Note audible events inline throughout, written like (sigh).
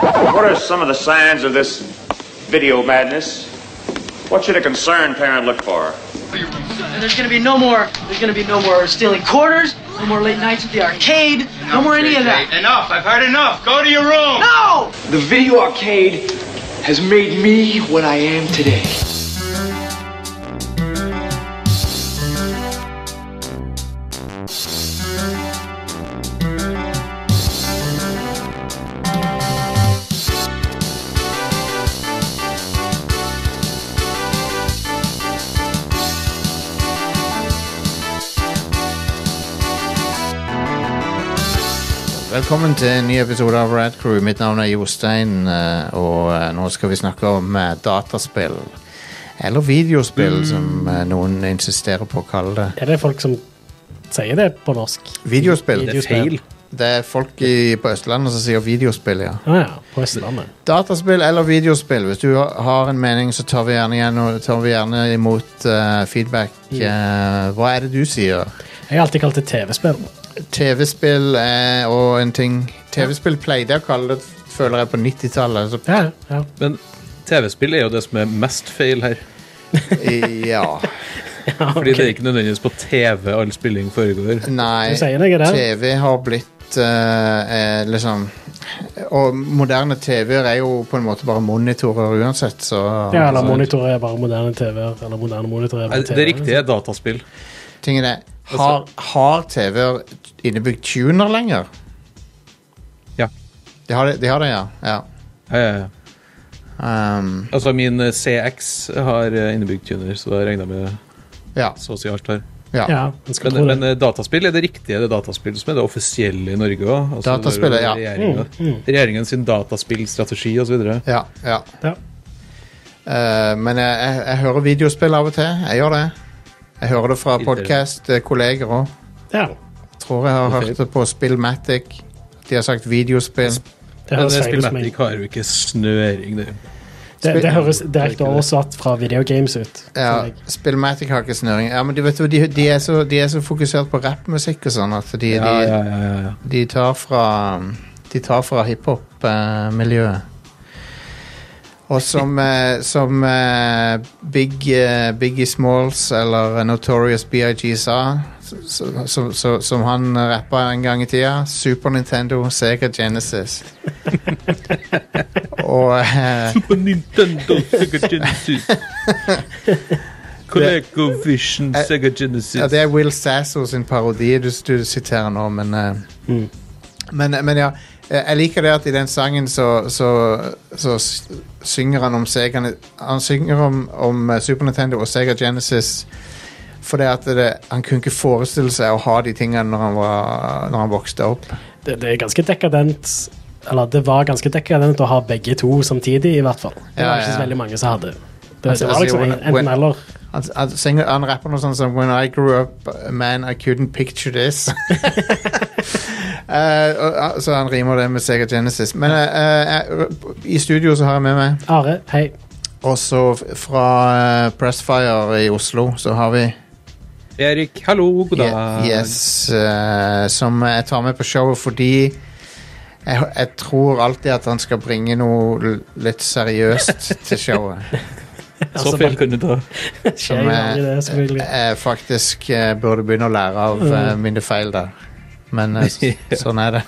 just some of the signs of this video madness. What should a concerned parent look for? There's gonna be no more. There's gonna be no more stealing quarters. No more late nights at the arcade. No, more any of that. Enough. I've heard enough. Go to your room. No. The video arcade has made me what I am today. Velkommen til en ny episode av Rad Crew. Mitt navn er Jostein, eh, og eh, nå skal vi snakke om eh, dataspill. Eller videospill, som eh, noen insisterer på å kalle det. Er det folk som sier det på norsk? Videospill. Det er feil. Det er folk i, på Østlandet som sier videospill, ja. Å Ah, ja, på Østlandet. Dataspill eller videospill. Hvis du har- har en mening, så tar vi gjerne, igjen- tar vi gjerne imot eh, feedback. Eh, hva er det du sier? Jeg har alltid kalt det TV-spill. TV-spill eh, og en ting TV-spill pleide jeg å kalle det, føler jeg, på 90-tallet. så- (laughs) Ja, ja. Men TV-spill er jo det som er mest feil her. Ja. Ah, Fordi det er ikke nødvendigvis på TV all spilling foregår. Nei, Du sier noe der. TV har blitt eh, eh, liksom Og moderne TV-er er jo på en måte bare monitorer uansett, så Ja, eller monitorer er bare moderne TV-er. Eller moderne monitorer er Nei, bare Det TV-er. riktige er dataspill. tingen er Har, har TV-er innebygd tuner lenger? Ja. De har det, de har det ja. ja. Eh, Um, altså, min eh, CX har eh, innebygd tuner, så da regner jeg med ja. så å si alt her. ja. Ja, man skal Men, tro det. men eh, dataspill er det riktige. Det er dataspill som er det offisielle i Norge òg. Dataspillet, ja. Mm, Regjeringen sin dataspillstrategi osv. Ja, ja. Ja. Eh, men jeg, jeg, jeg hører videospill av og til. Jeg gjør det. Jeg hører det fra podkast-kolleger òg. ja, Tror jeg har Ok. hørt det på Spillmatic. De har sagt videospill. det høres Men eh, feil ut. som Spillmatic jeg- har jo ikke snøring, det. er jo- Det, det høres Det er direkte ikke det. oversatt fra videogames ut. Ja, Spillmatic har ikke snøring. Ja, men de, vet du, de, de, er så, de er så fokusert på rappmusikk og sånn at de, Ja, de, ja, ja, ja, ja. de tar fra De tar fra hiphop-miljøet. Og (laughs) som, eh, som eh, Big, eh, Biggie Smalls eller eh, Notorious BIG sa, så, så, så, så, som han rappa en gang i tida, Super Nintendo, Sega (laughs) Genesis. Og eh, På Nintendo Sega Genesis. ColecoVision Sega Genesis. Ja, det er Will Sasso sin parodi du, du siterer nå, men eh, men, men ja, eh, jeg liker det at i den sangen så, så, så s- synger han om Sega Han synger om, om eh, Super Nintendo og Sega Genesis fordi at det, han kunne ikke forestille seg å ha de tingene når han, var, når han vokste opp. Det, det er ganske dekadent. Eller det var ganske dekadent å ha begge to samtidig, i hvert fall. Det Ja, var ikke ja. så veldig mange som hadde. Det, Altså, det var altså, liksom when- when- enten-eller. Han, han, synger, han rapper noe sånt som When I grew up, man, I couldn't picture this. (laughs) Eh, og, ah, så han rimer det med Sega Genesis. Men eh, eh, i studio så har jeg med meg Are, hei. Og så f- fra eh, Pressfire i Oslo så har vi Erik, hallo, god dag. Ye- Yes, eh, som jeg tar med på showet fordi jeg, jeg tror alltid at han skal bringe noe l- litt seriøst til showet. Så feil kunne du ta. Skjer jo aldri det, selvfølgelig. Mm. Jeg eh, faktisk eh, burde begynne å lære av eh, mine feil der. Men eh, (laughs) s- sånn er det.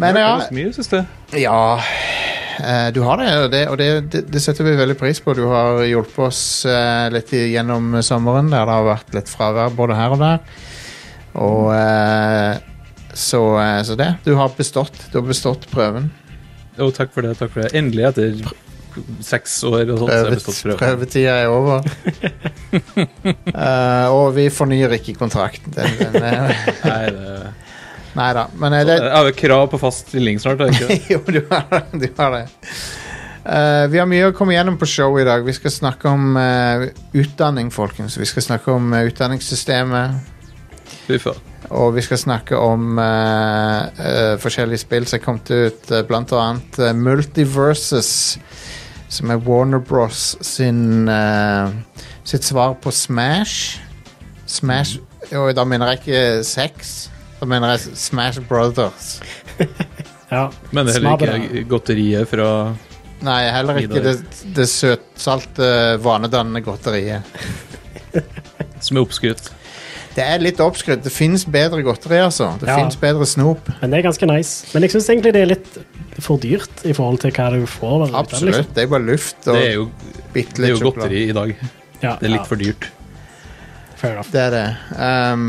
Men ja, Det er mye, synes jeg. ja eh, Du har det, og, det, og det, det, det setter vi veldig pris på. Du har hjulpet oss eh, litt i- gjennom sommeren, der det har vært litt fravær både her og der. Og eh, så, eh, så det. Du har bestått. Du har bestått prøven. Jo, takk for det, takk for det. Endelig, etter seks år og sånt, så har jeg bestått Prøvet, prøven. prøvetida er over. Eh, og vi fornyer ikke kontrakten. Den, den, er- (laughs) Nei, det... Nei da, men eh, Jeg det, (laughs) har jo krav på fast stilling snart, har jeg ikke det? jo, du har, du har det. Eh, vi har mye å komme gjennom på showet i dag. Vi skal snakke om eh, utdanning, folkens. Vi skal snakke om eh, utdanningssystemet, Fy faen. og vi skal snakke om eh, eh, forskjellige spill som er kommet ut, eh, blant annet eh, Multiversus, som er Warner Bros sin eh, sitt svar på Smash. Smash Og da mener jeg ikke sex, da mener jeg Smash Brothers. Ja. Men det er heller Smabbene. ikke godteriet fra Nei, heller ikke det, Videre. det søtsalte, eh, vanedannende godteriet. som er oppskrytt. Det er litt oppskrytt. Det fins bedre godteri, altså. Det Ja. finnes bedre snop. Men det er ganske nice. Men jeg syns egentlig det er litt for dyrt i forhold til hva du får. ut av det, liksom. Absolutt. Det er bare luft og Det er jo, bitte det er litt jo godteri i dag. Ja, Det er ja, litt for dyrt. fair enough. Det er det. Ehm,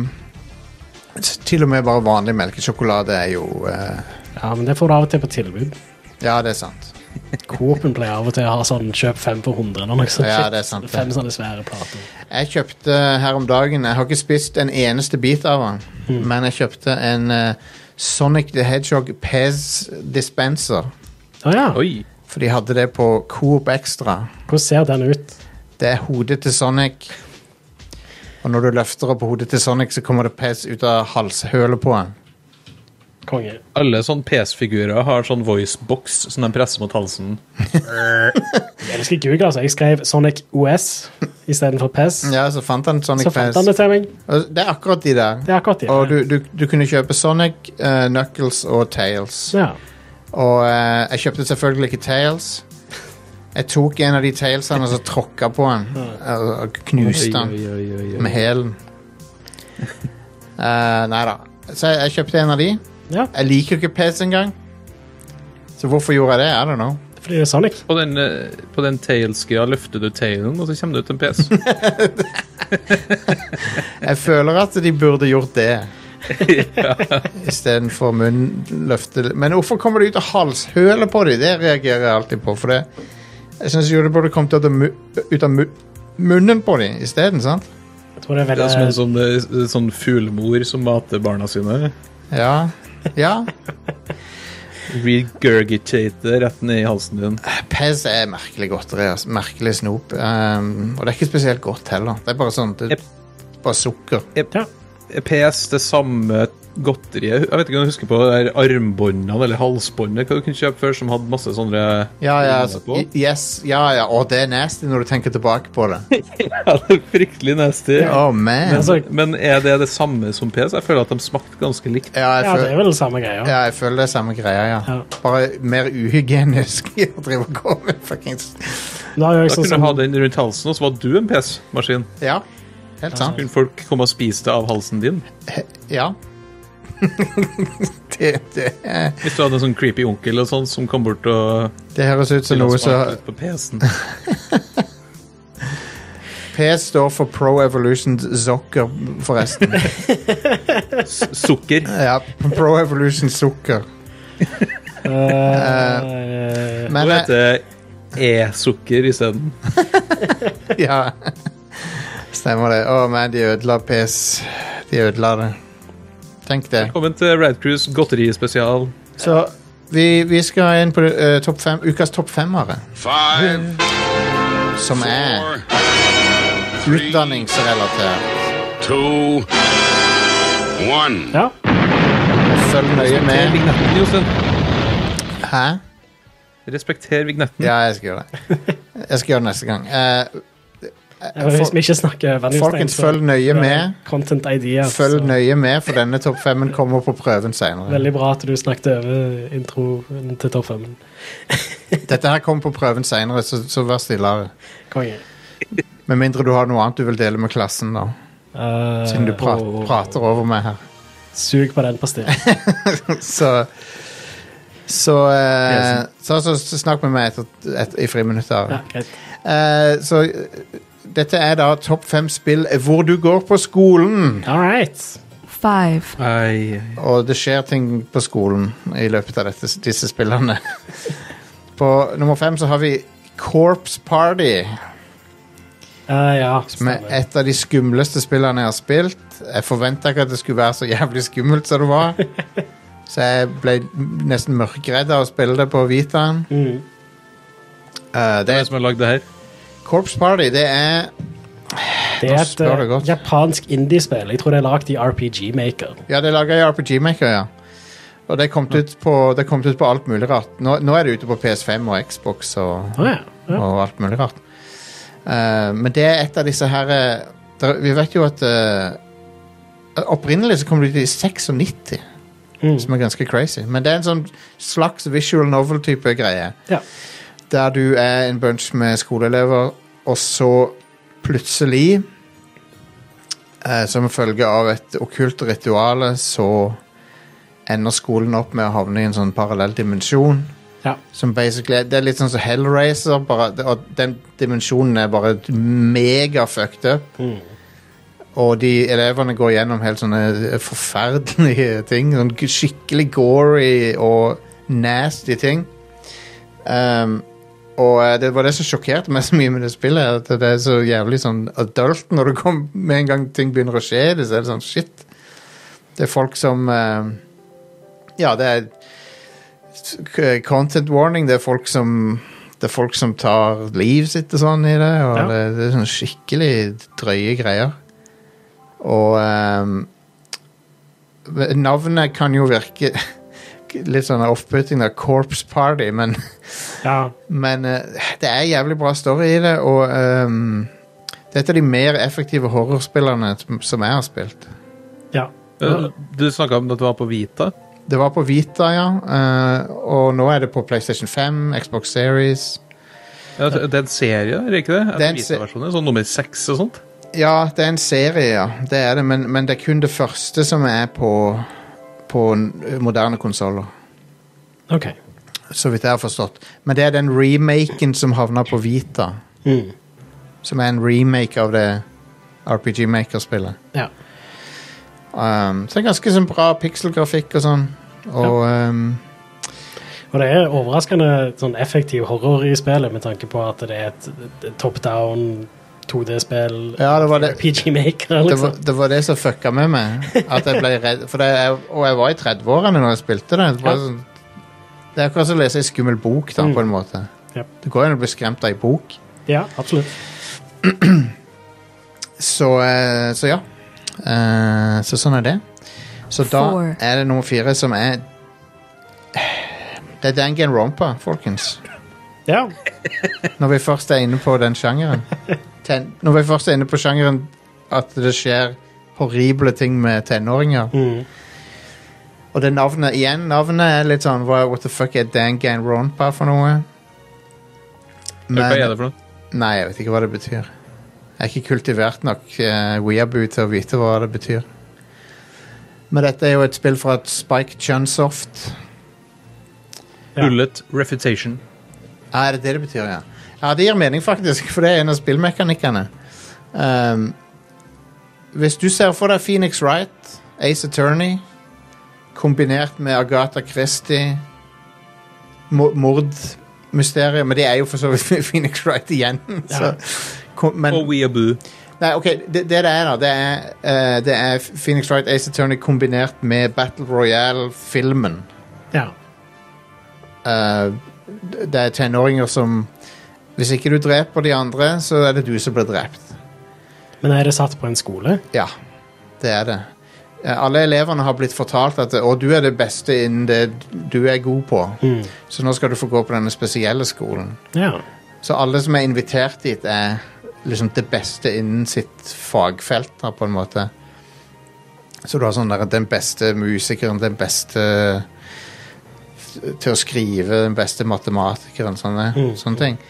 s- til og med bare vanlig melkesjokolade er jo eh, Ja, men det får du av og til på tilbud. Ja, det er sant. Coop-en pleier av og til å ha sånn kjøp fem for 100 eller noe sånt. Ja, shit. det er sant, det. Fem sånne svære plater. Jeg kjøpte her om dagen Jeg har ikke spist en eneste bit av den, Mm. men jeg kjøpte en eh, Sonic the Hedgehog Pez Dispenser. Å ja. Oi! For de hadde det på Coop Extra. Hvordan ser den ut? Det er hodet til Sonic. Og når du løfter opp hodet til Sonic, så kommer det pez ut av halshølet på han. Konge. Alle sånne PS-figurer har sånn voicebox som de presser mot halsen. Jeg elsker Google, altså. Jeg skrev Sonic OS istedenfor PES. Ja, så fant han Sonic E E Så fant Pez. han det til meg. Og Det er akkurat de der. Det er akkurat det. Og du, du, du kunne kjøpe Sonic, eh, Knuckles og Tails. Ja. Og eh, jeg kjøpte selvfølgelig ikke Tails. Jeg tok en av de Tailsene og så tråkka på den. Og, og knuste den Oi, oi, oi, oi. med hælen. Uh, nei da. Så jeg, jeg kjøpte en av de. Ja. Jeg liker jo ikke Pez engang. Så hvorfor gjorde jeg det? I don't know. Fordi det er Sonic. På den, eh, på den tails-greia løfter du tailen, og så kommer det ut en PS. Jeg føler at de burde gjort (laughs) det. Istedenfor munnløfte. Men hvorfor kommer det ut av halshølet på dem? Det reagerer jeg alltid på. For det, jeg syns jo det burde kommet ut av, mu ut av mu munnen på dem isteden, sant? Jeg tror det er (laughs) Det veldig... er som en sånn, eh, sånn fuglemor som mater barna sine. Ja. ja. Regurgitate rett ned i halsen din. Pez er merkelig godteri. altså. Merkelig snop. Um, og det er ikke spesielt godt heller. Det er bare sånn det, Jep. Bare sukker. PS, Eh, det samme godteriet Jeg vet ikke om du husker på det der armbåndene eller halsbåndet hva du kunne kjøpe før, som hadde masse sånne Ja, ja. Altså, på. i- yes, ja, ja. Og det er nasty når du tenker tilbake på (laughs) det. (laughs) Ja, det er fryktelig nasty. Oh, man. altså, Men er det det samme som PS? Jeg føler at de smakte ganske likt. Ja, jeg ja, det føler, er vel samme greia. ja, jeg føler det er samme greia, ja. Ja. Bare mer uhygienisk (laughs) å drive og gå med fuckings Da har jeg Da sånn kunne du som... ha den rundt halsen, og så var du en PS-maskin. Ja, helt sant. Kunne folk komme og spise det av halsen din? Ja. (laughs) det, det, er- Hvis du hadde en sånn creepy onkel og sånn som kom bort og det høres ut som ville noe smake som litt på PS-en. PS står for Pro Evolution Soccer, forresten. S- Sukker. ja, Pro Evolution Sukker. Eh, Men, Nå eh, heter det e-sukker isteden. eh, ja. (laughs) Stemmer det. Å, men de ødela PS. De ødela det. Tenk det. Velkommen til Rad Cruise godterispesial. Så vi, vi skal inn på eh, topp fem, ukas topp femmere, Five, som er utdanningsrelatert. two, one. ja. Følg nøye Respekter med. vignetten, Jostein. Hæ? Respekter vignetten. Ja, jeg skal gjøre det. (laughs) Jeg skal gjøre det neste gang. Eh, Hvis vi ikke snakker Vanilstein, folkens, følg nøye med. Content ideas. Følg så- nøye med, for denne topp femmen kommer på prøven senere. Veldig bra at du snakket over introen til topp fem. Dette her kommer på prøven senere, så, så vær stillere. Konge. Med mindre du har noe annet du vil dele med klassen, da. Eh, Siden du pra og- prater over meg her. Sug på den (laughs) pastillen. Så så, eh, så, så, så snakk med meg etter, et- i friminuttet. Ja, greit. Eh, så eh, dette er da topp fem spill hvor du går på skolen. All right. five, Nei. Og det skjer ting på skolen i løpet av dette, disse spillene. (laughs) på nummer fem så har vi Corps Party, Eh, ja, som er stemmer. et av de skumleste spillene jeg har spilt. Jeg forventa ikke at det skulle være så jævlig skummelt som det var. (laughs) Så jeg ble nesten mørkredd av å spille det på Vitaen. Mm. Eh, det Hvem er, som har lagd det her? Corps Party, det er Det Nå er et spør du godt. eh, japansk indiespill. Jeg tror det er lagd i RPG Maker. Ja, det er laga i RPG Maker, ja. Og det er kommet ut på, det er kommet ut på alt mulig rart. Nå, nå er det ute på PS5 og Xbox og Å ja. ja. og alt mulig rart. Eh, men det er et av disse her eh, der, Vi vet jo at eh, Opprinnelig så kom det ut i 96. Som er ganske crazy. Men det er en sånn slags visual novel-type greie. Ja. Der du er en bunch med skoleelever, og så plutselig eh, Som følge av et okkult ritual, så ender skolen opp med å havne i en sånn parallell dimensjon. Ja. Som basically er- Det er litt sånn som Hellraiser, bare, og den dimensjonen er bare mega fucked up. Og de elevene går gjennom helt sånne forferdelige ting. Sånn g- skikkelig gory og nasty ting. Ehm, og eh, det var det som sjokkerte meg så mye med det spillet. her, At det er så jævlig sånn adult når du kom, med en gang ting begynner å skje. Det, så er det sånn shit. Det er folk som eh, Ja, det er k- content warning. Det er folk som det er folk som tar livet sitt og sånn i det. Og Ja. det, det er sånn skikkelig drøye greier. Og ehm, Navnet kan jo virke (laughs) litt sånn off-putting. da, Corpse Party, men ja. men eh, det er jævlig bra story i det, og ehm, det er et av de mer effektive horrorspillene som- som jeg har spilt. ja. Eh, Du snakka om at det var på Vita. Det var på Vita, ja, eh, og nå er det på PlayStation 5, Xbox Series. Ja, det er en serie, er det ikke det? Det er en se- Vita-versjonen, Sånn nummer seks og sånt. Ja, det er en serie, ja, det er det, men, men det er kun det første som er på, på n- moderne konsoller. OK. Så vidt jeg har forstått. Men det er den remaken som havna på Vita. Mm. Som er en remake av det RPG Maker-spillet. Ja. Um, så det er ganske sånn bra pikselgrafikk og sånn. Og um, Og det er overraskende sånn effektiv horror i spillet, med tanke på at det er et, et top down 2D-spill. ja, det var det, PG Maker, det, liksom. var, det var det som fucka med meg. At jeg ble redd. For det, jeg, og jeg var i 30-årene når jeg spilte det. Det, var Ja. sånn, det er akkurat som å lese ei skummel bok, da, på en måte. Yep. Det går an å bli skremt av ei bok. Ja, absolutt. Så, eh, så ja. Eh, så sånn er det. Så da Four. er det nummer fire som er Det er Dangan Rompa, folkens. Ja. Når vi først er inne på den (laughs) sjangeren ten, Når vi først er inne på sjangeren At det skjer horrible ting med tenåringer Mm. Og det navnet igjen Navnet er litt sånn hva- What the fuck er Danganronpa for noe? Hva er det for noe? Nei, jeg vet ikke hva det betyr Jeg er ikke kultivert nok uh, Weeaboo til å vite hva det betyr Men dette er jo et spill fra Spike Chunsoft Ja. Bullet refutation. Ja, er det det det betyr, ja. Ja, det gir mening faktisk, for det er en av spillmekanikkene. Ehm, hvis du ser for deg Phoenix Wright, Ace Attorney, kombinert med Agatha Christie, mo- mordmysteriet, men det er jo for så vidt (laughs) Phoenix Wright igjen. Så, kom- men, Og Weaboo. Nei, ok, det det, det er da, det er, eh, det er Phoenix Wright, Ace Attorney kombinert med Battle Royale-filmen. ja. Eh, det er tenåringer som Hvis ikke du dreper de andre, så er det du som blir drept. Men er det satt på en skole? Ja, det er det. Eh, Alle elevene har blitt fortalt at å, du er det beste innen det du er god på, så nå skal du få gå på denne spesielle skolen. Ja. Så alle som er invitert dit, er liksom det beste innen sitt fagfelt, da, på en måte. Så du har sånn der den beste musikeren, den beste eh, til å skrive, den beste matematikeren, sånne, sånne ting.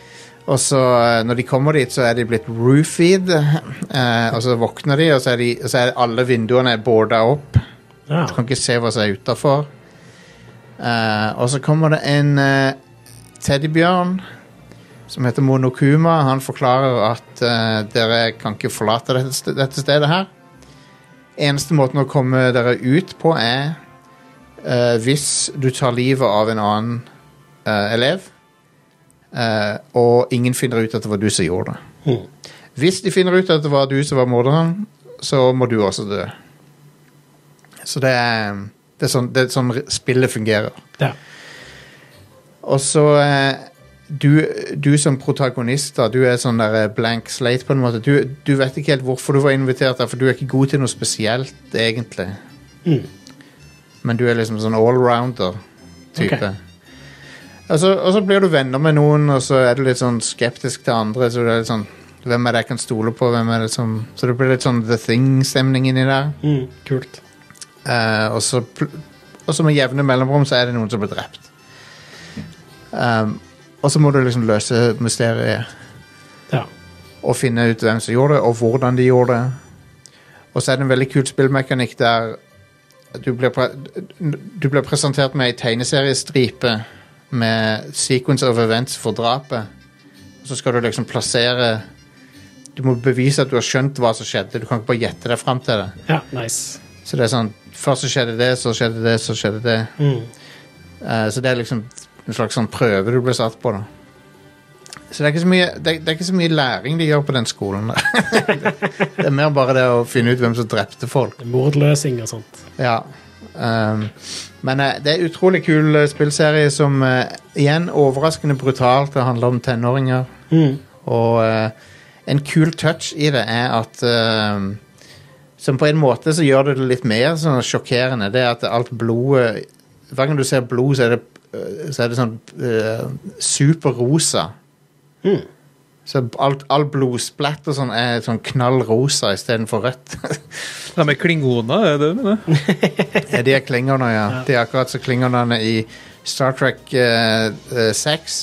Og så eh, når de kommer dit, så er de blitt roofied, eh, og så våkner de, og så er, de, og så er alle vinduene borda opp. ja. Du kan ikke se hva som er utafor. og så kommer det en eh, teddybjørn som heter Monokuma. Han forklarer at eh, dere kan ikke forlate dette, st- dette stedet her. Eneste måten å komme dere ut på er eh, hvis du tar livet av en annen eh, elev, eh, og ingen finner ut at det var du som gjorde det. Mhm. Hvis de finner ut at det var du som var morderen, så må du også dø. Så det er, det er, sånn, det er sånn spillet fungerer. ja. Og så eh, du, du som protagonist, da, du er sånn der eh, blank slate på en måte. Du, du vet ikke helt hvorfor du var invitert der, for du er ikke god til noe spesielt, egentlig. Mm. Men du er liksom sånn allrounder-type. Ok. Og, så, Altså, og så blir du venner med noen, og så er du litt sånn skeptisk til andre. Så det er litt sånn Hvem er det jeg kan stole på? Hvem er det som Så det blir litt sånn The Thing-stemning inni der. Mm. Kult. Eh, og så pl og så med jevne mellomrom så er det noen som blir drept. Um, og så må du liksom løse mysteriet Ja. og finne ut hvem som gjorde det, og hvordan de gjorde det. Og så er det en veldig kul spillmekanikk der du blir, pre du blir presentert med ei tegneseriestripe med sequence of events for drapet. Og så skal du liksom plassere Du må bevise at du har skjønt hva som skjedde. Du kan ikke bare gjette deg fram til det. ja, nice. Så det er sånn Først så skjedde det, så skjedde det, så skjedde det. Mm. Eh, så det er liksom en slags sånn prøve du blir satt på, da. Så det er ikke så mye, det, det er ikke så mye læring de gjør på den skolen. (laughs) der. det er mer bare det å finne ut hvem som drepte folk. Mordløsing og sånt. Ja. Ehm, men eh, det er utrolig kul eh, spillserie som eh, igjen overraskende brutalt. Det handler om tenåringer. Mm. Og eh, en kul touch i det er at eh, Som på en måte så gjør det det litt mer sånn sjokkerende. Det er at alt blodet Hver gang du ser blod, så er det, eh, så er det sånn eh, superrosa. Mm. Så alt, all blodsplatt og sånn er sånn knallrosa istedenfor rødt. (laughs) De er klingoner, er det det du mener? Ja, de (laughs) er klingerne, ja. De er akkurat som klingerne i Star Trek eh, eh, 6.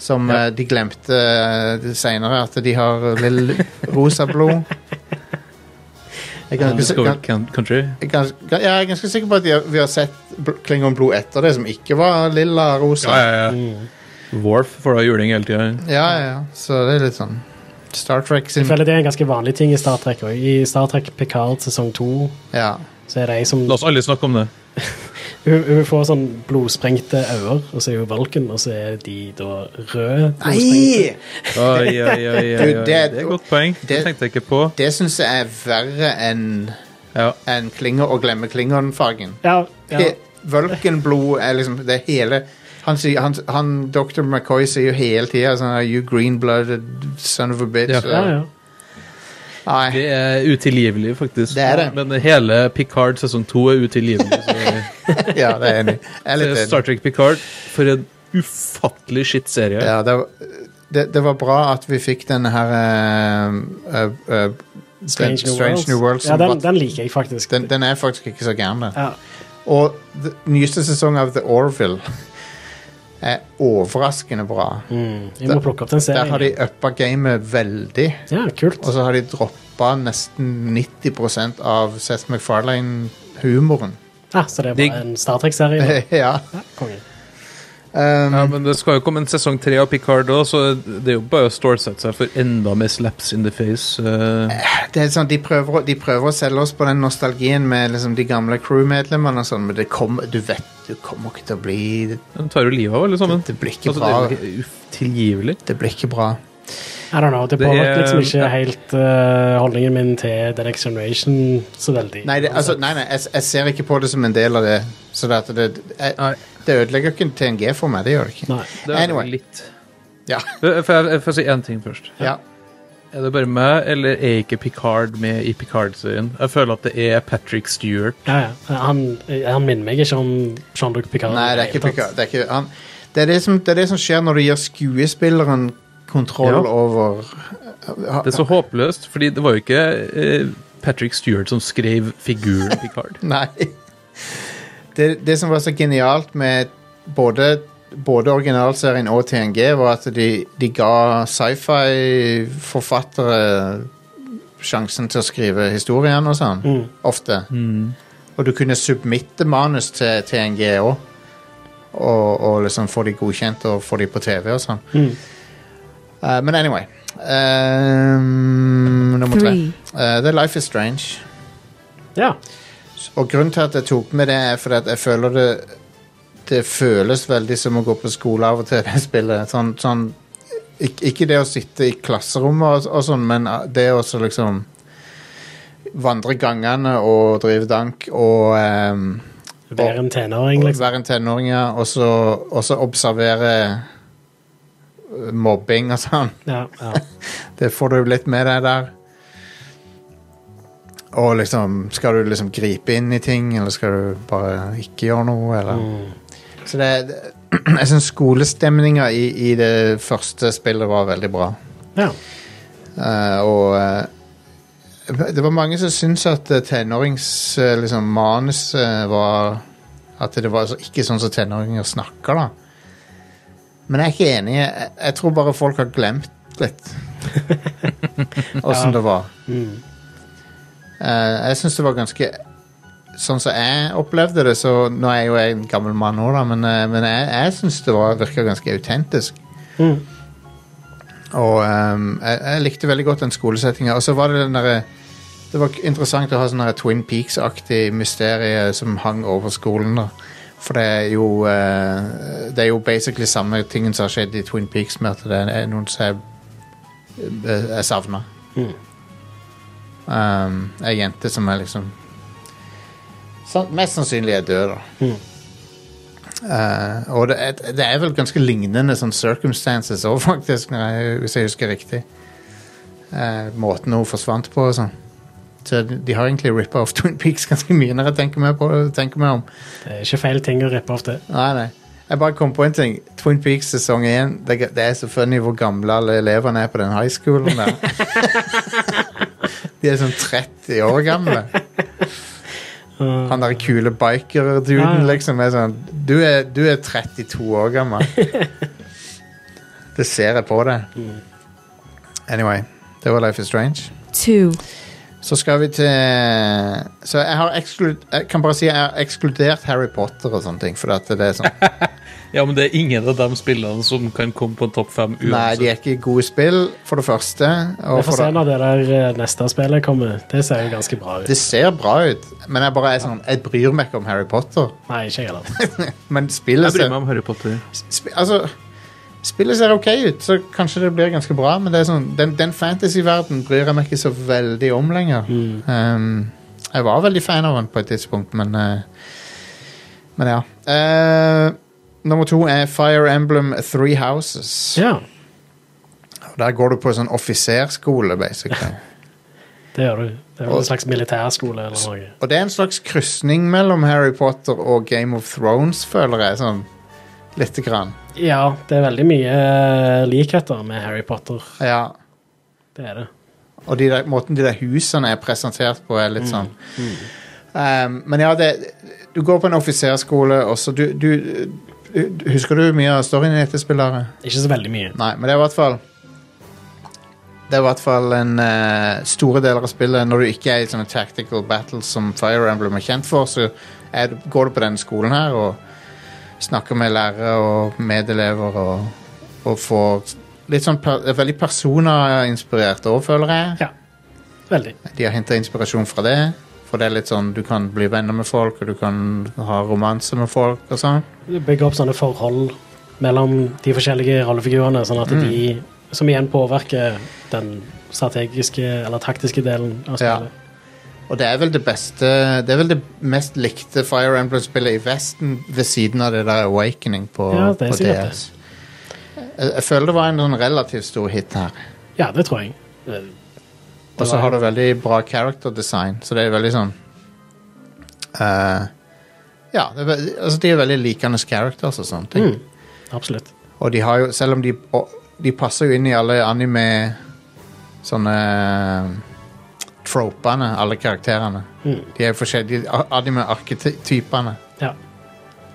Som Ja. eh, de glemte uh, seinere, at de har lille rosa blod. Jeg er ganske, Discovery gan- Can- Country. jeg er ganske, ja, jeg er ganske sikker på at de har, vi har sett bl- klingonblod etter det, som ikke var lilla-rosa. Ja, ja, ja. Worf får da juling hele tida. ja, ja. Så det er litt sånn Star Trek sin Jeg føler det er en ganske vanlig ting i Star Trek. Og I Star Trek Picard sesong to Ja. så er det ei som La oss alle snakke om det. hun, hun får sånn blodsprengte øyne, og så er hun valken, og så er de da røde. blodsprengte. Nei! Oi, oi, oi, oi, oi. Du, det- Det er et godt poeng. Det det- tenkte jeg ikke på. Det syns jeg er verre enn Ja. enn klinger å glemme klingonfargen. Ja, ja. He- Vølkenblod er liksom det hele han, sier, han, han, Dr. McCoy sier jo hele tida sånn her, You green-blooded son of a bitch. Ja. ja, ja. Nei, Det er utilgivelig, faktisk. Det er det. Men hele Picard sesong to er utilgivelig. Så ja, det er jeg enig. i. Jeg er (laughs) så litt Star enig. Trek Picard, for en ufattelig shit serie. Ja, det, var, det, det var bra at vi fikk denne her eh, eh, eh, Strange, den, Strange New World. Ja, Som den, var- den liker jeg faktisk. den, den er faktisk ikke så gæren, den. ja. Og d- nyeste sesong av The Orville er overraskende bra. mm. Jeg må plukke opp den Der serien. har de uppa gamet veldig. Ja, kult. Og så har de droppa nesten 90 av Seth MacFarlane-humoren. (laughs) Ah, så det er bare De- en Star Trek-serie? da. ja. Ja, konge. Um, Ja, men det skal jo komme en sesong tre av Picard òg, så det er jo bare å stålsette seg for enda mer slaps in the face. eh. det er sånn, de prøver, å- de prøver å selge oss på den nostalgien med liksom, de gamle crew-medlemmene og sånn, men det kom, du vet du kommer ikke til å bli Det, De tar jo livet av alle sammen. det blir ikke Altså, det bra. er jo utilgivelig. Det blir ikke bra. I don't know, Det Det er- påvirker liksom ikke ja. helt eh, holdningen min til The Next Generation så veldig. Nei, det, altså, nei, nei jeg, jeg ser ikke på det som en del av det. Så det, at det, jeg, Nei. det ødelegger ikke TNG for meg. Det gjør det ikke. Nei. Det er Anyway. litt Ja. Får jeg, jeg får si én ting først. Ja. Er det bare meg, eller er ikke Picard med i Picard-serien? Jeg føler at det er Patrick Stewart. Ja, ja. Han, han minner meg ikke om Jean-Luc Picard. Nei, det er i ikke hele Picard. tatt. Det er, ikke, han, det, er det, som, det er det som skjer når du gir skuespilleren kontroll Ja. over Det er så håpløst, fordi det var jo ikke eh, Patrick Stewart som skrev figuren Picard. (laughs) Nei. Det, det som var så genialt med både, både originalserien og TNG, var at de, de ga sci-fi-forfattere sjansen til å skrive historien og sånn. Ofte. Og du kunne submitte manus til TNG òg. Og, og liksom få de godkjent og få de på TV og sånn. Eh, men anyway. Ehm, nummer tre. Three. Eh, The Life Is Strange. Ja. Og grunnen til at jeg tok med det, er fordi at jeg føler det Det føles veldig som å gå på skole av og til, det spillet. Sånn, sånn ik- Ikke det å sitte i klasserommet og, og sånn, men ah, det å så liksom Vandre gangene og drive dank og ehm, Være en tenåring, og liksom. være en tenåring, ja. Og så, og så observere eh, mobbing og sånn. Ja, ja. Det får du litt med deg der. Og liksom Skal du liksom gripe inn i ting, eller skal du bare ikke gjøre noe, eller Så det, (clears throat) det Jeg syns skolestemninga i, i det første spillet var veldig bra. ja. Eh, og eh, det var mange som syntes at eh, tenårings eh, liksom, manus eh, var At det var så- ikke sånn som tenåringer snakker, da. Men jeg er ikke enig. Jeg, jeg tror bare folk har glemt litt åssen det var. Eh, jeg syns det var ganske Sånn som jeg opplevde det, så nå er jeg jo en gammel mann nå, da, men, eh, men jeg, jeg syns det var- virka ganske autentisk. Og ehm, jeg, jeg likte veldig godt den skolesettinga. Og så var det den derre Det var k- interessant å ha sånn derre Twin Peaks-aktig mysterie som hang over skolen. da. For det er jo eh, Det er jo basically samme tingen som har skjedd i Twin Peaks, med at det er noen som er, eh, er savna. Um, ei jente som er liksom san- Mest sannsynlig er død, da. Eh, og det er, det er vel ganske lignende sånn circumstances òg, faktisk, når jeg, hvis jeg husker riktig. Eh, måten hun forsvant på og sånn. Så de de har egentlig rippa off Twin Peaks ganske mye når jeg tenker meg, på, tenker meg om. Det er ikke feil ting å rippe av det. Nei, nei. Jeg bare kom på en ting. Twin Peaks sesong 1. Det, det er så funny hvor gamle alle elevene er på den high schoolen (laughs) der. De er sånn 30 år (laughs) gamle. Han der kule Ja, biker-duden ja. liksom er sånn du er, du er 32 år gammel. (laughs) Det ser jeg på deg. Mm. Anyway, det var Life is Strange. two, Så skal vi til Så jeg har ekskludert Jeg kan bare si jeg har ekskludert Harry Potter og sånne ting, fordi at det er sånn (laughs) Ja, men det er ingen av de spillene som kan komme på en topp fem Nei, de uansett. er ikke gode spill, for det første. Vi Og får for se det, når det der eh, neste spillet kommer. Det ser jo ganske bra ut. det ser bra ut, men jeg bare er sånn Jeg bryr meg ikke om Harry Potter. Nei, ikke jeg (laughs) heller. Men Jeg spillet bryr ser, meg om Harry Potter. sp altså, spillet ser ok ut, så kanskje det blir ganske bra, men det er sånn, den, den fantasyverdenen bryr jeg meg ikke så veldig om lenger. Mm. Um, jeg var veldig fan av den på et tidspunkt, men eh, Men ja. Eh, nummer to er Fire Emblem Three Houses. Ja, Og Der går du på sånn offiserskole, (laughs) basically. det gjør du. Det er vel en slags militærskole eller noe. Og det er en slags krysning mellom Harry Potter og Game of Thrones, føler jeg. sånn Lite grann. Ja, det er veldig mye eh, likheter med Harry Potter. Ja. Det er det. Og de der, måten de der husene er presentert på, er litt sånn um, Men ja, det Du går på en offiserskole, og så du, du, du Husker du mye av storyen i dette spillet? Ikke så veldig mye. Nei, men det er i hvert fall Det er i hvert fall en eh, store deler av spillet Når du ikke er i sånne tactical battles Som Fire Emblem er kjent for Så er, du- går du på denne skolen her Og snakker med lærere og medelever Og, og får litt sånn per, det er Veldig persona-inspirert også, føler jeg Ja. Veldig. De har hentet inspirasjon fra det For det er litt sånn, du kan bli venner med folk Og du kan ha romanse med folk Og sånn Bygge opp sånne forhold mellom de forskjellige rollefigurene, sånn at de Som igjen påvirker den strategiske eller taktiske delen av Ja. spillet. Og det er vel det beste Det er vel det mest likte Fire Emblem-spillet i Vesten ved siden av det der Awakening på, Ja, det er på sikkert DS. Jeg, jeg føler det var en sånn relativt stor hit her. Ja, det tror jeg. Eh, Og så var- har det veldig bra character design, så det er veldig sånn eh, Ja, det er, ve- altså de er veldig likende characters og sånne Mm. ting. Absolutt. Og de har jo, selv om de og De passer jo inn i alle anime Sånne Tropene, alle karakterene De er jo forskjellige Anime-arketypene Ja.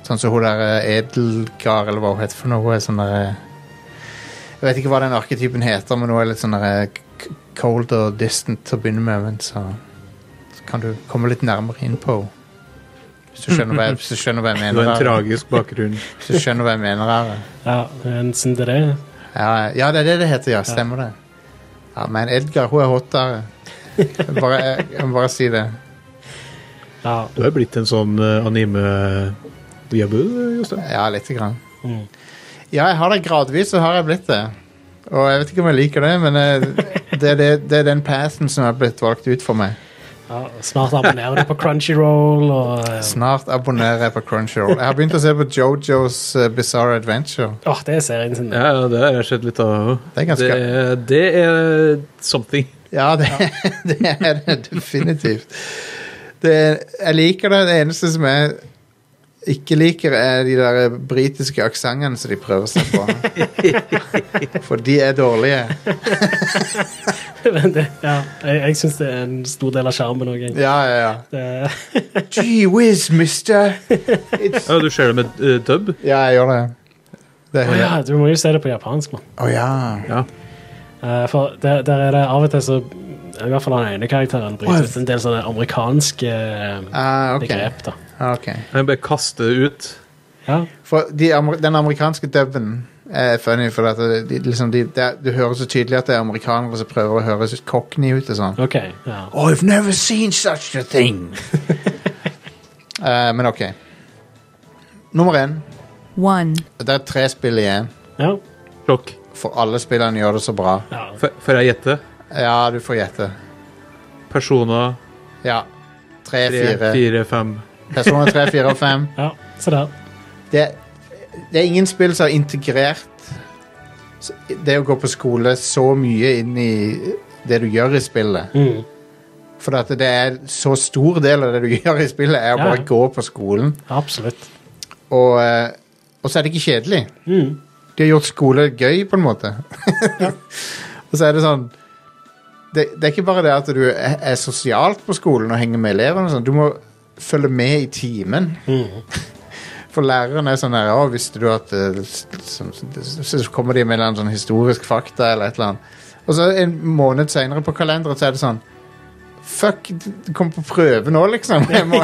Sånn som hun der eh, Edelgar Eller hva hun heter for noe hun er sånn der, eh, Jeg vet ikke hva den arketypen heter Men hun er litt sånn der eh, k- Cold og distant til å begynne med Men så, så kan du komme litt nærmere inn på henne Hvis du skjønner hva jeg, hvis du skjønner hva jeg Det mener er en her. tragisk bakgrunn. Hvis du skjønner hva jeg mener her ja en Cinderella. Ja, ja, det er det det heter, ja. Stemmer det. Ja, men Edgar, hun er hotere. Jeg må Bare, jeg må bare si det. Ja. Du er blitt en sånn eh, anime-viabu, Jostein. Ja, lite grann. Ja, jeg har det gradvis, så har jeg blitt det. Og jeg vet ikke om jeg liker det, men eh, det, er det, det er den pathen som er blitt valgt ut for meg. ja. Snart abonnerer du på Crunchyroll og eh, Snart abonnerer jeg på Crunchyroll. Jeg har begynt å se på Jojos eh, Bizarre Adventure. Åh, det er serien sin. Ja, ja, det har jeg sett litt av. Det er ganske- det, det er something. Ja, det, (laughs) det er det definitivt. Det, jeg liker det. Det eneste som jeg ikke liker, er de der britiske aksentene (laughs) som de prøver seg på. For de er dårlige. (laughs) Men det, ja, jeg, jeg syns det er en stor del av sjarmen òg. Ja, ja, ja. Det- Gee whiz, mister. Ja, du ser det med eh, dub? Ja, jeg gjør det. Det er Å ja, (laughs) du må jo se det på japansk, mann. Å ja. Ja. Eh, For der, der er det av og til så I hvert fall den ene karakteren Wow. bryter ut en del sånne amerikanske eh, Ah, ok. begrep. da Ah, ok. Jeg bare kaster det ut. ja. For de, amer- den amerikanske dubben er funny, for at det, de, liksom, de, det, du hører så tydelig at det er amerikanere som prøver å høres cockney ut og sånn. OK. Ja. Oh, I've never seen such a thing. (laughs) Eh, men ok. Nummer én. One. Det er tre spill igjen. ja. Sjokk. For alle spillene gjør det så bra. ja. Får får jeg gjette? Ja, du får gjette. Personer Ja. Tre, 3, fire. 4, 5. Personer tre, fire og fem. ja. Se der. (laughs) Det, det er ingen spill som har integrert s- det å gå på skole så mye inn i det du gjør i spillet. Mm. For at det er så stor del av det du (laughs) gjør i spillet, er å Ja. bare gå på skolen. Absolutt. Og, eh, og så er det ikke kjedelig. Mm. De har gjort skole gøy, på en måte. (laughs) og så er det sånn det, det er ikke bare det at du er, er sosialt på skolen og henger med elevene. og Sånn. Du må følge med i timen. (laughs) For læreren er sånn der, «Å, visste du at eh, s- så, så, så kommer de med en eller annen sånn historisk fakta eller et eller annet. Og så en måned seinere på kalenderen så er det sånn Fuck, det kommer på prøve nå, liksom. Jeg, må,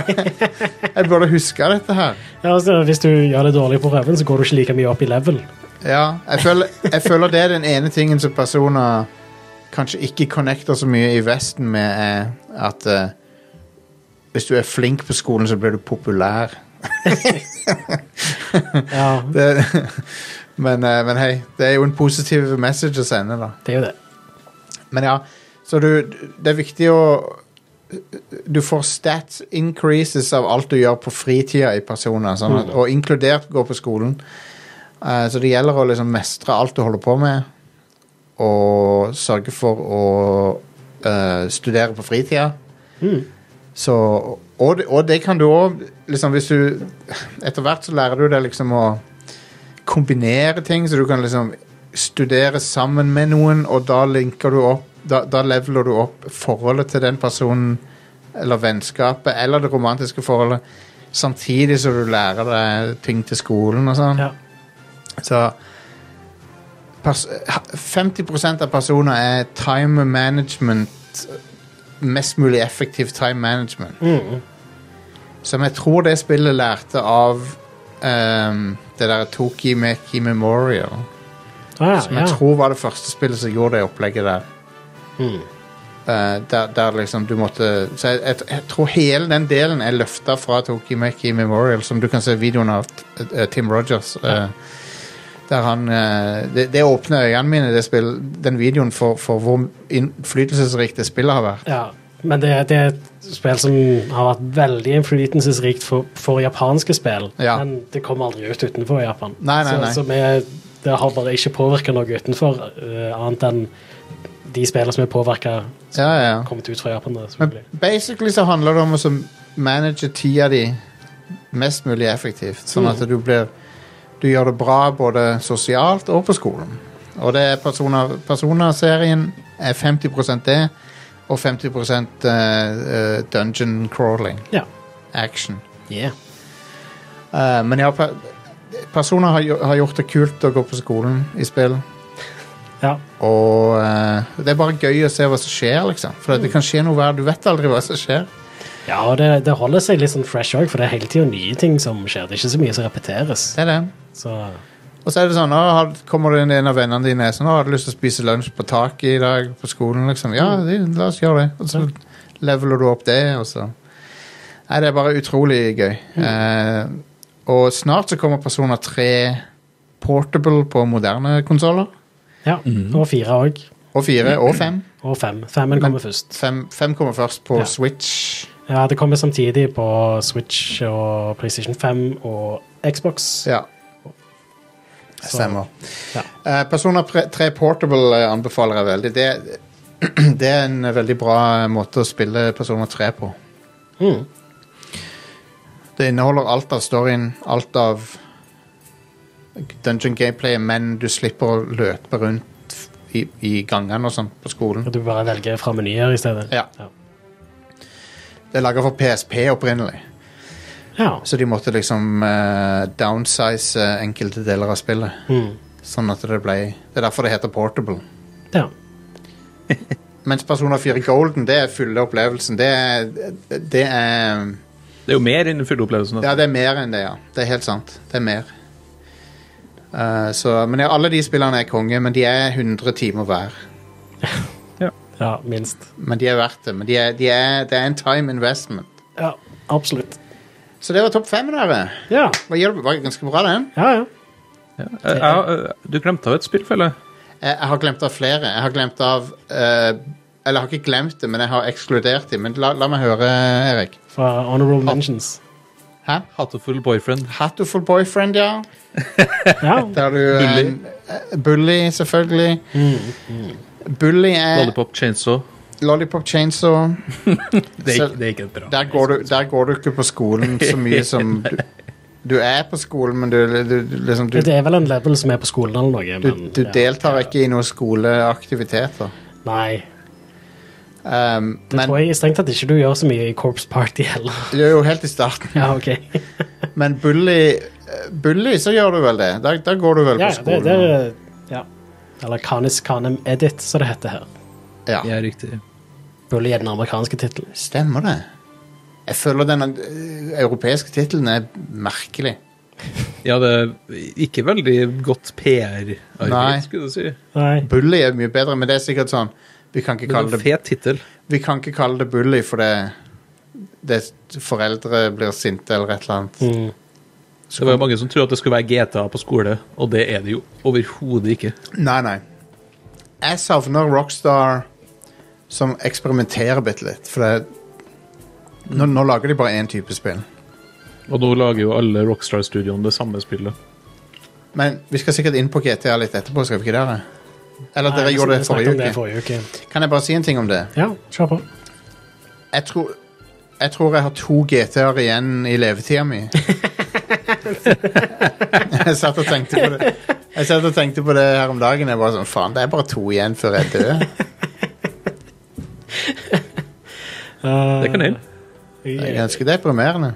(laughs) jeg burde huske dette her. Ja, altså, hvis du gjør det dårlig på prøven, så går du ikke like mye opp i level. Ja, jeg føler, jeg føler det er den ene tingen som personer kanskje ikke connecter så mye i Vesten med, er at eh, hvis du er flink på skolen, så blir du populær. Ja, Det, (laughs) men, eh, men hei, det er jo en positiv message å sende, da. det er jo det. Men ja, så du Det er viktig å Du får stats increases av alt du gjør på fritida i personer, sånn at, og inkludert gå på skolen. Eh, så det gjelder å liksom mestre alt du holder på med, og sørge for å eh, studere på fritida. Så og, det- og det kan du òg liksom Hvis du Etter hvert så lærer du deg liksom å kombinere ting, så du kan liksom studere sammen med noen, og da linker du opp Da, da leveler du opp forholdet til den personen, eller vennskapet, eller det romantiske forholdet, samtidig som du lærer deg ting til skolen og sånn. Ja. Så pers 50 av personer er time management Mest mulig effektiv time management. Som jeg tror det spillet lærte av ehm, det der Toki Meki Memorial. Ah, Som ja. jeg tror var det første spillet som gjorde det opplegget der. Hmm. Mm. Eh, der, der liksom du måtte Så jeg, jeg, jeg tror hele den delen er løfta fra Toki Meki Memorial, som du kan se videoen av t- eh, Tim Rogers. eh, der han eh, Det, det åpner øynene mine, det spill, den videoen, for, for hvor innflytelsesrikt det spillet har vært. Ja, men det, det er et spill som har vært veldig innflytelsesrikt for, for japanske spill. Ja. Men det kom aldri ut utenfor Japan. Nei, nei, nei. Så, så vi, det har bare ikke påvirka noe utenfor, eh, annet enn de spillene som er påvirka, Ja, ja. kommet ut fra Japan. da, Men selvfølgelig. basically så handler det om å så manage tida di mest mulig effektivt, sånn at du blir du gjør det bra både sosialt og på skolen. Og det er personer, Persona-serien er 50 det, og 50 eh, eh, dungeon crawling. Ja. Action. Yeah. Eh, men ja, per- personer har, gjo- har gjort det kult å gå på skolen i spill. ja. Og eh, det er bare gøy å se hva som skjer, liksom. For det kan skje noe hver Du vet aldri hva som skjer. Ja, og det, det holder seg litt sånn fresh òg, for det er hele tida nye ting som skjer. Det er ikke så mye som repeteres. Det er det. Så Og så er det sånn, «Å, har- kommer det en av vennene dine og sånn, «Å, har du lyst til å spise lunsj på taket i dag på skolen? Liksom. Ja, det- la oss gjøre det. Og så leveler du opp det, og så Nei, det er bare utrolig gøy. Eh, og snart så kommer Personer 3 portable på moderne konsoller. ja. Mhm. Og fire òg. Og 4 og 5. Og fem. Femmen kommer først. 5, kommer først på Ja. Switch. Ja, det kommer samtidig på Switch og PlayStation 5 og Xbox. Ja. Så- Stemmer. Ja. Eh, Persona 3 Portable eh, anbefaler jeg veldig. Det, (clears throat) det er en eh, veldig bra måte å spille Persona 3 på. Mm. Det inneholder alt av storyen, alt av dungeon gameplay, men du slipper å løpe rundt i, i gangene og sånn på skolen. At du bare velger fra menyer i stedet. Ja. Det er laga for PSP opprinnelig, Ja. så de måtte liksom eh, downsize eh, enkelte deler av spillet. Mm. Sånn at det ble Det er derfor det heter Portable. ja. Mens Persona 4 Golden, det er fulle opplevelsen. Det er, det er Det er jo mer enn den fulle opplevelsen. Ja, det er mer enn det, ja. Det er helt sant. Det er mer. Eh, så, men ja, alle de spillene er konge, men de er 100 timer hver. Ja, minst. Men de er verdt det. Men de er, de er, det er en time investment. Ja, absolutt. Så det var topp fem, dere. Ja, Det var- var ganske bra, den. ja, ja. Eh, jeg- eh, du glemte av et spill, føler jeg. Jeg, jeg har glemt av flere. Jeg har glemt av eh, Eller jeg har ikke glemt det, men jeg har ekskludert dem. Men la, la meg høre, Erik. Fra Honorable Mentions. Hæ? Hateful Boyfriend. Hatoful Boyfriend, ja. Ja, Der har (laughs) du eh, Bully. Mm, eh, Bully, selvfølgelig. Bully er Lollipop, Lollipop Chainsaw. (laughs) Chainsaw. Det er, Så- ikke- det er ikke bra. Der går, du, der går du ikke på skolen så mye (laughs) som du, du er på skolen, men du, du, du liksom du, det er vel en level som er på skolen eller noe, du, men du ja. deltar ikke i noen skoleaktiviteter. Nei. Um, Det men tror jeg strengt tatt ikke du gjør så mye i Corps Party heller. det er jo helt i starten. Ja, (laughs) ok. (laughs) Men bully, eh, bully så gjør du vel det. Da, da går du vel på Ja, det, skolen. det er ja. Eller Canis Canem Edit, som det heter her. ja. Ja, riktig. Bully er den amerikanske tittelen. Stemmer det. Jeg føler den eh, europeiske tittelen er merkelig. Ja, det er ikke veldig godt Nei. PR-arbeid, skulle du si. Nei. Bully er mye bedre, men det er sikkert sånn Vi kan ikke Men kalle det er en det, fet tittel. vi kan ikke kalle det bully, for det, det Foreldre blir sinte eller et eller annet. Mm. Det var jo mange som trodde at det skulle være GTA på skole, og det er det jo overhodet ikke. Nei, nei. Jeg savner Rockstar som eksperimenterer bitte litt, for det nå, nå lager de bare én type spill. Og nå lager jo alle Rockstar-studioene det samme spillet. Men vi skal sikkert inn på GTA litt etterpå, skal vi ikke det? Eller dere Nei, gjorde vi det snakket om forrige det uke. forrige uke. Kan jeg bare si en ting om det? Ja, kjør på. Jeg tror jeg tror jeg har to GT-er igjen i levetida (laughs) mi. jeg satt og tenkte på det Jeg satt og tenkte på det her om dagen. Jeg bare sånn, Faen, det er bare to igjen før jeg dør. Det kan hende. Det er ganske deprimerende.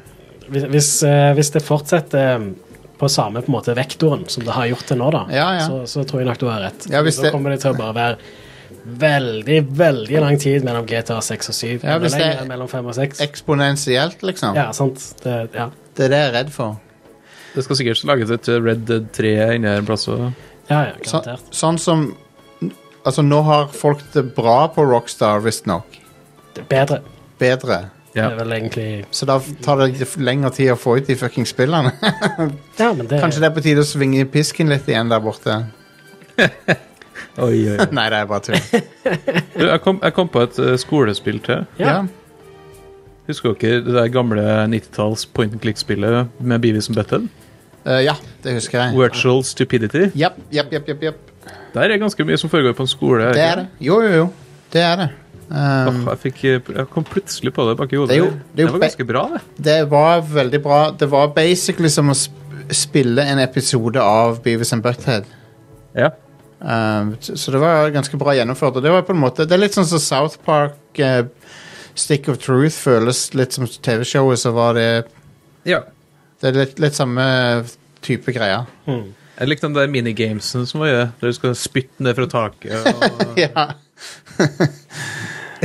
Hvis, hvis, eh, hvis det fortsetter eh, på samme på en måte, vektoren som det har gjort til nå, da, Ja, ja. Så, så tror jeg nok du har rett. Ja, hvis da det- kommer det til å bare være veldig veldig lang tid mellom GTA 6 og 7. Ja, hvis eller lenger, det- mellom 5 og 6. Eksponentielt, liksom. Ja, sant. Det, ja. Det er det jeg er redd for. Det skal sikkert lages et eh, Red Dead 3 inni her en plass òg. ja, ja, Så, garantert. sånn som Altså, nå har folk det bra på Rockstar, visstnok. Det er bedre. Bedre. Ja. Det er vel egentlig Så da tar det lengre tid å få ut de fucking spillene. Ja, men det, Kanskje det er på tide å svinge pisken litt igjen der borte. Oi, oi, oi. Nei, det er bare tull. Du, jeg kom, jeg kom på et eh, skolespill til. Ja. Husker dere det der gamle 90-talls point and click-spillet med Beavis and Butthead? Eh, ja, det husker jeg. Virtual Stupidity. Japp, japp, japp, japp, japp. Der er ganske mye som foregår på en skole. Det er det. Jo, jo, jo. Det er det. Åh, Um, jeg, fikk, eh, jeg kom plutselig på det bak i hodet. Det er jo- det er jo var be- ganske bra, det. det var veldig bra. Det var basically som å sp spille en episode av Beavis and Butthead. Ja. Um, så så det var ganske bra gjennomført. Og det var på en måte Det er litt sånn som South Park eh, Stick of Truth føles litt som TV-showet, så var det ja. Det er litt, litt samme type greier. Jeg likte den der minigamesen som var i det, der du skal spytte ned fra taket. Og... Ja.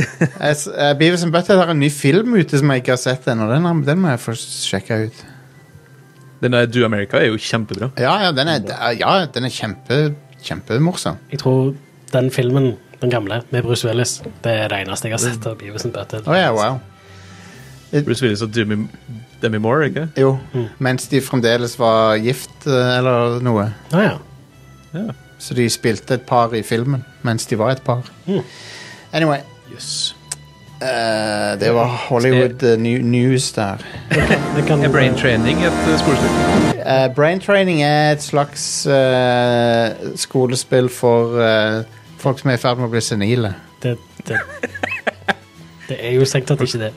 Jeg s- eh, Beavis and Butthead har en ny film ute som jeg ikke har sett ennå. Den, har- den må jeg få sjekke ut. (laughs) den der Do America er jo kjempebra. Ja, ja, den er, ja, den er kjempe, kjempemorsom. Jeg tror den filmen, den gamle, med Bruce Willis, det er det eneste jeg har sett av Beavis and Butthead. Å ja, wow. Bruce Willis og Demi, Demi Moore, ikke? Jo, mens de fremdeles var gift eh, eller noe. Ah, ja. Så de spilte et par i filmen mens de var et par. Anyway, Yes. eh, det var Hollywood eh, new, news der. Det kan, Er brain training et eh, skolespill? Eh, brain training er et slags eh, skolespill for eh, folk som er i ferd med å bli senile. det, det, det er jo strengt tatt ikke det.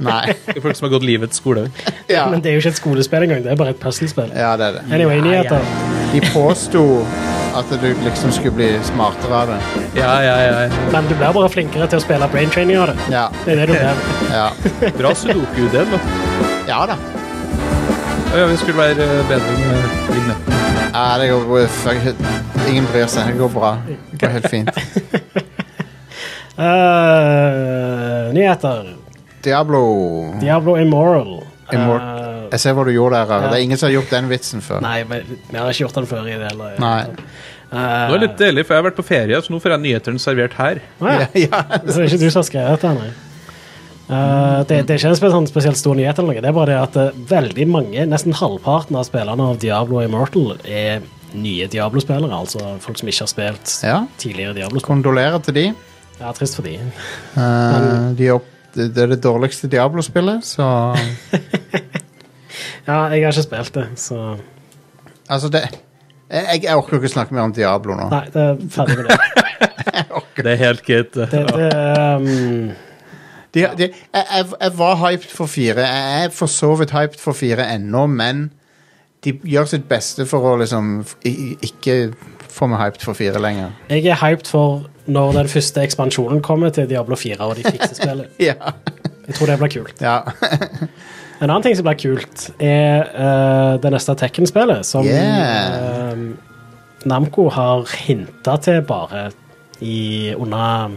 Nei. Det er Folk som har gått livets skole. Ja, Men det er jo ikke et skolespill engang, det er bare et puslespill. ja det er det. Anyway, nyheter. De påsto at du liksom skulle bli smartere av det. Ja, ja, ja. Men du blir bare flinkere til å spille brain training av det. Ja. Det er det du blir. Ja, Bra sudoku, det. da. ja da. Å Ja, vi skulle være eh, bedre med vignetten. Ja, det går bra. Fuck, Ingen bryr seg. Det går bra. Det går helt fint. Eh, nyheter. Diablo. Diablo Immoral. Immor- Eh, Jeg ser hva du gjorde der. Are. Det er ingen som har gjort den vitsen før. nei, men vi har ikke gjort den før i det hele Nei. Eh, Det var litt deilig, for jeg har vært på ferie, så nå får jeg nyhetene servert her. ah, ja. Ja. Så det er ikke du som har skrevet det, nei. Eh, det, det er ikke en spe- sånn spesielt stor nyhet, eller noe. det er bare det at eh, veldig mange, nesten halvparten av spillerne av Diablo Immortal, er nye Diablo-spillere. Altså folk som ikke har spilt Ja. tidligere Diablo-spill. Kondolerer til de. Det er trist for de. Eh, de er opp, det det er det dårligste Diablo-spillet, så Ja, jeg har ikke spilt det, så Altså, det jeg, jeg orker ikke snakke mer om Diablo nå. Nei, det er (laughs) ferdig med det. Det er helt greit. Det, det, ehm, De, de, jeg, jeg, jeg var hyped for fire. Jeg er for så vidt hyped for fire ennå, men de gjør sitt beste for å liksom i- ikke få meg hyped for fire lenger. jeg er hyped for når den første ekspansjonen kommer til Diablo 4 og de fikser spillet. Ja. Jeg tror det blir kult. ja. (laughs) En annen ting som blir kult, er eh, det neste Tekken-spillet, som Yeah. ehm, Namco har hinta til bare i under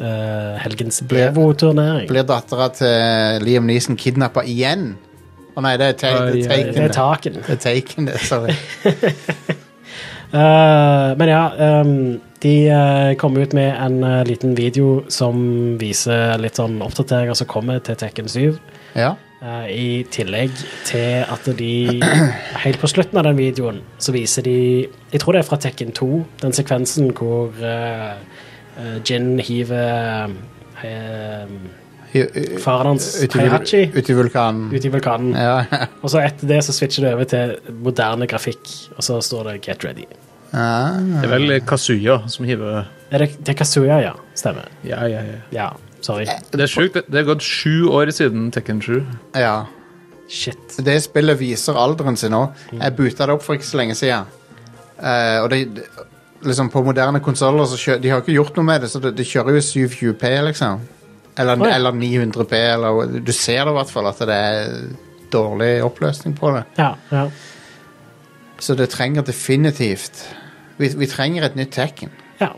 eh, helgens Ble- Blevo-turnering. Blir dattera til Liam Neeson kidnappa igjen? Å nei, det er ta- Oi, det er oi, Taken. Det er Taken. Det er Taken, det. (laughs) Sorry. Eh, men ja, ehm, de eh, kom ut med en eh, liten video som viser litt sånn oppdateringer som kommer til Tekken 7. Ja. eh, I tillegg til at de (clears throat) Helt på slutten av den videoen så viser de Jeg tror det er fra Tekken 2, den sekvensen hvor eh, eh, Jin hiver eh, I- i- faren hans, Ute i vul- Heihachi, ute i vulkanen. ut i vulkanen. Ja. (laughs) Og så etter det så switcher det over til moderne grafikk, og så står det 'Get ready'. Ah. Det er vel Kazuya som hiver Er det, det er Kazuya, ja. Stemmer. Ja, ja, ja. Ja, sorry. Det er sjukt. Det- Det er gått sju år siden Tekken 7. ja. Shit. det spillet viser alderen sin òg. Mm. Jeg buta det opp for ikke så lenge siden. Eh, og det, det- liksom på moderne konsoller så kjø, de har ikke gjort noe med det, så det, det kjører jo 720P, liksom. Eller, Å, ja. eller 900P, eller Du ser det i hvert fall at det er dårlig oppløsning på det. Ja, ja. Så det trenger definitivt Vi, vi trenger et nytt Tekken. ja.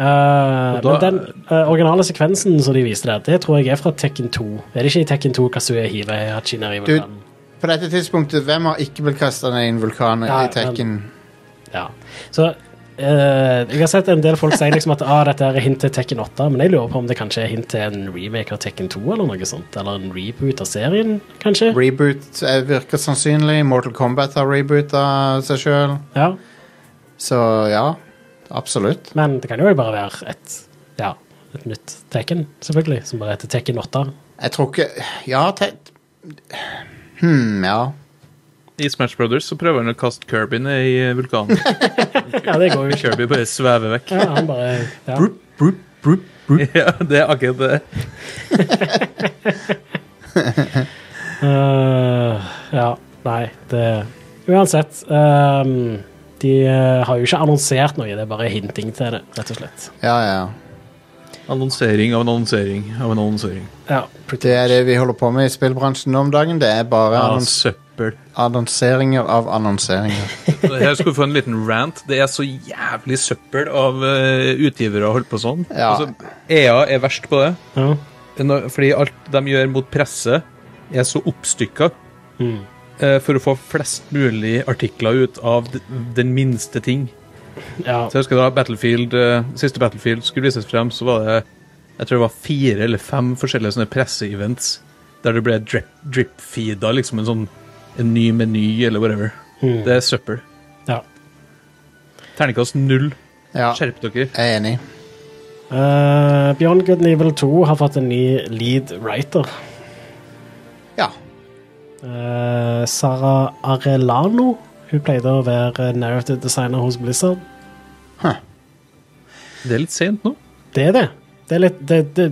Eh, Og da- men den eh, originale sekvensen som de viste der, det tror jeg er fra Tekken 2. Er det ikke i Tekken 2 Kazuya hiver Heihachi ned i Du, vulkanen? på dette tidspunktet, hvem har ikke blitt kasta ned i en vulkan Nei, i Tekken? Ja. Så eh, jeg har sett en del folk si liksom at ah, dette er hint til Tekken 8, men jeg lurer på om det kanskje er hint til en remake av Tekken 2 eller noe sånt. Eller en reboot av serien, kanskje. Reboot eh, virker sannsynlig. Mortal Kombat har reboota seg sjøl. Ja. Så ja, absolutt. Men det kan jo bare være et, ja, et nytt Tekken, selvfølgelig, som bare heter Tekken 8. Jeg tror ikke Ja, te... Hm, ja. I Smash Brothers så prøver han å kaste Kirby ned i (laughs) vulkanen. Ja, det går jo ikke. Kirby bare svever vekk. Ja, han bare, ja. Brup, brup, brup, brup. (laughs) Ja, det er akkurat det. Eh, ja, nei, det Uansett. ehm, de eh, har jo ikke annonsert noe, det er bare hinting til det, rett og slett. Ja, ja. Annonsering av en annonsering av en annonsering. Ja, pretty Det er det vi holder på med i spillbransjen nå om dagen. Det er bare Ja, altså. annons søppel. annonseringer av annonseringer. Jeg skulle få en liten rant. Det er så jævlig søppel av eh, utgivere å holde på sånn. Ja. Altså, EA er verst på det. much. Ja. Nå- Fordi alt de gjør mot presse, er så oppstykka Mm. eh, for å få flest mulig artikler ut av d- den minste ting. Ja, Så jeg husker da Battlefield, eh, siste Battlefield skulle vises frem, så var det jeg tror det var fire eller fem forskjellige sånne presseevents der det ble drip- drip-feeda, liksom en sånn en ny meny eller whatever. Mm. Det er søppel. ja. Terningkast null. Ja, jeg (laughs) Skjerp dere. er enig. Eh, Beyond Good and Evil 2 har fått en ny lead writer. Ja. Eh, Sara Arellano. Hun pleide å være narrative designer hos Blizzard. Det er litt sent nå. Det er det. Det er litt det, det,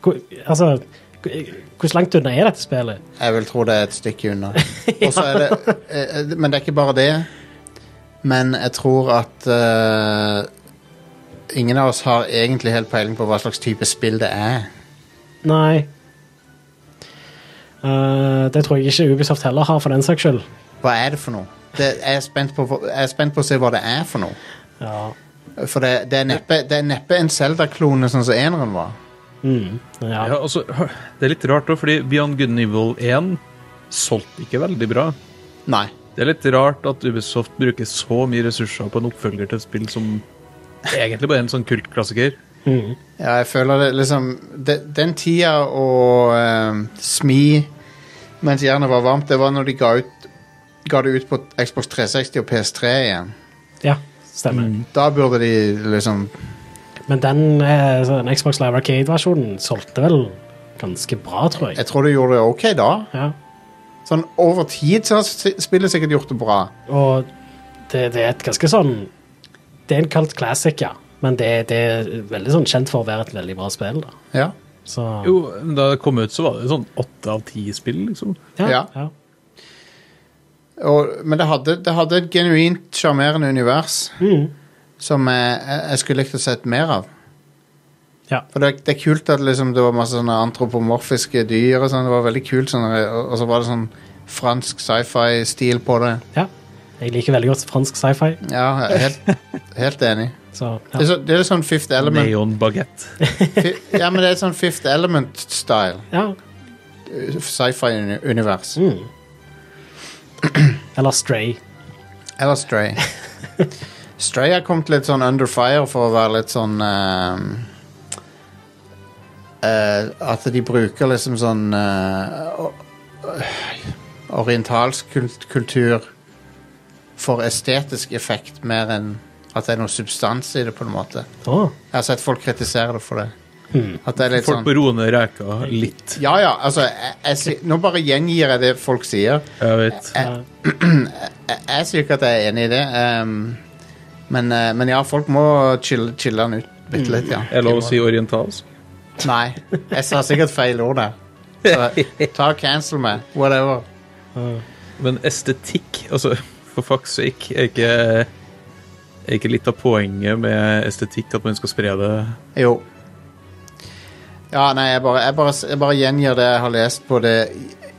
hvor- Altså, hvor- hvor langt unna er dette spillet? (laughs) Jeg vil tro det er et stykke unna. Og så er det eh, eh, Men det er ikke bare det. Men jeg tror at eh, ingen av oss har egentlig helt peiling på hva slags type spill det er. Nei. Eh, det tror jeg ikke Ubisoft heller har, for den saks skyld. Hva er det for noe? Det, jeg, er spent på, hva- jeg er spent på å se hva det er for noe. Ja. For det, det, er, neppe, det er neppe en Zelda-klone sånn som eneren var. Mm. ja. Ja, altså, hør, det er litt rart òg, fordi Beyond Good and Evil 1 solgte ikke veldig bra. Nei. Det er litt rart at Ubisoft bruker så mye ressurser på en oppfølger til et spill som egentlig bare er en sånn kultklassiker. Mm. Ja, jeg føler det liksom de, Den tida å eh, smi mens jernet var varmt, det var når de ga, ut, ga det ut på Xbox 360 og PS3 igjen. ja stemmer. Da burde de liksom Men den eh, sånn Xbox Live Arcade-versjonen solgte vel ganske bra, tror jeg. Jeg tror de gjorde det ok da. Ja. Sånn over tid så har s- spillet sikkert gjort det bra. Og det, det er et ganske sånn Det er en kalt classic, ja. Men det, det er veldig sånn kjent for å være et veldig bra spill. da. Ja. Så, Jo, da det kom ut, så var det sånn åtte av ti spill, liksom. ja. Og, men det hadde, det hadde et genuint sjarmerende univers Mm. som jeg, jeg- jeg skulle likt å sett mer av. Ja. For det, det er kult at liksom, det var masse sånne antropomorfiske dyr og sånn. Det var veldig kult, sånn, og, og så var det sånn fransk sci-fi-stil på det. ja. Jeg liker veldig godt fransk sci-fi. Ja, helt, (laughs) helt enig. Så Det er, ja. så, det er litt sånn Fifth Element. Neon Baguette. Fi, ja, men det er sånn Fifth Element-style. ja. Sci-fi-univers. Mm. Eller Stray. Eller Stray. Stray har kommet litt sånn under fire for å være litt sånn ehm, eh, At de bruker liksom sånn eh, o- orientalsk kult kultur for estetisk effekt mer enn at det er noe substans i det, på en måte. Å, Jeg har sett folk kritisere det for det. Hmm. At det er litt Folk sånn på roende reka litt. Ja, ja, altså jeg, jeg, si- Nå bare gjengir jeg det folk sier. Jeg vet. Eh, jeg, jeg sier ikke at jeg er enig i det, ehm, men, eh, men ja, folk må chille, chille den ut bitte litt, ja. Mm. Er det lov å De si orientalsk? må- Nei, jeg sa sikkert feil ord der. Så ta og cancel meg. Whatever. Men estetikk, altså for fuck's sake, er ikke, er ikke litt av poenget med estetikk at man skal spre det? Jo. Ja, nei, jeg bare, jeg bare, jeg bare gjengir det jeg har lest på det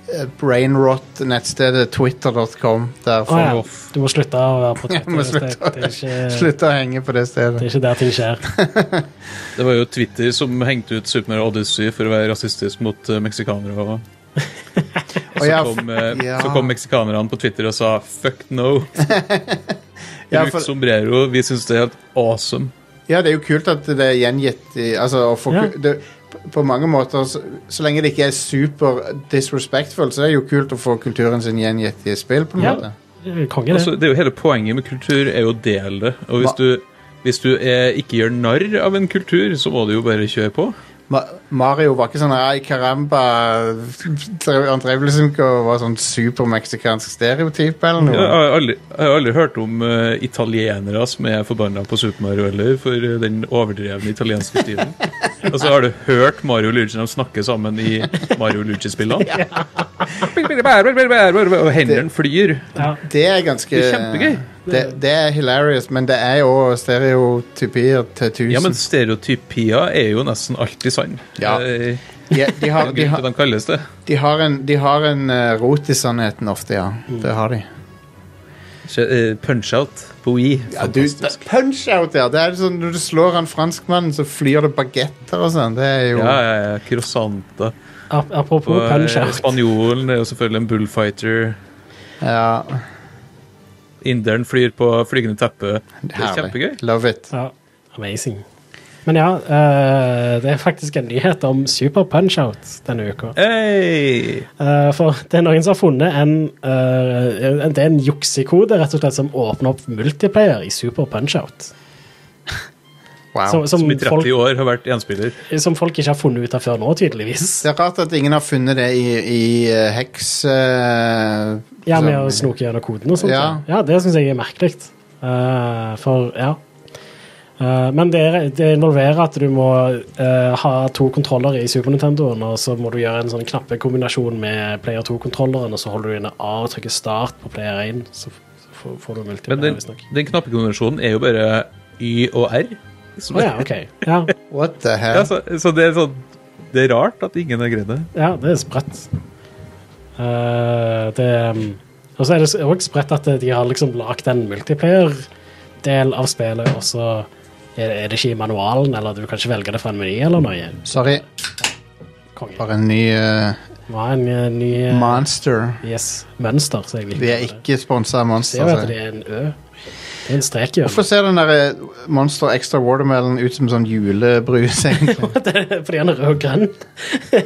eh, brainrot-nettstedet twitter.com. Der Å ja. folk Du må slutte å være på Jeg må Twitter. Det, slutte. det, er ikke, slutter å henge på det (laughs) det stedet. er ikke der ting skjer. Det var jo Twitter som hengte ut Super Mario Odyssey for å være rasistisk mot eh, meksikanere. Og, og Og så, ja, kom, eh, ja. så kom meksikanerne på Twitter og sa 'fuck no'. (laughs) Ja, Bruk for- sombrero. Vi syns det er helt awesome. Ja, det er jo kult at det er gjengitt i, altså, å få, Ja. ku- det, på- På mange måter, så, så lenge det ikke er super disrespectful, så er det jo kult å få kulturen sin gjengitt i spill, på en Ja. måte. Konge, det. Altså, det er jo Hele poenget med kultur er jo å dele det. Og hvis Hva- du, hvis du eh, ikke gjør narr av en kultur, så må du jo bare kjøre på. Ma Mario var ikke sånn Ai, caramba drev- Han drev liksom ikke og var sånn supermeksikansk stereotyp eller Jeg noe. har aldri, jeg har aldri hørt om eh, italienere som er forbanna på Super Mario heller, for eh, den overdrevne italienske stilen. (laughs) Og så har du hørt Mario og Luigi de snakke sammen i Mario og Luigi-spillene. Og hendene flyr. ja. Det er ganske Det er kjempegøy. Det, det er hilarious, men det er jo stereotypier til tusen. Ja, men stereotypier er jo nesten alltid sann. Ja. Eh, de, de (laughs) det er har, en de grunn har, til at de kalles det. de har en, de har en eh, rot i sannheten ofte, ja. Mm. Det har de. Så, eh, Punch-out på Wii. Ja, du, Fantastisk. punch-out der! Det er sånn, når du slår en franskmann, så flyr det bagetter og sånn. Det er jo Ja, ja, ja. Croissanter. Ap- Apropos Og eh, punch-out. spanjolen er jo selvfølgelig en bullfighter. ja, Inderen flyr på flygende teppe. Det er herlig. kjempegøy. Love it. Ja, amazing. Men ja, eh, det er faktisk en nyhet om Super Punch-Out denne uka. Hey! Eh, for det er noen som har funnet en, eh, en Det er en juksekode rett og slett som åpner opp multiplayer i Super Punch-Out. Wow. Som, som, Som i 30 folk, år har vært enspiller. som folk ikke har funnet ut av før nå, tydeligvis. Det er rart at ingen har funnet det i, i eh, heks... eh, Ja, med sånn- å snoke gjennom koden og sånt. Ja, Ja. ja det syns jeg er merkelig. Eh, for, ja. Eh, men det, er, det involverer at du må eh, ha to kontroller i Super Nintendoen, og så må du gjøre en sånn knappekombinasjon med Player 2-kontrolleren, og så holder du inne A og trykker start på Player 1, så f- så får, får du multiplayer, Men den, visstnok. den knappekonvensjonen er jo bare Y og R. Så Å ja, OK. Ja, What the hell? Ja, så, så det er sånn Det er rart at ingen har greid det. ja, det er spredt. Eh, det um, Og så er det òg spredt at de har liksom lagd en multiplayer-del av spillet, og så er det, er det ikke i manualen, eller du kan ikke velge det fra en meny eller noe. Sorry. Konge. Bare en ny eh, Det var en eh, ny eh, monster. yes, mønster, så jeg liker Vi er det. ikke sponsa av Ser Monster. altså. jo så- sånn- at det er en ø. Det er en strek i Hvorfor øynene. ser den der eh, Monster Extra Watermelon ut som sånn julebrus? (laughs) egentlig? (laughs) Fordi han er rød og grønn.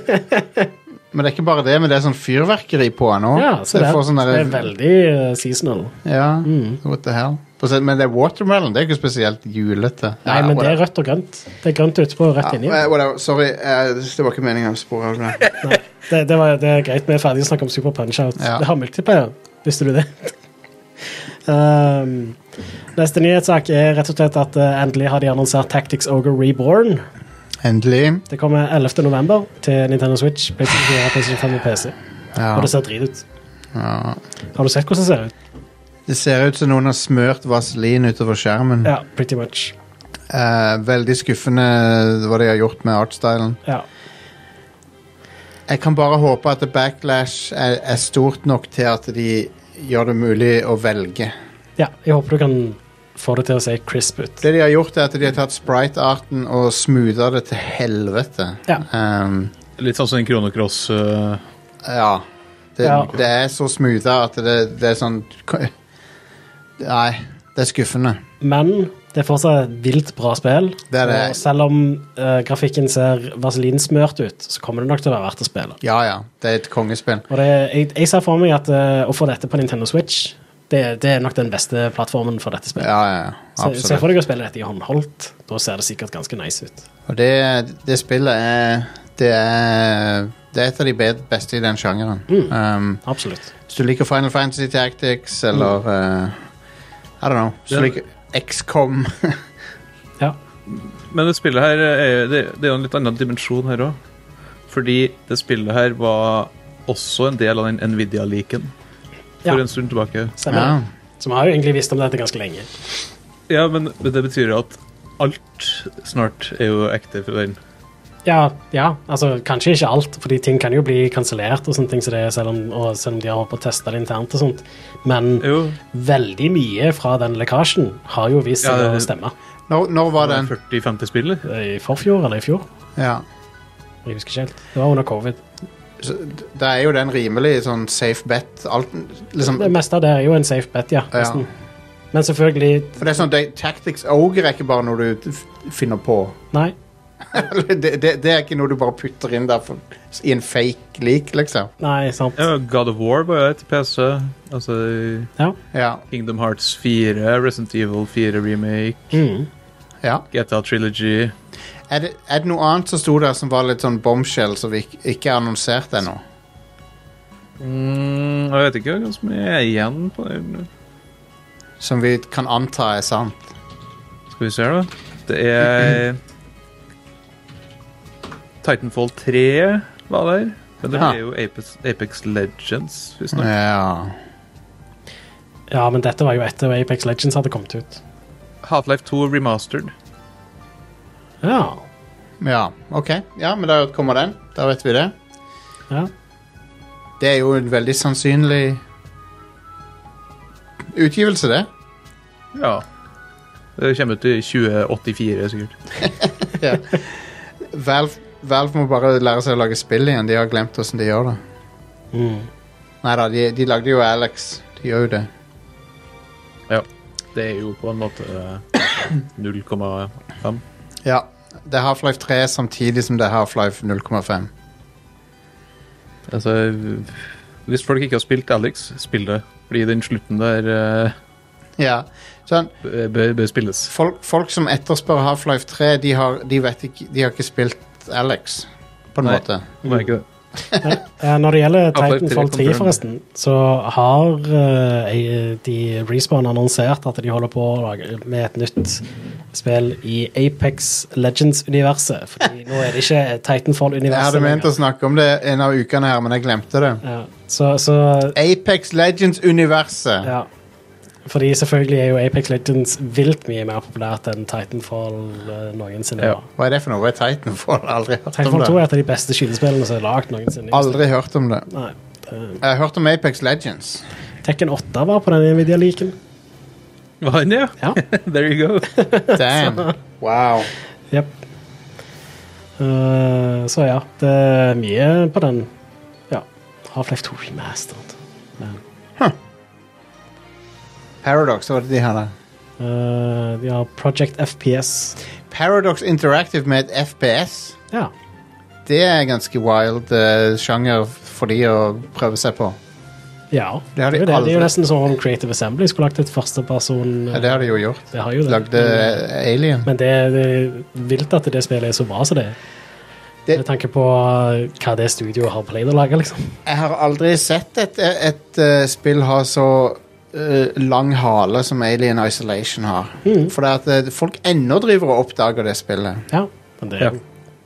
men det er ikke bare det, men det er sånn fyrverkeri på den òg. Ja, så det, er- sånn det er veldig eh, seasonal. Ja, Mm. what the hell. For se- Men det er watermelon, det er jo ikke spesielt julete. Nei, men det er rødt og grønt. Det er grønt utpå og rødt inni. Ja, eh, whatever. Sorry, eh, det var ikke meningen å spore av det. Det, det, var, det er greit, vi er ferdig å snakke om Super Punch-Out. Ja. Det har multiplayer, visste du det? um, neste nyhetssak er rett og slett at eh, endelig har de annonsert Tactics Ogre Reborn. Endelig. Det kommer 11. november til Nintendo Switch, PlayStation 4, PlayStation 5 og PC. Ja. Og det ser drit ut. Ja. Har du sett hvordan det ser ut? Det ser ut som noen har smørt vaselin utover skjermen. Ja, pretty much. Eh, veldig skuffende eh, hva de har gjort med artstylen. Ja. Jeg kan bare håpe at backlash er, er stort nok til at de gjør det mulig å velge. ja, jeg håper du kan få det til å se crisp ut. Det de har gjort, er at de har tatt sprite-arten og smootha det til helvete. Ja. Ehm, Litt sånn som en Chrono Cross øh, ja. Det, Ja. det er så smootha at det, det er sånn Nei, det er skuffende. Men det er fortsatt et vilt bra spill. Det er det. Og selv om eh, grafikken ser vaselinsmørt ut, så kommer det nok til å være verdt å spille. Ja ja, det er et kongespill. Og det, jeg, jeg ser for meg at eh, å få dette på Nintendo Switch, det, det er nok den beste plattformen for dette spillet. Ja, ja, Se, se absolutt. for deg å spille dette i håndholdt. Da ser det sikkert ganske nice ut. Og det, det spillet er det, er det er et av de bed- beste i den sjangeren. Mm. Um, Absolutt. Hvis du liker Final Fantasy Tactics eller Mm. eh, I don't know. Hvis du Ja. liker XCOM Ja. Men det spillet her er, det, det er jo en litt annen dimensjon her òg. Fordi det spillet her var også en del av den Nvidia-leaken for Ja. en stund Ja. tilbake. Stemmer. det. Så vi har jo egentlig visst om dette ganske lenge. Ja, men men det betyr jo at alt snart er jo ekte fra den. Ja, ja, altså kanskje ikke alt, fordi ting kan jo bli kansellert, og sånne ting som det, selv om, og selv om de har holdt på å teste det internt og sånt. Men Jo, veldig mye fra den lekkasjen har jo vist seg Ja, å det- stemme. (laughs) Når, når var den? 40-50 spill. eller? I forfjor eller i fjor? Ja. Jeg husker ikke helt. Det var under covid. Så, d- da er jo den rimelig sånn safe bet. Alt, liksom, Det meste av det er jo en safe bet, ja. Ja. nesten. Men selvfølgelig for det er sånn, det, Tactics Ogre er ikke bare noe du f- finner på. (laughs) Nei. det, det, det er ikke noe du bare putter inn der for, i en fake leak, liksom. Nei, sant. Ja, God of War var jo et PC. Altså Ja. Ja. Kingdom Hearts 4, Resident Evil 4 Remake, Mm. ja. GTA Trilogy Er, det, er det noe annet som sto der som var litt sånn bombshell, som vi ikke, ikke er annonsert ennå? mm, Jeg vet ikke hva som er igjen på den. Som vi kan anta er sant? Skal vi se, her, da. Det er Titanfall 3 var der. Men det Ja. ble jo Apex, Apex Legends, visstnok. Ja. ja, men dette var jo etter Apex Legends hadde kommet ut. Half-Life 2 remastered. Ja. ja. Ok. Ja, men da kommer den. Da vet vi det. ja. Det er jo en veldig sannsynlig utgivelse, det. Ja. Det kommer ut i 2084, sikkert. Valve, Valve må bare lære seg å lage spill igjen. De har glemt åssen de gjør det. Mm. Nei da, de, de lagde jo Alex. De gjør jo det. Ja. Det er jo på en (clears throat) måte eh, 0,5. Ja. Det er Half-Life 3 samtidig som det er Half-Life 0,5. Altså Hvis folk ikke har spilt Alex, spill det. Fordi den slutten der eh, Ja. Sånn, bø- bør bør spilles. folk, folk som etterspør Half-Life 3, de har, de, vet ikke, de har ikke spilt Alex, på en Nei. måte. Må jeg ikke det? Eh, Når det gjelder Half-Life 3 Titanfall 3, confirmed. forresten, så har eh, jeg- de Respawn annonsert at de holder på å lage- med et nytt spill i Apex Legends-universet. Fordi nå er det ikke Jeg Titanfall-universet hadde ment å lenger. snakke om det en av ukene her, men jeg glemte det. Ja, så, så Apex Legends-universet. ja. Fordi selvfølgelig er jo Apex Legends vilt mye mer populært enn Titanfall eh, noensinne. Ja. var. Hva er det for noe? Hva er Titanfall? Aldri hørt om Titanfall 2 Sånn det. er et av de beste skytespillene som er lagd noensinne. Aldri hørt om det. Nei. eh, Jeg har hørt om Apex (laughs) Legends. Tekken 8 var på den Nvidia-liken. Var han det? Ja. (laughs) There you go. Damn. Wow. Yep. Eh, så ja, det er mye på den. Ja. Half-Life 2 Remastered. Paradox, hva var det de hadde? Eh, de har Project FPS. Paradox Interactive med et FPS. Ja. Det er ganske wild eh, sjanger for de å prøve seg på. ja. Det har de er jo det. det er aldri- jo nesten som om Creative Assembly skulle lagt et førsteperson Ja, det har de jo gjort. eh, Det har jo det. Lagde eh, Alien. Men det, det er vilt at det spillet er så bra som det er. Det- Med tanke på eh, hva det studioet har pleid å lage, liksom. Jeg har aldri sett et, et, eh, spill ha så eh, lang hale som Alien Isolation har. For det at eh, folk ennå driver og oppdager det spillet. Ja, men det, Ja.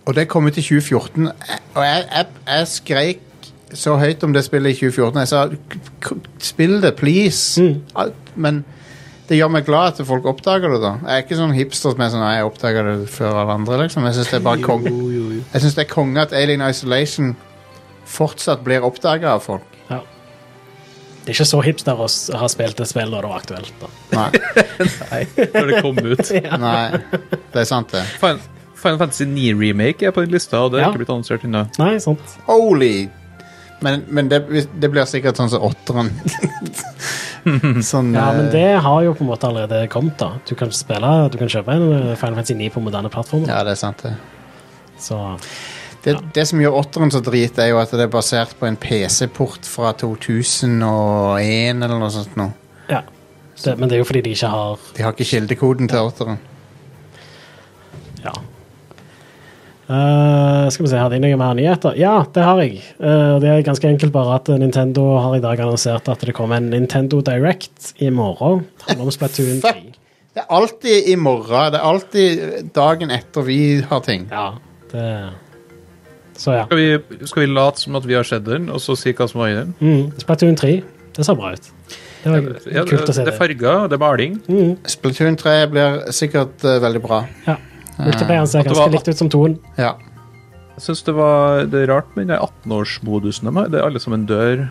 Og det kom ut i 2014, eh, og jeg, jeg, jeg skreik så høyt om det spillet i 2014. Jeg sa "K- k- spill det, please. Alt- Men det gjør meg glad at folk oppdager det, da. Jeg er ikke sånn hipster som er sånn "Nei, jeg oppdager det før alle andre, liksom. Jeg syns det er bare kong. Jeg synes det er konge at Alien Isolation fortsatt blir oppdaga av folk. ja. det er ikke så hipster å s- ha spilt et spill da det var aktuelt. Da. Nei, Når det kom ut. nei. Det er sant, det. Fin- Final Fantasy 9-remake er på den lista, og det Ja. har ikke blitt annonsert ennå. Nei, sant. Holy! Men, men det, det blir sikkert sånn som åtteren. sånn Ja, men eh, det har jo på en måte allerede kommet, da. Du kan spille, du kan kjøpe en eh, Final Fantasy 9 på moderne plattformer. ja, det er sant, det. Så Det, det som gjør åtteren så drit, er jo at det er basert på en PC-port fra 2001 eller noe sånt. Nå. ja. Det, men det er jo fordi de ikke har De har ikke kildekoden til åtteren. Ja. Eh, skal vi se, hadde jeg noe mer nyheter? Ja, det har jeg. Eh, det er ganske enkelt bare at Nintendo har i dag annonsert at det kommer en Nintendo Direct i morgen. Handler om Splatoon 3. (laughs) Fuck! Det er alltid i morgen. Det er alltid dagen etter vi har ting. Ja, det... Så ja. Skal vi, skal vi late som at vi har sett den, og så si hva som var i den? Mm, Splatoon 3. Det ser bra ut. Det var Ja, det, kult å se det er det. Mm. farger, det er maling. Splatoon 3 blir sikkert eh, veldig bra. Ja. Multiplayeren ser At det var- ganske likt ut som toen. Ja. Jeg syns det var det er rart med den der 18-årsmodusen de har. Det er alle sammen dør.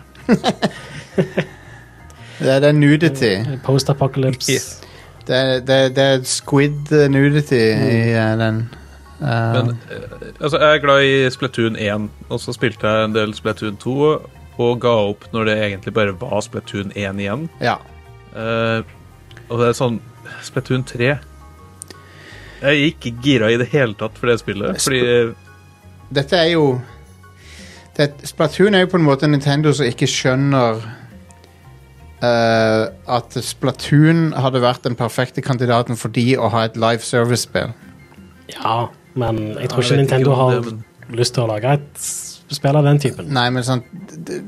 Det, det er nudity. Post-apocalypse. Ja. Det, det, det er squid nudity i eh, den. Eh, Men eh, altså, jeg er glad i Splatoon 1, og så spilte jeg en del Splatoon 2 og ga opp når det egentlig bare var Splatoon 1 igjen. ja. Eh, og det er sånn Splatoon 3 Jeg er ikke gira i det hele tatt for det spillet. Fordi Dette er jo det, Splatoon er jo på en måte Nintendo som ikke skjønner eh, at Splatoon hadde vært den perfekte kandidaten for de å ha et live service-spill. Ja, men jeg tror ikke jeg vet ikke Nintendo om har det, men- lyst til å lage et s- spill av den typen. Nei, men sånn det,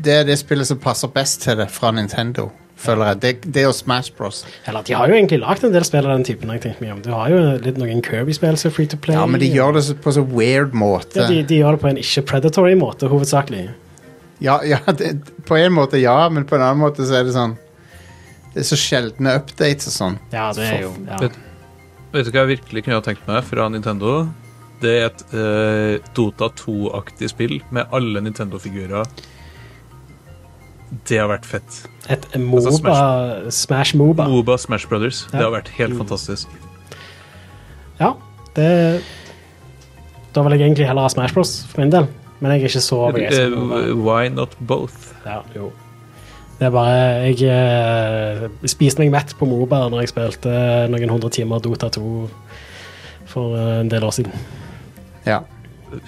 det er det spillet som passer best til det fra Nintendo, føler jeg. Det, det og Smash Bros. Eller de har jo egentlig lagd en del spill av den typen. har jeg tenkt meg om. Du har jo litt noen Kirby-spill som er free to play. Ja, men de gjør det så- på så weird måte. Ja, de, de gjør det på en ikke-predatory måte, hovedsakelig. Ja, ja (laughs) det, på en måte ja, men på en annen måte så er det sånn Det er så sjeldne updates og sånn. Ja, det er jo ja. Vet- Vet du hva jeg virkelig kunne ha tenkt meg fra Nintendo? Det er et eh, Dota 2-aktig spill med alle Nintendo-figurer. Det har vært fett. Et Moba Smash. Moba. Moba Smash Brothers. Ja. Det har vært helt fantastisk. Ja, det Da vil jeg egentlig heller ha Smash Bros, for min del. Men jeg er ikke så Eh, begeistret. for det. why not both? Ja, jo. Det er bare Jeg eh, spiste meg mett på Moba når jeg spilte eh, noen hundre timer Dota 2 for eh, en del år siden. Ja.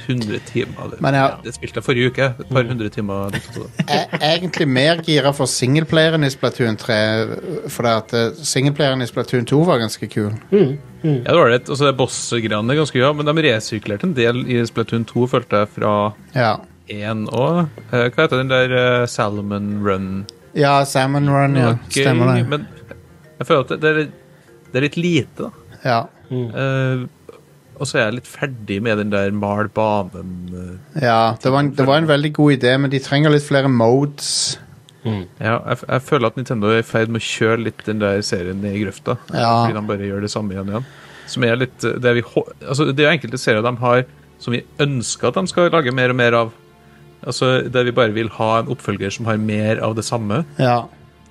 100 timer. Det, Men Mm. jeg- det spilte jeg forrige uke. Et par hundre timer. Dota 2. Jeg er egentlig mer gira for singleplayeren i Splatoon 3, for det at eh, singleplayeren i Splatoon 2 var ganske kul. Ja, det var det. Og så er bossgreiene ganske bra, men de resirkulerte en del i Splatoon 2, følte jeg, fra Ja, 1 òg. hva heter den der eh, Salmon Run? ja Salmon Run, ja. var gøy, Stemmer det. Men jeg føler at det- det er, det er litt lite, da. Ja, Eh, og så er jeg litt ferdig med den der mal banen eh. ja det, var en, det var en veldig god idé, men de trenger litt flere modes. Ja, jeg, f- jeg føler at Nintendo er i ferd med å kjøre litt den der serien ned i grøfta. Ja. Fordi de bare gjør det samme igjen og igjen. Som er litt eh, det, vi, hå- altså, det er jo enkelte serier de har som vi ønsker at de skal lage mer og mer av. Altså, Der vi bare vil ha en oppfølger som har mer av det samme. Ja.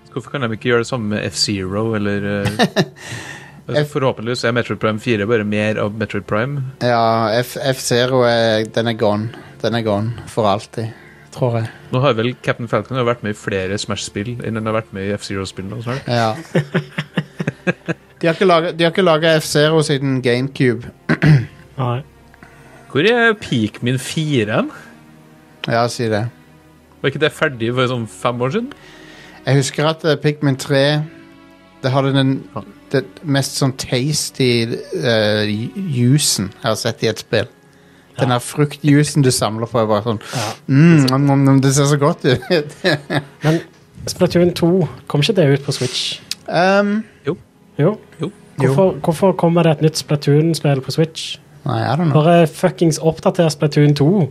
Så Hvorfor kan de ikke gjøre det samme med F-Zero eller eh, altså, Forhåpentligvis er Metroid Prime 4 bare mer av Metroid Prime. ja F- F-Zero er, den er gone. Den er gone for alltid, tror jeg. Nå har vel Captain Falcon har vært med i flere Smash-spill enn han har vært med i F-Zero-spill. nå snart. Ja. De har ikke laget- de har ikke laga F-Zero siden GameCube. Nei. Hvor er Pikmin 4 hen? Ja, si det. Var ikke det ferdig for sånn fem år siden? Jeg husker at eh, Pikmin 3 Det hadde den det mest sånn tasty eh, ju- jusen jeg har sett i et spill. Den her fruktjusen du samler på, er bare sånn Ja. mm, nom, nom, nom, Det ser så godt ut. (laughs) Men Splatoon 2, kom ikke det ut på Switch? um, Jo. Jo. Hvorfor, hvorfor kommer det et nytt Splatoon-spill på Switch? nei, I don't know. Bare fuckings oppdater Splatoon 2. Mm.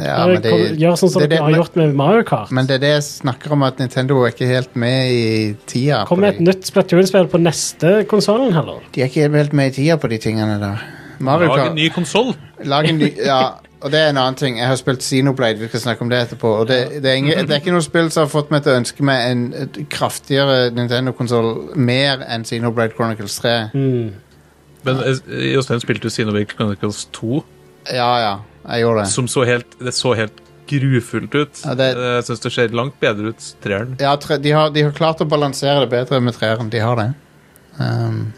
Ja, Bare men, det, kom- Gjør sånn som det- det- dere har men- gjort med Mario Kart. men det er det jeg snakker om, at Nintendo er ikke helt med i tida. på Kom med et de. nytt Splatoon-spill på neste konsollen heller. de er ikke helt med i tida på de tingene der. Mario Lag Kart en ny konsoll! Lag en ny Ja, og det er en annen ting. Jeg har spilt Xenoblade, vi skal snakke om det etterpå. Og det, det, er, ingen, det er ikke noe spill som har fått meg til å ønske meg en et kraftigere Nintendo-konsoll mer enn Xenoblade Chronicles 3. Men eh, Jostein spilte jo Xenoblade Chronicles 2, Ja, ja, jeg gjorde det. som så helt, det så helt grufullt ut. Ja, det- Eh, Jeg syns det ser langt bedre ut, treeren. Ja, tre, de, har, de har klart å balansere det bedre med treeren. De har det. Um,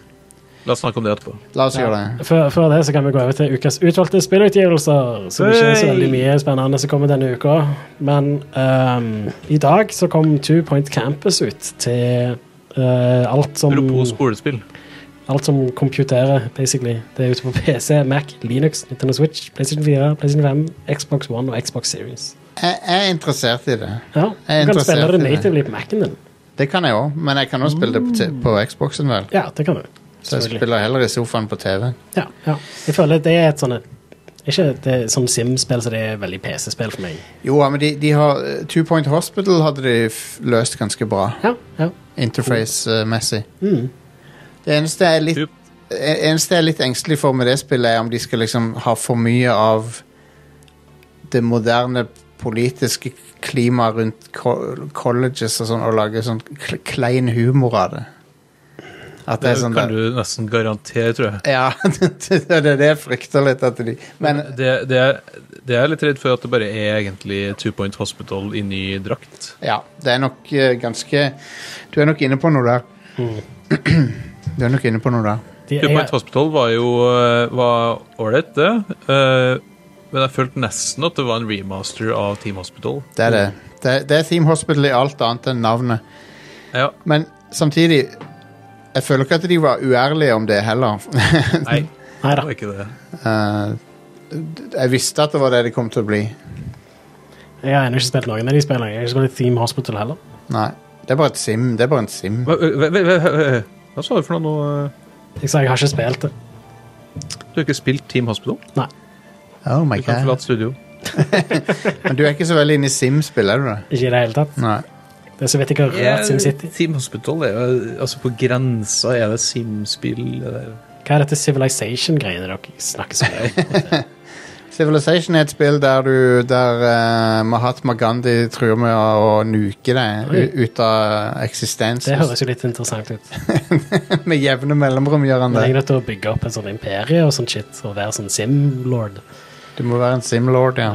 La oss snakke om det etterpå. la oss gjøre det. Før, før det så kan vi gå over til ukas utvalgte spillutgivelser, som ikke er så Hey! veldig mye spennende som kommer denne uka. Men ehm, i dag så kom Two Point Campus ut til eh, alt som Oh. Apropos skolespill. Alt som computerer, basically. Det er ute på PC, Mac, Linux, Nintendo Switch, PlayStation 4, PlayStation 5, Xbox One og Xbox Series. Jeg, jeg er interessert i det. Ja, Jeg er Du kan spille interessert det i det. natively på Mac-en din. Det kan jeg òg, men jeg kan også spille det på, t- på Xboxen, vel. Ja, det kan du. Så jeg Mm. Selvfølgelig. spiller heller i sofaen på TV. Ja, ja. Jeg føler det er et sånne Ikke det er sånn Sim-spill, så det er veldig PC-spill for meg. Jo, ja, men de, de har eh, Two Point Hospital hadde de f løst ganske bra. Ja, ja. interface-messig. eh, Det eneste jeg er litt Yep. e- eneste jeg er litt engstelig for med det spillet, er om de skal liksom ha for mye av det moderne politiske klimaet rundt co colleges og sånn, og lage sånn kl- klein humor av det. At det Det er sånn kan der. du nesten garantere, tror jeg. Ja, (laughs) det er det jeg frykter litt at de Men det, det, er, det er jeg litt redd for at det bare er egentlig Two Point Hospital i ny drakt. ja, det er nok eh, ganske Du er nok inne på noe der. (clears throat) Du er nok inne på noe der. De, Two Point Hospital var jo eh, var ålreit, det. eh, Men jeg følte nesten at det var en remaster av Team Hospital. Det er det. Det, det er Theme Hospital i alt annet enn navnet. Ja, Men samtidig Jeg føler ikke at de var uærlige om det heller. (laughs) nei, nei det da. var ikke det. Eh, jeg visste at det var det det kom til å bli. Jeg har ennå ikke spilt noen av de spillene. Jeg har ikke spilt Theme Hospital heller. Nei. Det er bare et sim. Det er bare en sim. Hva, hva, hva, hva- hva sa du for noe nå? Jeg sa jeg har ikke spilt det. Du har ikke spilt Team Hospital? Nei. Oh my Du kan god. forlate studio. Men du er ikke så veldig inne i sim-spill, er du det? Ikke i det hele tatt. Nei. Det er så vidt jeg har rørt SimCity. Team Hospital er jo altså på grensa. Er det Sim-spill? eh. eller? Hva er dette Civilization-greiene dere snakker så mye om? Civilization er et spill der du Der eh, Mahatma Gandhi truer med å, å nuke deg u- ut av eksistens. Det høres jo litt interessant ut. (laughs) Med jevne mellomrom gjør han Men det. jeg er nødt til å bygge opp en sånn imperie og sånn shit, og være sånn Sim-lord. Du må være en sim-lord, ja.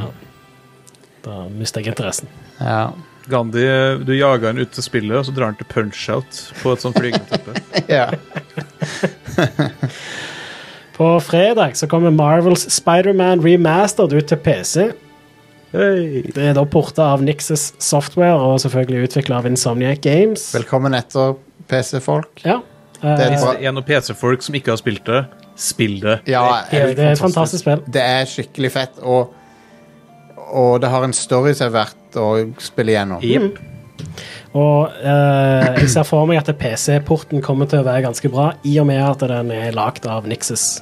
Da mister jeg interessen. ja. Gandhi, eh, du jager han ut til spillet, og så drar han til punch-out på et sånt (laughs) flygeteppe. ja. (laughs) På fredag så kommer Marvels Spider-Man Remastered ut til PC. Hey. Det er da porta av Nixes software og selvfølgelig utvikla av Insomniac Games. Velkommen etter, PC-folk. Ja. Eh, Det er det, et bra- Hvis det er noen PC-folk som ikke har spilt det, spill det. Ja, er det er et fantastisk spill. Det er skikkelig fett, og, og det har en story som er verdt å spille gjennom. Jepp. Mm. Og eh, jeg ser for meg at PC-porten kommer til å være ganske bra, i og med at den er lagd av Nixes.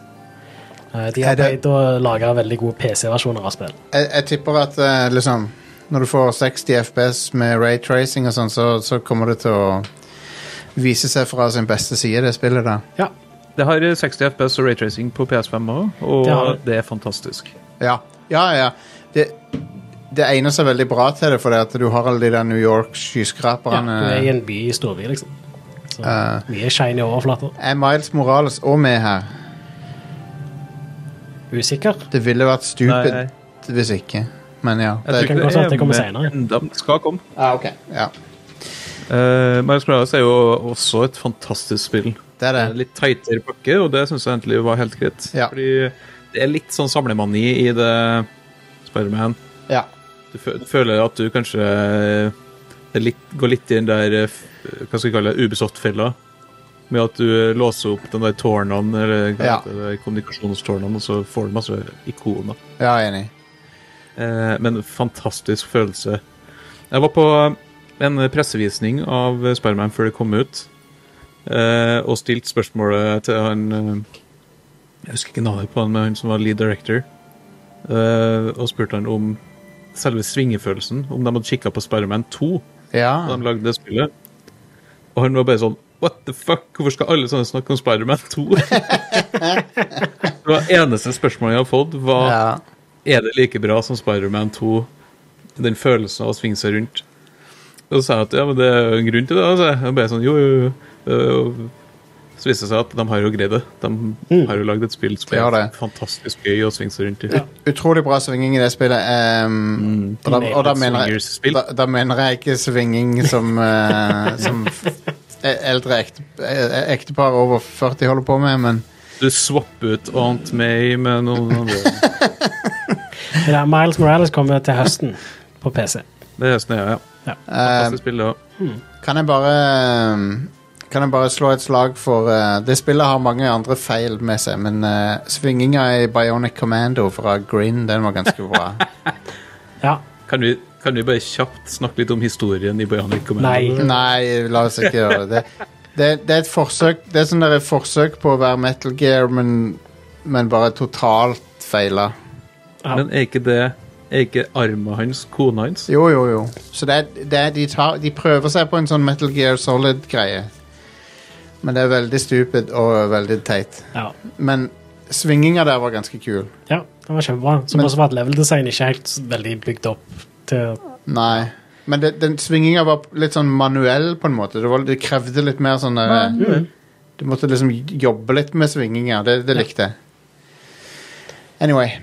Eh, de har Er det- pleid å lage veldig gode PC-versjoner av spill. Jeg, jeg tipper at eh, liksom når du får 60 FPS med raytracing og sånn, så, så kommer det til å vise seg fra sin beste side, det spillet der. Ja. Det har eh, 60 FPS og raytracing på PS5 òg, og Det har det, det. er fantastisk. Ja, ja, ja. Det, det egner seg veldig bra til det, fordi at du har alle de der New ja. York-skyskraperne. Du er i en by i storby, liksom. Så eh. mye shiny overflater. er Eh, Miles Morales òg med her? Usikker. Det ville vært Nei. stupid hvis ikke. Men ja. Jeg tror Det, kan ikke godt være at det kommer med senere. Enda, men det skal komme. ah, ok. ja, Eh, Miles Morales er jo også et fantastisk spill. det er Det er det. litt tightere pakke, og det syns jeg egentlig var helt greit. Ja. Fordi det er litt sånn samlemani i det Spiderman. Ja. Du fø- du føler at du kanskje det er litt, går litt i den der eh, f- Hva skal vi kalle det? Ubisoft-fella. Med at du låser opp den der tårnene, eller hva Ja. heter det, kommunikasjonstårnene, og så får du masse ikoner. Ja, enig. Eh, men fantastisk følelse. Jeg var på en pressevisning av Spiderman før det kom ut, eh, og stilte spørsmålet til han eh, Jeg husker ikke navnet på han, men han som var lead director, eh, og spurte han om selve svingefølelsen, om de hadde kikka på Spiderman 2 da Ja. de lagde det spillet. Og han var bare sånn What the fuck, hvorfor skal alle sånne snakke om Spiderman (laughs) 2? det var eneste spørsmålet jeg har fått, var ja. er det like bra som Spider-Man 2? Den følelsen av å svinge seg rundt. Og så sa jeg at ja, men det er jo en grunn til det. Altså. Jeg bare sånn, jo, jo, jo. Det er jo- Så viste det seg at de har jo greid det. De har jo lagd et spill som Det Mm. har er det. fantastisk gøy å svinge seg rundt i. Utrolig bra svinging i det spillet. ehm, og da, og da, Et mener jeg, swingerspill. da, da mener jeg ikke svinging som, (laughs) eh, som f- e- eldre ekte- e- ektepar over 40 holder på med, men Du swapper ut Aunt May med (laughs) noen andre. Det der eh, Miles Morales kommer til høsten på PC. Det er sånn, ja, ja. eh, Fantastisk spill, det også. Kan jeg bare um, Kan jeg bare slå et slag for uh, Det spillet har mange andre feil med seg, men uh, svinginga i Bionic Commando fra Grin, den var ganske bra. Ja. Kan vi, kan vi bare kjapt snakke litt om historien i Bionic Commando? Nei. Nei, la oss ikke gjøre det. Det, det er et forsøk Det er sånn der et forsøk på å være Metal Gear, men, men bare totalt feila. Men er ikke det er ikke armen hans kona hans? Jo, jo, jo. Så det er, det er, de, tar, de prøver seg på en sånn Metal Gear Solid-greie. Men det er veldig stupid og veldig teit. ja. Men svinginga der var ganske kul. Ja, det var kjempebra. Som Men- også var et level design ikke helt s- veldig bygd opp til Nei. Men det, den svinginga var litt sånn manuell, på en måte. Det, var, det krevde litt mer sånn der, Mm. Du måtte liksom jobbe litt med svinginga. Det, det likte jeg. Anyway.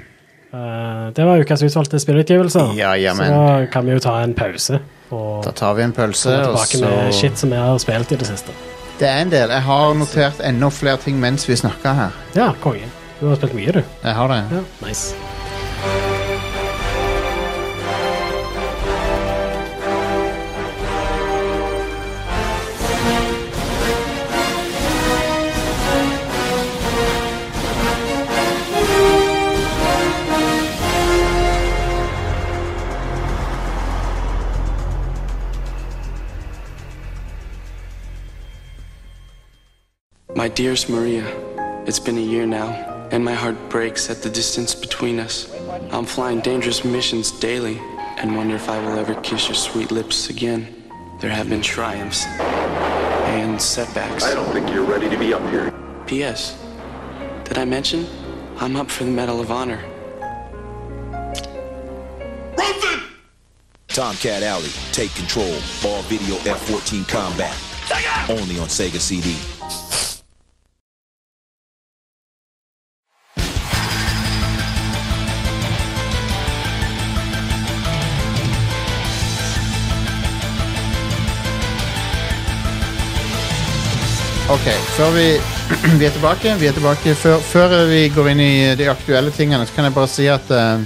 Eh, Det var ukas utvalgte spillutgivelser. Ja, ja, så men. da kan vi jo ta en pause og Da tar vi en pølse, komme og tilbake med så shit som vi har spilt i det siste. Det er en del. Jeg har notert enda flere ting mens vi snakka her. Ja, konge. Du har spilt mye, du. Jeg har det. Ja, nice. My dearest Maria, it's been a year now, and my heart breaks at the distance between us. I'm flying dangerous missions daily and wonder if I will ever kiss your sweet lips again. There have been triumphs and setbacks. I don't think you're ready to be up here. P.S. Did I mention? I'm up for the Medal of Honor. Tomcat Alley, Take Control, Ball Video F-14 Combat. Only on Sega CD. Ok, før vi, (clears throat) vi er tilbake, vi er tilbake før, før vi går inn i de aktuelle tingene, så kan jeg bare si at eh,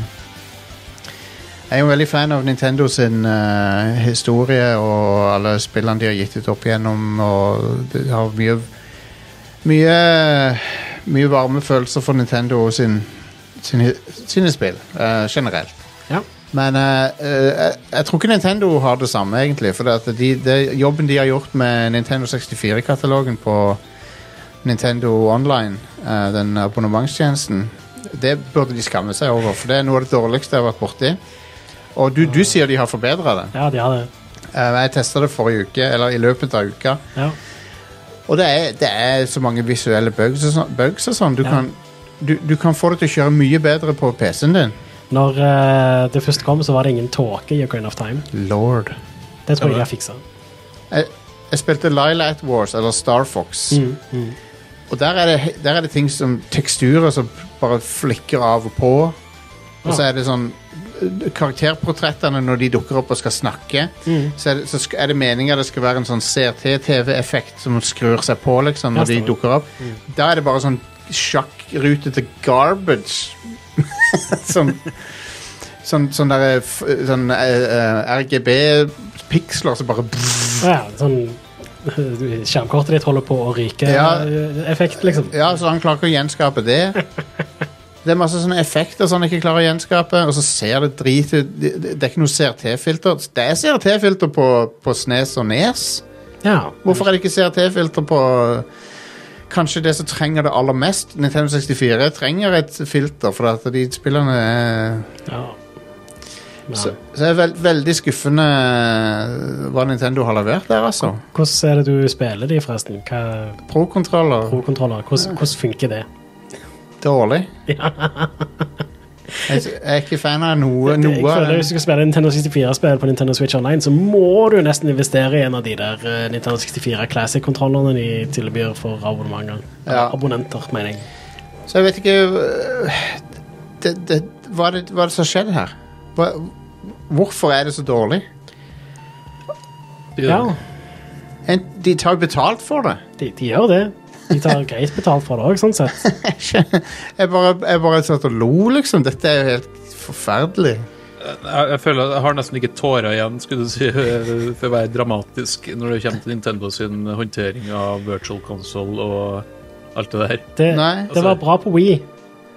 jeg er jo veldig fan av Nintendo sin eh, historie og alle spillene de har gitt ut opp igjennom, og det har mye, mye, mye varme følelser for Nintendo og sin, sin, sine spill eh, generelt. Ja. Men eh, eh, jeg, jeg tror ikke Nintendo har det samme, egentlig. For det at de, det, jobben de har gjort med Nintendo 64-katalogen på Nintendo Online, eh, den abonnementstjenesten, det burde de skamme seg over. For det er noe av det dårligste jeg har vært borti. Og du, du sier de har forbedra det. Ja, de har det. Eh, Jeg testa det forrige uke, eller i løpet av uka. Ja. Og det er, det er så mange visuelle bugs og sånn. Bugs og sånn. Du, Ja. kan, du, du kan få det til å kjøre mye bedre på PC-en din. Når eh, det først kom, så var det ingen tåke i Ocarina of Time. Lord. Det tror jeg de har fiksa. Jeg, jeg spilte Lilat Wars, eller Star Fox. Og der er, det, he- der er det ting som teksturer som bare flikker av og på. Og så Ja. er det sånn Karakterportrettene når de dukker opp og skal snakke, så er det, så sk- er det meninga det skal være en sånn CRT-TV-effekt som skrur seg på liksom når de stemmer. dukker opp. Da er det bare sånn sjakkrutete garbage. (laughs) sånn sånn, sånn derre f- sånn, RGB-piksler som bare Ja, sånn (laughs) Skjermkortet ditt holder på å ryke. Ja. eh, Effekt, liksom. Ja, så han klarer ikke å gjenskape det. Det er masse sånne effekter som han ikke klarer å gjenskape, og så ser det drit ut. Det, det det er ikke noe CRT-filter. Det er CRT-filter på, på Snes og Nes. Ja. Hvorfor er det ikke CRT-filter på Kanskje det som trenger det aller mest, Nintendo 64, trenger et filter, for at de spillerne er ja. Men, Så, så det er vel- veldig skuffende eh, hva Nintendo har levert der, altså. Hvordan er det du spiller de, forresten? Hva Pro-kontroller, Pro-kontroller, hvordan, hvordan funker det? (laughs) dårlig. Jeg, jeg er ikke fan av noe, Jeg noe av føler den. Hvis du skal spille Nintendo 64-spill på Nintendo Switch Online, så må du nesten investere i en av de der eh, Nintendo 64 Classic-kontrollene de tilbyr for abonnementer. Ja. Abonnenter, mener jeg. Så jeg vet ikke øh, det, det, hva, er det, hva er det som har skjedd her? Hva, hvorfor er det så dårlig? Ja, En, de tar jo betalt for det. (laughs) de, de gjør det. De tar greit betalt for det òg, sånn sett. Jeg bare, jeg bare satt og lo, liksom. Dette er jo helt forferdelig. Jeg, jeg føler at jeg har nesten ikke tårer igjen, skulle du si, (laughs) for å være dramatisk, når det kommer til Nintendo sin håndtering av virtual console og alt det der. Det, Nei. altså- det var bra på Wii.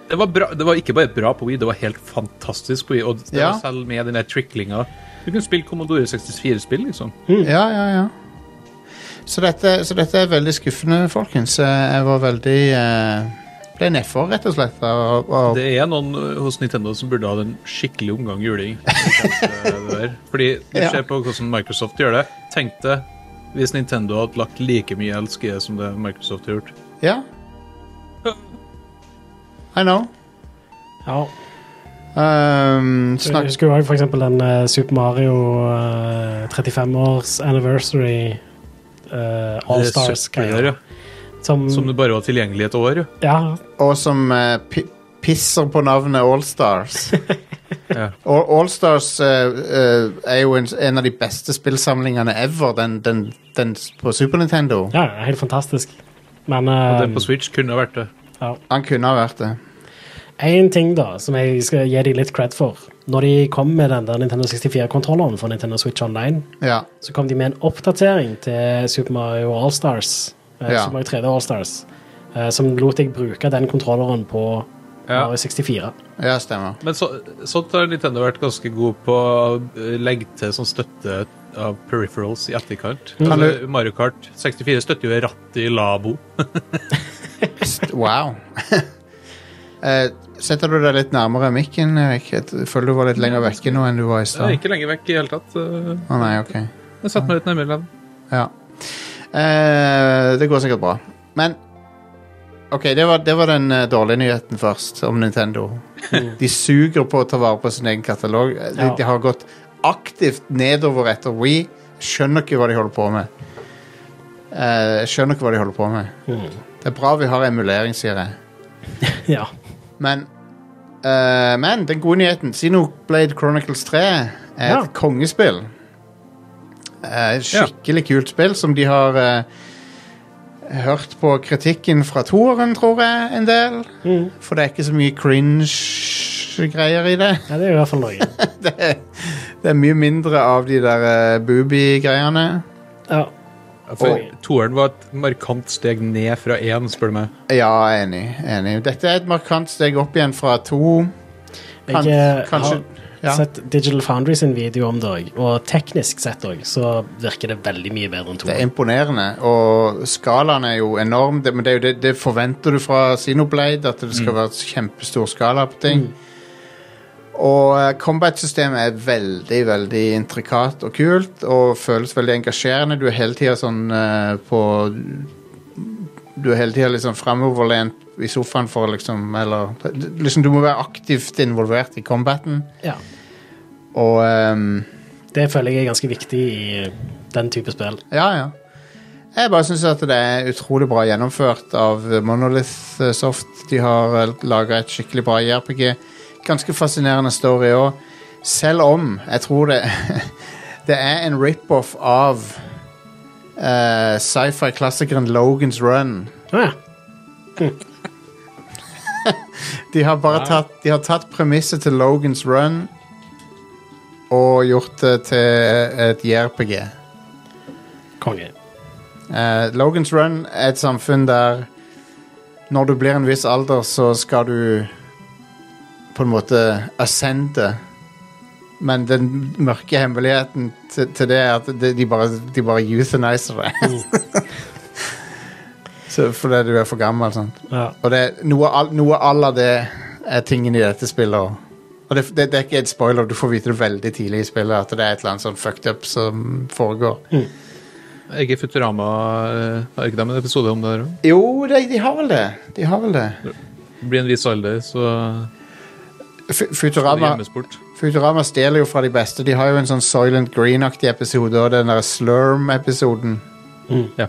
Det var, bra, det var ikke bare bra på Wii, det var helt fantastisk på Wii. Og det Ja. var selv med den der tricklinga Du kunne spille Commodore 64-spill, liksom. Ja, ja, ja. Så dette, så dette er veldig skuffende, folkens. Eh, Jeg var veldig eh, Ble nedfor, rett og slett. Og, og, Det er noen ø, hos Nintendo som burde ha en skikkelig omgang juling. Fordi du Ja. ser på hvordan Microsoft gjør det. Tenk deg hvis Nintendo hadde lagt like mye LSG som det Microsoft har gjort. ja. I know. Ja. Um, snakk, Jeg husker jo også for eksempel den eh, Super Mario 35-års anniversary eh, All Det er Stars-greia. søppelgreier, ja. Som, Som det bare var tilgjengelig et år, jo. Ja, og som eh, pi pisser på navnet Allstars. Ja. Allstars uh, er jo en, en av de beste spillsamlingene ever, den, den, den s- på Super Nintendo. ja, ja, helt fantastisk. Men Og det eh, på Switch kunne ha vært det. Han kunne ha vært det. En ting da, som jeg skal gi dem litt cred for. Når de kom med den der Nintendo 64-kontrolleren for Nintendo Switch Online, Ja. så kom de med en oppdatering til Super Mario All-Stars, eh, Ja. Super Mario 3D All-Stars, eh, som lot deg bruke den kontrolleren på Ja. Mario 64. ja, stemmer. Men så, sånt har Nintendo vært ganske god på å eh, legge til sånn støtte av peripherals i etterkant. Kan Altså, Mario Kart 64 støtter jo rattet i labo. St- Wow. (laughs) Eh, setter du deg litt nærmere mikken, Erik? Jeg føler du var litt lenger vekke nå enn du var i Det er stad. ikke lenger vekk i hele tatt. eh, Å nei, ok. Jeg satte meg litt nærmere den. Ja. Eh, det går sikkert bra. Men OK, det var, det var den eh, dårlige nyheten først, om Nintendo. De suger på å ta vare på sin egen katalog. Eh, De, Ja. de har gått aktivt nedover etter We. Skjønner ikke hva de holder på med. Eh, skjønner ikke hva de holder på med. Det er bra vi har emulering, sier jeg. (laughs) Ja. Men, eh, men den gode nyheten Xenoblade Chronicles 3 er Ja. et kongespill. Eh, et skikkelig kult spill som de har eh, hørt på kritikken fra toeren, tror jeg, en del. For det er ikke så mye cringe-greier i det. ja, det er jo i hvert fall noe. Det er, det er mye mindre av de der eh, boobie-greiene. Ja. For Oi. toeren var et markant steg ned fra én, spør du meg. Ja, enig, enig. Dette er et markant steg opp igjen fra to. Kan- Jeg eh, kanskje- har ja. sett Digital Foundry sin video om det òg, og teknisk sett òg, så virker det veldig mye bedre enn to. Det er imponerende, og skalaen er jo enorm. Det, men det, er jo det, det forventer du fra Xenoblade, at det skal være kjempestor skala på ting. Og eh, combat-systemet er veldig, veldig intrikat og kult, og føles veldig engasjerende. Du er hele tida sånn eh, på Du er hele tida liksom framoverlent i sofaen for liksom Eller liksom, du må være aktivt involvert i combaten, Ja. og ehm, Det føler jeg er ganske viktig i eh, den type spill. Ja, ja. Jeg bare syns at det er utrolig bra gjennomført av Monolith eh, Soft. De har laga et skikkelig bra JRPG. Ganske fascinerende story òg. Selv om jeg tror det (laughs) Det er en rip-off av eh, sci-fi-klassikeren Logan's Run. Å ja. De har bare tatt, de har tatt premisset til Logan's Run og gjort det til et JRPG. Konge. Eh, Logans Run er et samfunn der når du blir en viss alder, så skal du på en måte ascende. Men den mørke hemmeligheten til, til det er at de, de, bare, de bare euthaniser deg. (laughs) så fordi du er for gammel. Sant? Ja. Og det, er noe all- noe à la det er tingen i dette spillet òg. Og det, det, det er ikke et spoiler, du får vite det veldig tidlig i spillet at det er et eller annet sånn fucked up som foregår. Er ikke Futurama eh, Har ikke de en episode om det? her? Jo, de, de har vel det. De har vel det. Blir en viss alder, så Fu- er det Futurama, gjemmes bort. Futurama stjeler jo fra de beste. De har jo en sånn Soylent Green-aktig episode og den der Slurm-episoden. Ja.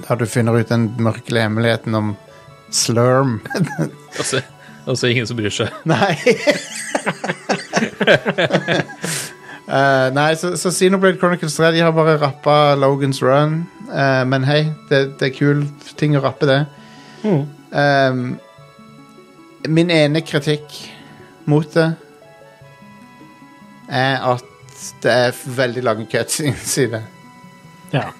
Der du finner ut den mørkelige hemmeligheten om Slurm. Altså, altså ingen som bryr seg. nei! Eh, nei, så, så Xenoblade Chronicles 3 de har bare rappa Logans Run. Eh, men hei, det, det er kul ting å rappe, det. Eh, min ene kritikk mot det er at det er veldig lange cutscenes i det. ja.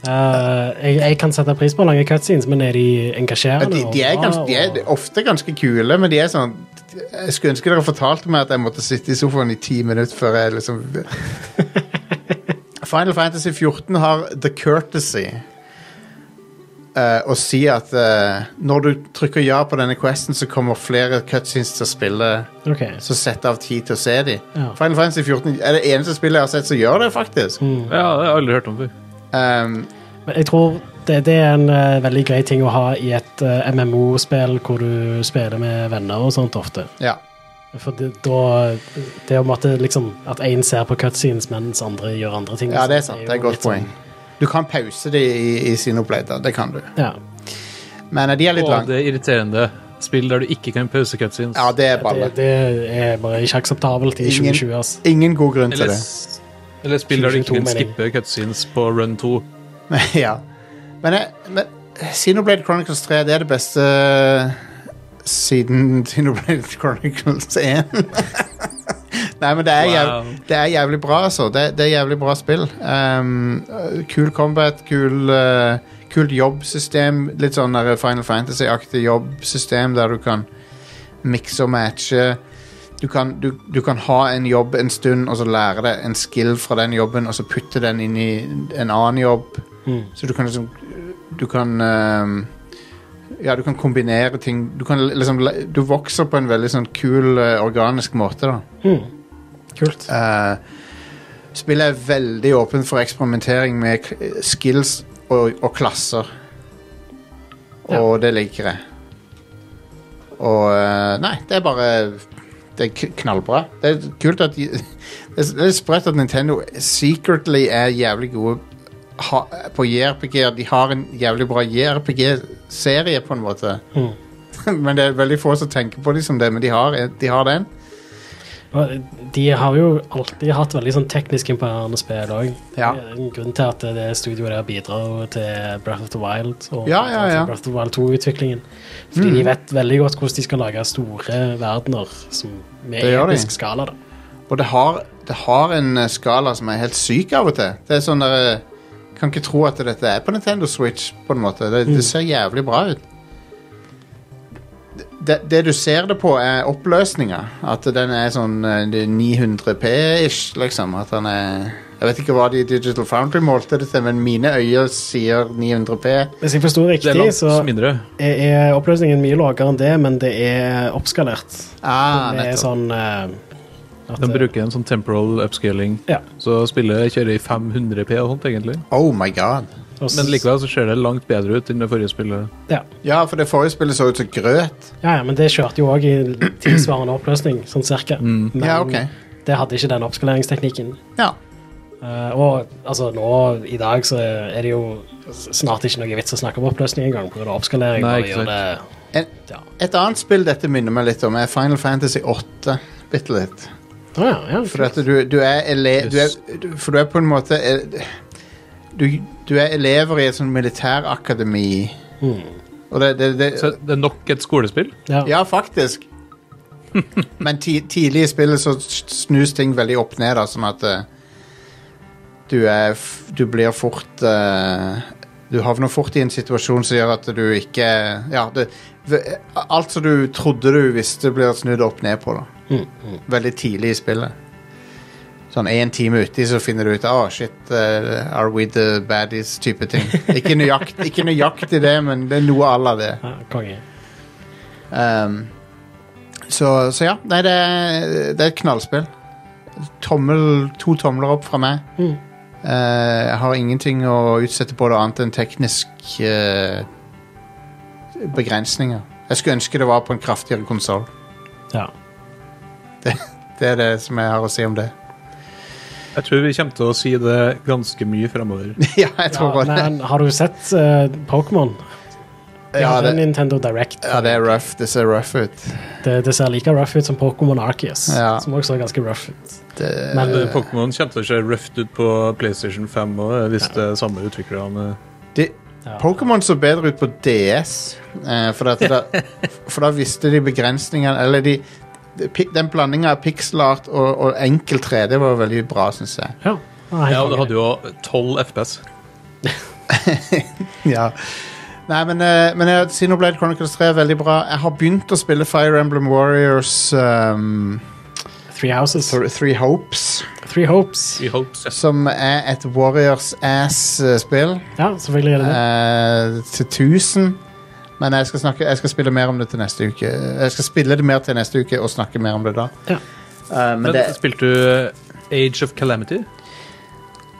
Eh, jeg, jeg kan sette pris på lange cutscenes, men er de Ja, engasjerende? De, og de, er bra, ganske, de er og- ofte ganske kule, men de er sånn Jeg skulle ønske dere fortalte meg at jeg måtte sitte i sofaen i ti minutter før jeg liksom (laughs) Final Fantasy 14 har the courtesy eh, å si at eh, når du trykker ja på denne questen, så kommer flere cutscenes til å spille. Ok. Så sett av tid til å se dem. Ja. Final Fantasy 14 er det eneste spillet jeg har sett som gjør det, faktisk. Mm. Ja, det har jeg aldri hørt om før. Um, Men jeg tror det, det er en eh, veldig grei ting å ha i et eh, MMO-spill hvor du spiller med venner og sånt ofte. ja. For det, da Det å måtte liksom At én ser på cutscenes mens andre gjør andre ting. ja, det er sant. sånn, jo Det er et godt litt sånn- poeng. Du kan pause det i, i Sinoblade, da. Det kan du. Ja. Men eh, de er litt Og lange. det er irriterende spill der du ikke kan pause cutscenes. Ja, det er Det, balle. det er bare ikke akseptabelt i Ingen- 2020, ass. Ingen god grunn til eller, det. s- eller spill der du ikke 22 kan mening. skippe cutscenes på run 2. Men, (laughs) ja. men, jeg- men Xenoblade Chronicles 3 det er det beste eh, siden (laughs) Xenoblade Chronicles 1. (laughs) Nei, men det er, Wow. jæv, det er jævlig bra, altså. Det, det er jævlig bra spill. Um, øh, kul combat, kul øh, kult jobbsystem. Litt sånn der Final Fantasy-aktig jobbsystem der du kan mikse og matche. Du kan, du, du kan ha en jobb en stund, og så lære deg en skill fra den jobben, og så putte den inn i en annen jobb. Så du kan liksom Du kan ehm, Ja, du kan kombinere ting. Du kan liksom le- Du vokser på en veldig sånn kul, eh, organisk måte, da. Kult. Eh, spillet er veldig åpent for eksperimentering med k- skills og, og klasser. Og det liker jeg. Og eh, Nei, det er bare Det er k- knallbra. Det er kult at de- (laughs) Det er litt sprøtt at Nintendo secretly er jævlig gode ha, på JRPG-er. De har en jævlig bra JRPG-serie, på en måte. (laughs) men det er veldig få som tenker på dem som det, men de har, de har den. Og De har jo alltid hatt veldig sånn teknisk imponerende spill òg. Ja. En grunn til at det studioet der bidrar til Breath of the Wild og Ja, ja, ja. Mm. til Breath of the Wild 2-utviklingen. Fordi de vet veldig godt hvordan de skal lage store verdener som med Det gjør de. episk skala. da. Og det har, det har en eh, skala som er helt syk av og til. Det er sånn der, eh, Kan ikke tro at dette er på Nintendo Switch, på en måte. Det, det ser jævlig bra ut. Det, det du ser det på, er oppløsninga. At den er sånn eh, det er 900P-ish, liksom. At den er Jeg vet ikke hva de i Digital Foundry målte det til, men mine øyne sier 900P. Hvis jeg forsto Det riktig, er langt så mindre. er, er oppløsningen mye lavere enn det, men det er oppskalert. Ah, det er nettopp. sånn eh, At, De eh, bruker en sånn temporal upscaling. Ja. Så spillet kjører i 500P og sånt, egentlig. Oh my god. og s- Men likevel så ser det langt bedre ut enn det forrige spillet. Ja. Ja, for det forrige spillet så ut som grøt. Ja, ja, men det kjørte jo òg i tilsvarende oppløsning, sånn cirka. Mm. Men Ja, ok. det hadde ikke den oppskaleringsteknikken. Ja. Eh, og altså, nå i dag så er det jo s- snart ikke noe vits å snakke om oppløsning engang, pga. oppskalering. Nei, Bare ikke gjør sant. det- En, Ja. et annet spill dette minner meg litt om, er Final Fantasy 8. Bitte litt. Å, ja, ja. For at du, du er ele... Du er, du, for du er på en måte eh, Du, du er elever i et sånt militærakademi. Og det, det, det Så det er nok et skolespill. ja. Ja, faktisk. Men ti, tidlig i spillet så s- snus ting veldig opp ned, da, sånn at eh, du er f Du blir fort eh, Du havner fort i en situasjon som gjør at du ikke Ja, det, v- alt som du trodde du visste, blir snudd opp ned på, da. Veldig tidlig i spillet. Sånn én time uti, så finner du ut Å, shit, eh, are we the baddies-type ting. Ikke nøyaktig, ikke nøyaktig det, men det er noe à la det. Ja, Konge. Ehm, så, så ja, nei, det, er- det er et knallspill. Tommel, to tomler opp fra meg. Mm. Eh, jeg har ingenting å utsette på det annet enn teknisk eh, begrensninger. Jeg skulle ønske det var på en kraftigere konsoll. Ja. Det, det er det som jeg har å si om det. (laughs) Jeg tror vi kommer til å si det ganske mye fremover. (laughs) ja, jeg tror Ja, bare det. men har du sett eh, Pokémon? De Ja, hadde en det, Nintendo Direct. ja, det er rough. Det ser rough ut. Det, det ser like rough ut som Pokémon Arceus, Ja. Eh, som også så ganske rough ut. Det, Men Men Eh, Pokémon kommer til å se røft ut på PlayStation 5 også, hvis det er samme utviklerne. det, ja. Pokémon så bedre ut på DS, eh, for, at da, for da visste de begrensningene Eller de, de pi- den blandinga av pixelart og, og enkel 3D var veldig bra, syns jeg. ja. Ah, helt Ja, og det konge. hadde jo 12 FPS. Ja. Nei, men, eh, men eh, Xenoblade Chronicles 3 er veldig bra. Jeg har begynt å spille Fire Emblem Warriors um, Three Houses. Th- Three Hopes, Three Hopes. I hopes. som er et eh, Warriors ass-spill. Ja, selvfølgelig er det det. Eh, til 1000. Men jeg skal, snakke, jeg skal spille mer om det til neste uke. Jeg skal spille det mer til neste uke og snakke mer om det da. Ja. Eh, men Men det, spilte du Age of Calamity?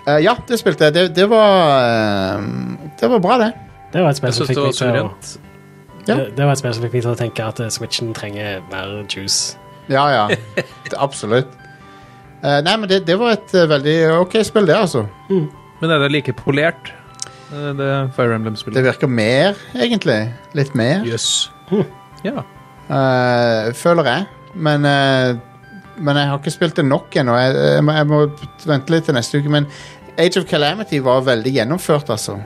eh, ja, det spilte jeg. Det, det var eh, Det var bra, det. Det var et spill Jeg som synes fikk meg det var til å suverent. Ja. det, det var et spill som fikk meg til å tenke at eh, Switchen trenger mer juice. Ja, ja. Det, absolutt. Eh, nei, men det, det var et eh, veldig OK spill, det, altså. Men er det like polert, eh, det Fire Det Emblem-spillet? virker mer, egentlig. Litt mer, Jøss. Ja. eh, føler jeg. Men, eh, men jeg har ikke spilt det nok ennå. Jeg, jeg, må- jeg må vente litt til neste uke. Men Age of Calamity var veldig gjennomført, altså.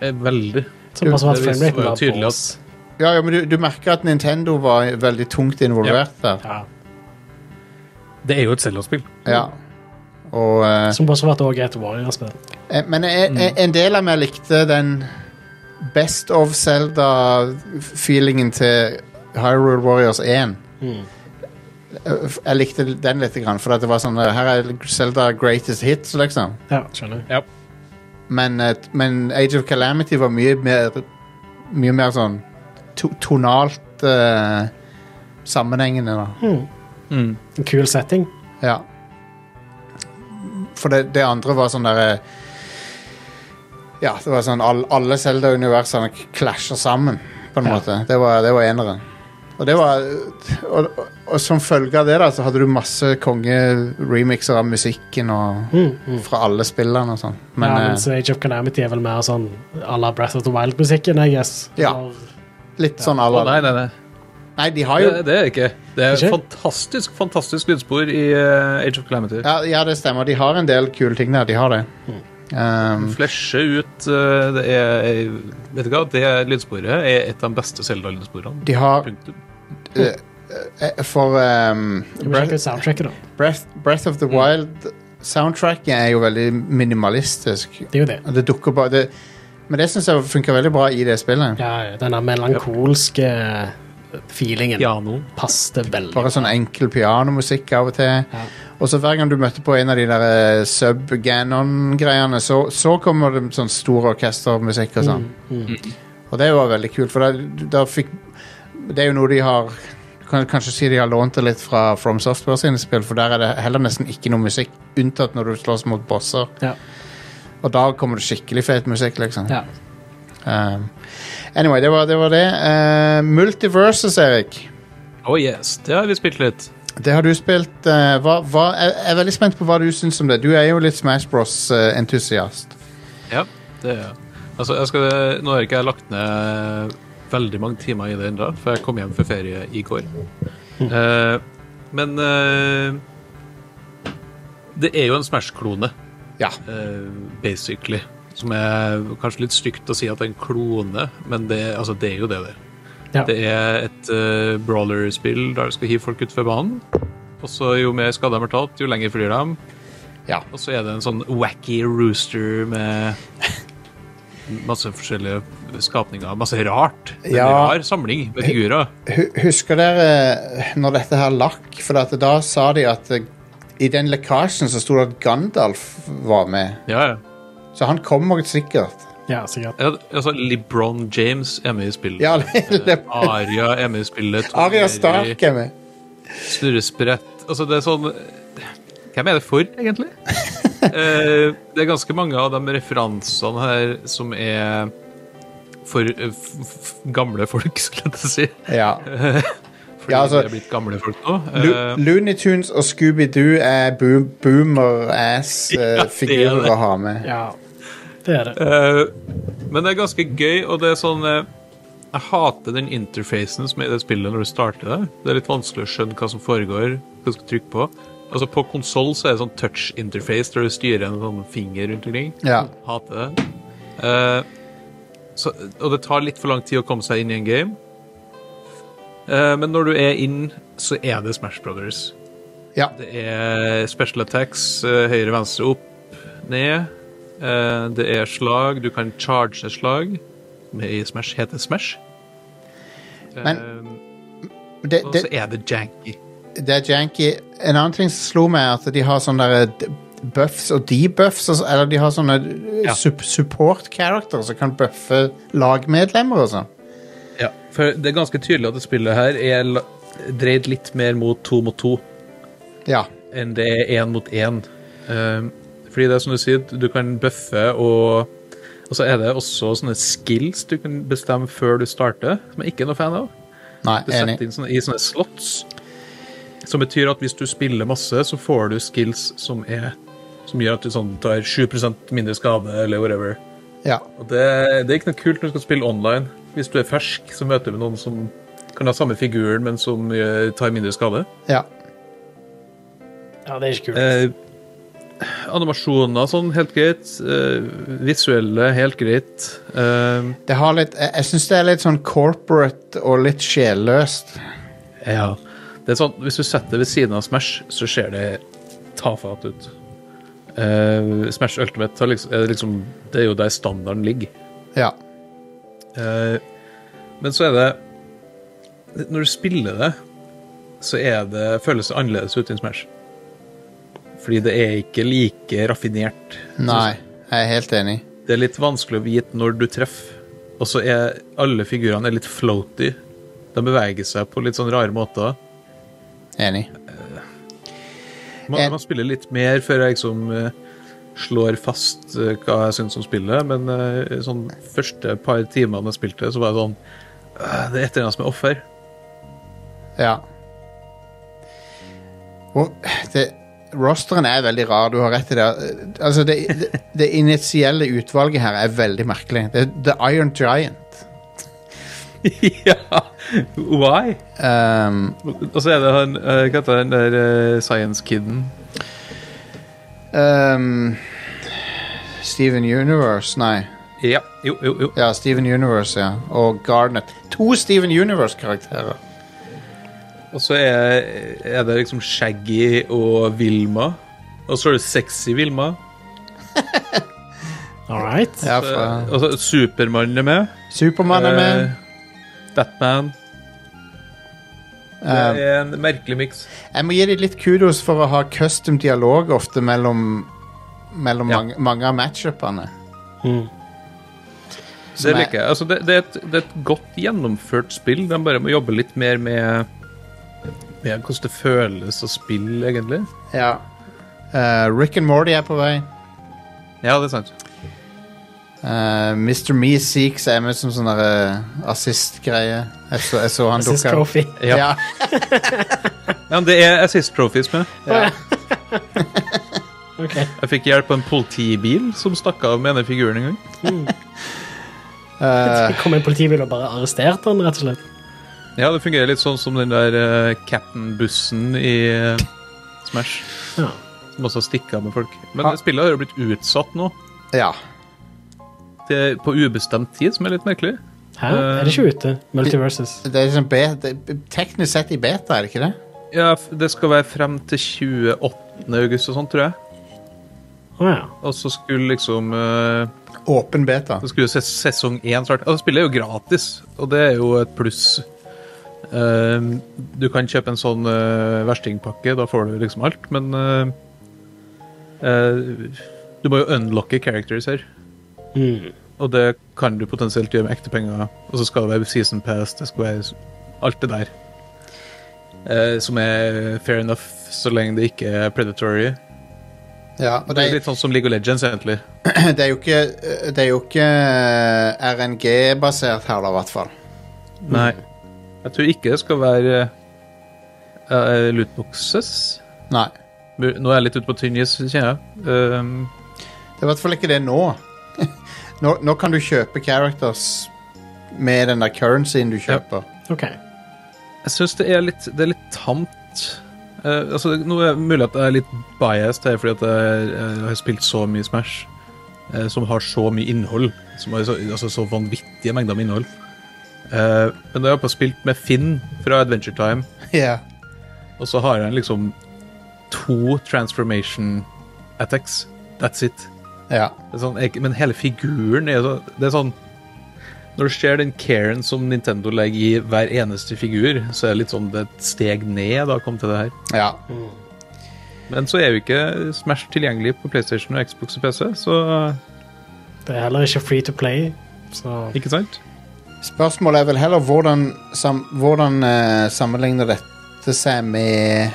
Eh, Veldig. Som også var at Det vis- frameraten var jo var tydelig på at oss. Ja, ja, men du, du merker at Nintendo var veldig tungt involvert der. Ja. Det er jo et cellospill. Ja. Og, eh, Som også var et et Warrior-spill. eh, men jeg, jeg, en del av meg likte den Best of Zelda-feelingen til Hyrule Warriors 1. Eh, f- Jeg likte den litt, grann, for at det var sånn eh, Her er Zelda greatest hits, liksom. Ja, skjønner. Ja. Men, eh, men Age of Calamity var mye mer, mye mer sånn to tonalt eh, sammenhengende, da. En kul setting. Ja. For det, det andre var sånn derre Ja, det var sånn all, alle Zelda-universene k- klasjer sammen, på en måte. Det var, det var eneren. Og det var og, og, og som følge av det, da, så hadde du masse kongeremixer av musikken og fra alle spillene og sånn. Men, ja, eh, mens Age of Calamity er vel mer sånn à la Breath of the Wild-musikken, I guess. Ja. Eller- litt sånn Å, alle nei, nei, nei. Nei, de har jo Det, det er det ikke. Det er Ikke? fantastisk fantastisk lydspor i eh, Age of Calamity. ja, ja, det stemmer. De har en del kule ting der. De har det. Mm. Um, Flesje ut eh, det er, Vet du hva, det lydsporet er et av de beste Zelda-lydsporene. de har Punktum. eh, For um, Skal vi sjekke ut Mm. soundtracket, da? Breath, Breath of the Wild Soundtracket er jo veldig minimalistisk. Det er jo det. Og Det dukker bare det, Men det syns jeg funker veldig bra i det spillet. Ja, ja, den der melankolske eh, feelingen Pianoen. passte veldig. Bare sånn enkel pianomusikk av og til. Ja. Og så hver gang du møtte på en av de der eh, sub-ganon-greiene, så, så kommer det sånn stor orkestermusikk Mm, og sånn. Og det var veldig kult, for da, da fikk Det er jo noe de har kan kanskje si de har lånt det litt fra From Software sine spill, for der er det heller nesten ikke noe musikk, unntatt når du slåss mot bosser. Ja. Og da kommer det skikkelig fet musikk, liksom. Ja. Um, anyway, det var det. Var det. Uh, Multiversus, Erik. Oh yes, det har vi spilt litt. Det har du spilt. eh, hva, hva, jeg jeg er veldig spent på hva du syns om det. Du er jo litt Smash eh, Bros-entusiast. Ja, det er jeg. Altså, jeg skal, nå har ikke jeg lagt ned veldig mange timer i det ennå, for jeg kom hjem fra ferie i går. Eh, men eh, det er jo en Smash-klone, Ja. eh, basically. Som er kanskje litt stygt å si at det er en klone, men det, altså, det er jo det det er. Ja. Det er et eh, brawler-spill der du skal hive folk utfor banen. Og så jo mer skader de har tatt, jo lenger flyr de. Ja. Og så er det en sånn wacky rooster med masse forskjellige skapninger. Masse rart. Det er En Ja. rar samling med figurer. Hu- Husker dere eh, når dette her lakk? For at da sa de at eh, i den lekkasjen så sto det at Gandalf var med. Ja, ja. Så han kommer sikkert. ja, sikkert. Ja, Altså, LeBron James er med i spillet. Ja, (laughs) det- Aria er med i spillet. Tom Aria Jerry, Stark er med. Snurresprett. Altså, det er sånn Hvem er det for, (laughs) egentlig? Eh, det er ganske mange av de referansene her som er for eh, f f gamle folk, skulle jeg til å si. Ja. Fordi Ja, altså- de er blitt gamle folk nå. (laughs) Lu Eh, Looney Tunes og Scooby-Doo er boom (laughs) Ja, det er boomer-ass-figurer det. å ha med. Ja. Det er det. Eh, men det er ganske gøy, og det er sånn eh, Jeg hater den interfacen som er i det spillet når du starter det. Det er litt vanskelig å skjønne hva som foregår, hva du skal trykke på. Altså På konsoll er det sånn touch interface der du styrer en sånn finger rundt omkring. Ja. Hater det. Eh, så, og det tar litt for lang tid å komme seg inn i en game. Eh, men når du er inn, så er det Smash Brothers. ja. Det er special attacks, eh, høyre, venstre, opp, ned. Eh, Det er slag, du kan charge et slag, som i Smash heter Smash. Eh, Men Det, Og det, så er det janky. det er janky. En annen ting som slo meg, er at de har sånne der d- buffs og debuffs. altså- Eller de har sånne eh, Ja. sup support characters som kan buffe lagmedlemmer og sånn. Ja, for det er ganske tydelig at det spillet her er la- dreid litt mer mot to mot to Ja. enn det er én mot én. Eh, Fordi det er som du sier, du kan bøffe og Og så er det også sånne skills du kan bestemme før du starter, som jeg ikke er noe fan av. Nei, Du setter enig. inn sånne, i sånne slots. Som betyr at hvis du spiller masse, så får du skills som er Som gjør at du sånn tar 7 mindre skade, eller whatever. Ja. Og det, det er ikke noe kult når du skal spille online. Hvis du er fersk, så møter du noen som kan ha samme figuren, men som eh, tar mindre skade. ja. Ja, det er ikke kult. Eh, animasjoner sånn, helt greit. Eh, visuelle, helt greit. Eh, Det har litt Jeg, jeg syns det er litt sånn corporate og litt sjelløst. Ja. Det er sånn, hvis du setter det ved siden av Smash, så ser det tafatt ut. Eh, Smash Ultimate har liksom, er liksom Det er jo der standarden ligger. Ja. Eh, men så er det Når du spiller det, så er det, føles det annerledes ut enn Smash. Fordi det er ikke like raffinert. Nei, jeg er helt enig. Det er litt vanskelig å vite når du treffer. Og så er alle figurene er litt floaty. De beveger seg på litt sånn rare måter. Enig. Man, Jeg- man spiller litt mer før jeg liksom eh, slår fast eh, hva jeg syns om spillet, men eh, sånn første par timene jeg spilte, så var jeg sånn «Øh, Det er et eller annet som er off her. Ja. Og det, rosteren er veldig rar, du har rett i det. Altså, det, det, det initielle utvalget her er veldig merkelig. Det, The Iron Giant. (laughs) ja! Why? Um, Og så er det han eh, Hva heter han der eh, Science Kiden? um, Steven Universe, nei. Ja. Jo, jo, jo. Ja, Steven Universe, ja. Og Garnet. To Steven Universe-karakterer. Og så er, er det liksom Shaggy og Vilma. Og så er det sexy Vilma. All right. Ja, Så- fra Eh, Og så Supermann er med. Supermann er med. Eh, Batman. Det Eh, er en merkelig miks. Jeg må gi dem litt kudos for å ha custom dialog ofte mellom, mellom Ja. mange, mange av matchupene. Det Som er- liker jeg. Altså, det, det, er et, det er et godt gjennomført spill. De bare må jobbe litt mer med Ja, hvordan det føles å spille, egentlig. Ja. Eh, Rick and Morty er på vei. Ja, det er sant. Eh, Mr. Me Seeks er med som sånn der, eh, assist-greie. Jeg, så- jeg så han Assist dukka trophy. Ja. ja. Ja, men det er Assist Trophies med. Ok. Jeg fikk hjelp av en politibil som stakk av med ene figuren en gang. Det kom en politibil og bare arresterte han, rett og slett. Ja, det fungerer litt sånn som den der eh, Captain-bussen i eh, Smash. Ja. Som også stikker av med folk. Men Ah. spillet har jo blitt utsatt nå. ja. Til, på ubestemt tid, som er litt merkelig. Hæ? Er det ikke ute? Multiverses. Det er liksom be- det er teknisk sett i beta, er det ikke det? Ja, f- det skal være frem til 28. august og sånn, tror jeg. Å ja. Og så skulle liksom eh, Åpen beta. Så skulle jo ses- sesong én starte. Altså, spillet er jo gratis, og det er jo et pluss. Ehm, du kan kjøpe en sånn eh, verstingpakke, da får du liksom alt, men eh, eh, Du må jo unlocke characters her, Mm. og det kan du potensielt gjøre med ekte penger. Og så skal det være season pass, det skal være s- alt det der. Eh, som er fair enough, så lenge det ikke er predatory. Ja, og Det er det, litt sånn som League of Legends, egentlig. (clears throat) det er jo ikke, eh, det er jo ikke eh, RNG-basert her, da, i hvert fall. Nei. Jeg tror ikke det skal være uh, lootboxes. Nei. Mur- Nå er jeg litt ute på tynn is, kjenner jeg. Ehm, Det er i hvert fall ikke det nå. (laughs) nå. Nå kan du kjøpe characters med den der currencyen du kjøper. (laughs) Ok. jeg syns det er litt, det er litt tamt. Eh, altså, det- nå er det mulig at jeg er litt biased her, fordi at jeg, eh, har spilt så mye Smash. eh, som har så mye innhold. Som har så, altså, så vanvittige mengder med innhold. Eh, men da har jeg på spilt med Finn fra Adventure Time. Ja. Og så har han liksom to transformation attacks. That's it. ja. Det er sånn, jeg, men hele figuren er, så, det er sånn Når du ser den Karen som Nintendo legger i hver eneste figur, så er det litt sånn det er et steg ned da kom til det her. ja. Men så er jo ikke Smash tilgjengelig på PlayStation og Xbox og PC, så Det er heller ikke free to play, så ikke sant? Spørsmålet er vel heller hvordan, sam, hvordan eh, sammenligner dette seg med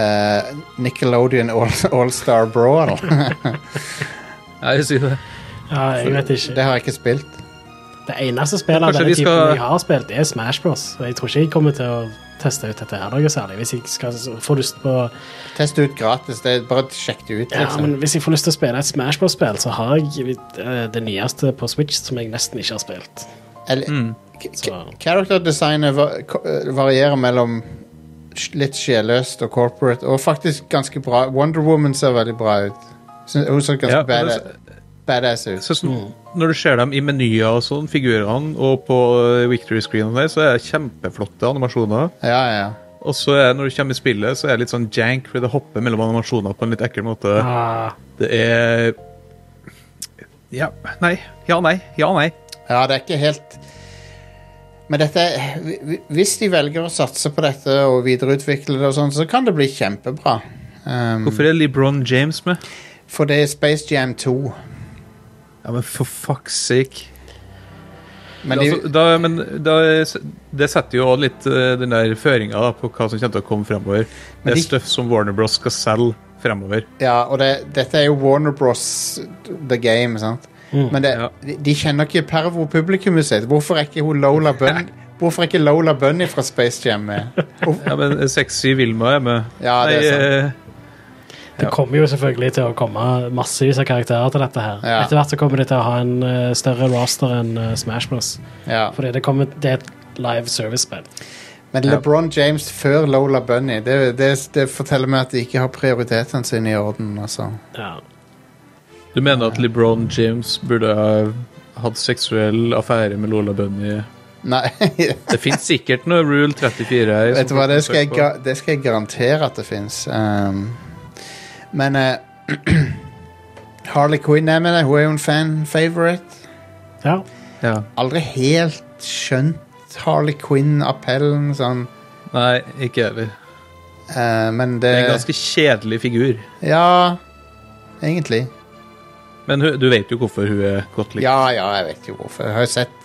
eh, Nickelodeon All- All-Star (laughs) Brawl? Ja, jeg sier det. ja, jeg vet ikke. (laughs) det har jeg ikke spilt. Det eneste spillet av Kanskje denne vi typen skal- jeg har spilt, det er Smash Bros. Og jeg tror ikke jeg kommer til å teste ut dette her noe særlig. Hvis jeg skal få lyst på Test ut gratis. Det er bare sjekk det ut, ja, liksom. men Hvis jeg får lyst til å spille et Smash Bros-spill, så har jeg eh, det nyeste på Switch som jeg nesten ikke har spilt. Eller, Mm. k- Så- k- Character designet va ko- eh, varierer mellom sj- litt sjelløst og corporate, og faktisk ganske bra. Wonder Woman ser veldig bra ut. Syn- Hun ser ganske Ja, bada men det- badass ut. Så sånn, Når du ser dem i menyer og sånn, figurene, og på eh, victory screenen der, så er det kjempeflotte animasjoner. Ja, ja. Og så er, når du kommer i spillet, så er det litt sånn jank, fordi det hopper mellom animasjoner på en litt ekkel måte. Ah, Det er Ja, nei. Ja, nei. Ja, nei. ja, det er ikke helt Men dette er- hvi- hvi- Hvis de velger å satse på dette og videreutvikle det, og sånn, så kan det bli kjempebra. Um, Hvorfor er LeBron James med? for det er Space Jam 2. Ja, men for fuck's sake. Men de, altså, da, men da, det setter jo også litt eh, den der føringa da, på hva som kommer til å komme fremover. Men Det er de- støff som Warner Bros skal selge fremover. Ja, og det, dette er jo Warner Bros. The Game, sant? Men det, Mm, Ja. de, de kjenner ikke Pervo-publikummet sitt. Hvorfor er ikke hun (laughs) Lola Bunn Hvorfor er ikke Lola Bunny fra Space Jam med? Hvorfor- (laughs) Ja, men Sexy Vilma er med. Ja, det er Nei, eh, det kommer jo selvfølgelig til å komme massevis av karakterer til dette her. Ja. Etter hvert så kommer det til å ha en eh, større roster enn eh, Smash Bros. Ja. Fordi det, kommer, det er et live service-spill. Men LeBron James før Lola Bunny, det, det, det forteller meg at de ikke har prioritetene sine i orden. Altså. Ja. eh, Du mener at LeBron James burde ha hatt seksuell affære med Lola Bunny? Nei, (laughs) Det fins sikkert noe Rule 34 her. som vet du hva, folk det kan skal jeg, søke på. ga- det skal jeg garantere at det fins. Um, men eh, (clears throat) Harley Quinn er med deg. Hun er jo en fan-favorite. ja. ja. aldri helt skjønt Harley Quinn-appellen, sånn. Nei, ikke jeg heller. Eh, men det, Det er en ganske kjedelig figur. Ja, egentlig. Men hun, du vet jo hvorfor hun er godt likt. Ja, ja, jeg vet jo hvorfor. Jeg har jo sett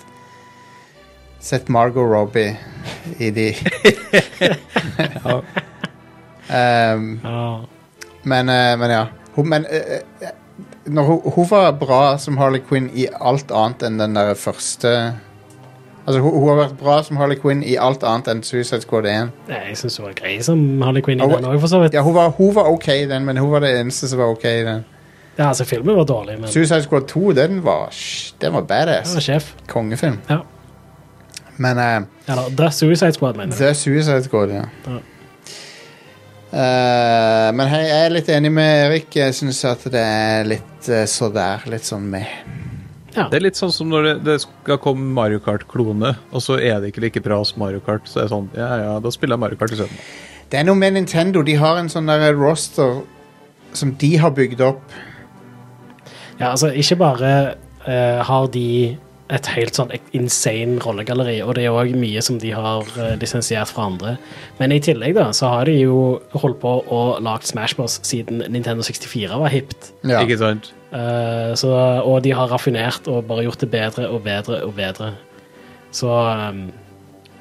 sett Margot Robbie i (laughs) de. (laughs) um, Ja. men, eh, men ja. Hun, men eh, eh, når hun, hun var bra som Harley Quinn i alt annet enn den der første Altså, hun, hun har vært bra som Harley Quinn i alt annet enn Suicide Squad 1. Nei, jeg syns hun var grei som Harley Quinn i Og- den òg, for så vidt. Ja, hun var, hun var OK i den, men hun var det eneste som var OK i den. Ja, altså, filmen var dårlig, men Suicide Squad 2, den var, sh- den var han badass. var sjef. Kongefilm. Ja. Men eh, Eller The Suicide Squad, mener jeg. The Suicide Squad, ja. Ja. Eh, men hei, jeg er litt enig med Erik. Jeg syns at det er litt eh, så der, litt sånn med. Ja. Det er litt sånn som når det, det skal komme Mario Kart-klone, og så er det ikke like bra som Mario Kart. Så er det sånn, ja ja, da spiller jeg Mario Kart isteden. Det er noe med Nintendo. De har en sånn der roster som de har bygd opp. Ja, altså, ikke bare eh, har de et helt sånn insane rollegalleri, og det er òg mye som de har eh, lisensiert fra andre. Men i tillegg da, så har de jo holdt på og lagd Smash Bros. siden Nintendo 64 var hipt. Ja. Ikke sant? Eh, så, og de har raffinert og bare gjort det bedre og bedre og bedre. Så ehm,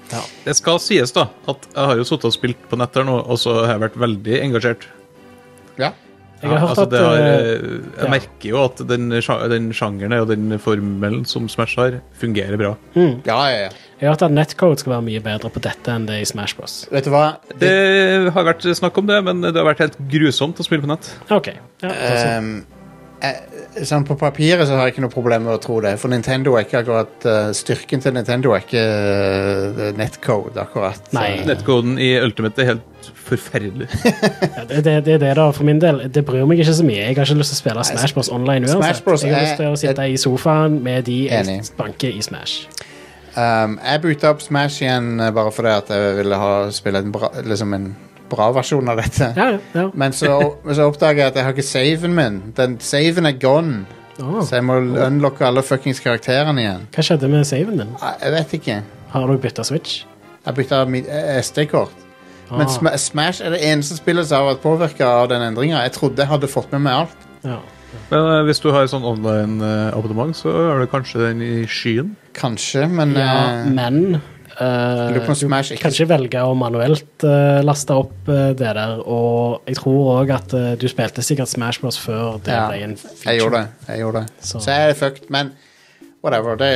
ja. Det skal sies, da, at jeg har jo sittet og spilt på nett her nå, og så har jeg vært veldig engasjert. Ja. Jeg har Ja, hørt altså, at det har, eh, eh, jeg ja. merker jo at den, sja- den sjangeren og den formelen som Smash har, fungerer bra. ja, ja, ja. Jeg har hørt at netcode skal være mye bedre på dette enn det i Smash Bros. Vet du hva? Det har vært snakk om det, men det har vært helt grusomt å spille på nett. OK. Ja, altså, Ehm, eh, sånn på papiret så har jeg ikke noe problem med å tro det, for Nintendo er ikke akkurat eh, Styrken til Nintendo er ikke eh, netcode, akkurat. Nei. Nettkoden i Ultimate er helt (laughs) forferdelig. ja, det, det, det er det, da. For min del, det bryr meg ikke så mye. Jeg har ikke lyst til å spille Smash Bros online Smash uansett. Bros Jeg har er- lyst til å sitte i sofaen med de jeg Enig. banker i Smash. Um, jeg bytta opp Smash igjen eh, bare fordi at jeg ville ha spille en bra, liksom en bra versjon av dette. Ja, ja, ja. Men så, men så oppdager jeg at jeg har ikke saven min. Den Saven er gone. Åh. Så jeg må unlocke alle fuckings karakterene igjen. Hva skjedde med saven din? Jeg jeg vet ikke. Har du bytta switch? Jeg bytta mitt eh, SD-kort. Men Ah. Sma- Smash er det eneste spillet som har vært påvirka av den endringa. Jeg trodde jeg hadde fått med meg alt. Ja. Men eh, hvis du har sånn online-abonnement, så har du kanskje den i skyen. Kanskje, men Ja, eh, men eh, lurer på om du Smash ikke- kan ikke velge å manuelt eh, laste opp eh, det der. Og jeg tror òg at eh, du spilte sikkert Smash Bros før det Ja, ble en feature. Jeg gjorde det. Jeg gjorde det. Så- Så, jeg er fucked, men whatever. Det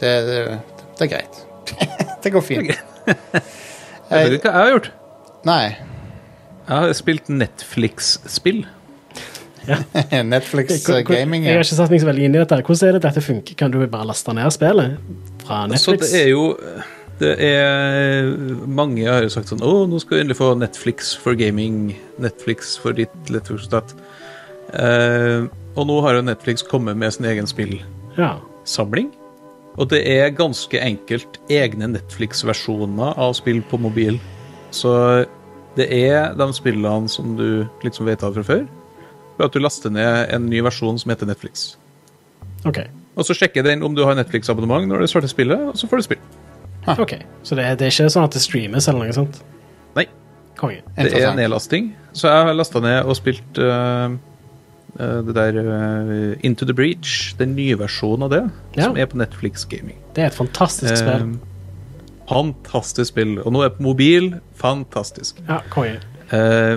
Det, det, det er greit. (laughs) det går fint. Jeg Jeg- vet ikke hva jeg har gjort. Nei. (laughs) Jeg har spilt Netflix-spill. Netflix Hvor- eh, hvor- gaming Jeg har ja. ikke satt meg så veldig inn i dette. Hvordan er det dette funker? Kan du bare laste ned spillet fra Så Netflix? det er jo det er Mange har jo sagt sånn Å, nå skal du endelig få Netflix for gaming. Netflix for ditt, Netflix for datt. Eh, og nå har jo Netflix kommet med sin egen spillsamling. ja. Og det er ganske enkelt egne Netflix-versjoner av spill på mobil. Så det er de spillene som du liksom vet av fra før. Bare at du laster ned en ny versjon som heter Netflix. OK. Og så sjekker den om du har Netflix-abonnement når du starter spillet, og så får du spill. (laughs) ok. Så det, er- det er ikke sånn at det streames eller noe sånt? Nei. Konge. Det er Interessant. nedlasting. Så jeg har lasta ned og spilt eh, eh, det der eh, Into the Breach. Den nye versjonen av det, Ja. som er på Netflix Gaming. Det er et fantastisk spill. Eh, fantastisk spill. Og nå er jeg på mobil. Fantastisk. Ja, konge. Eh,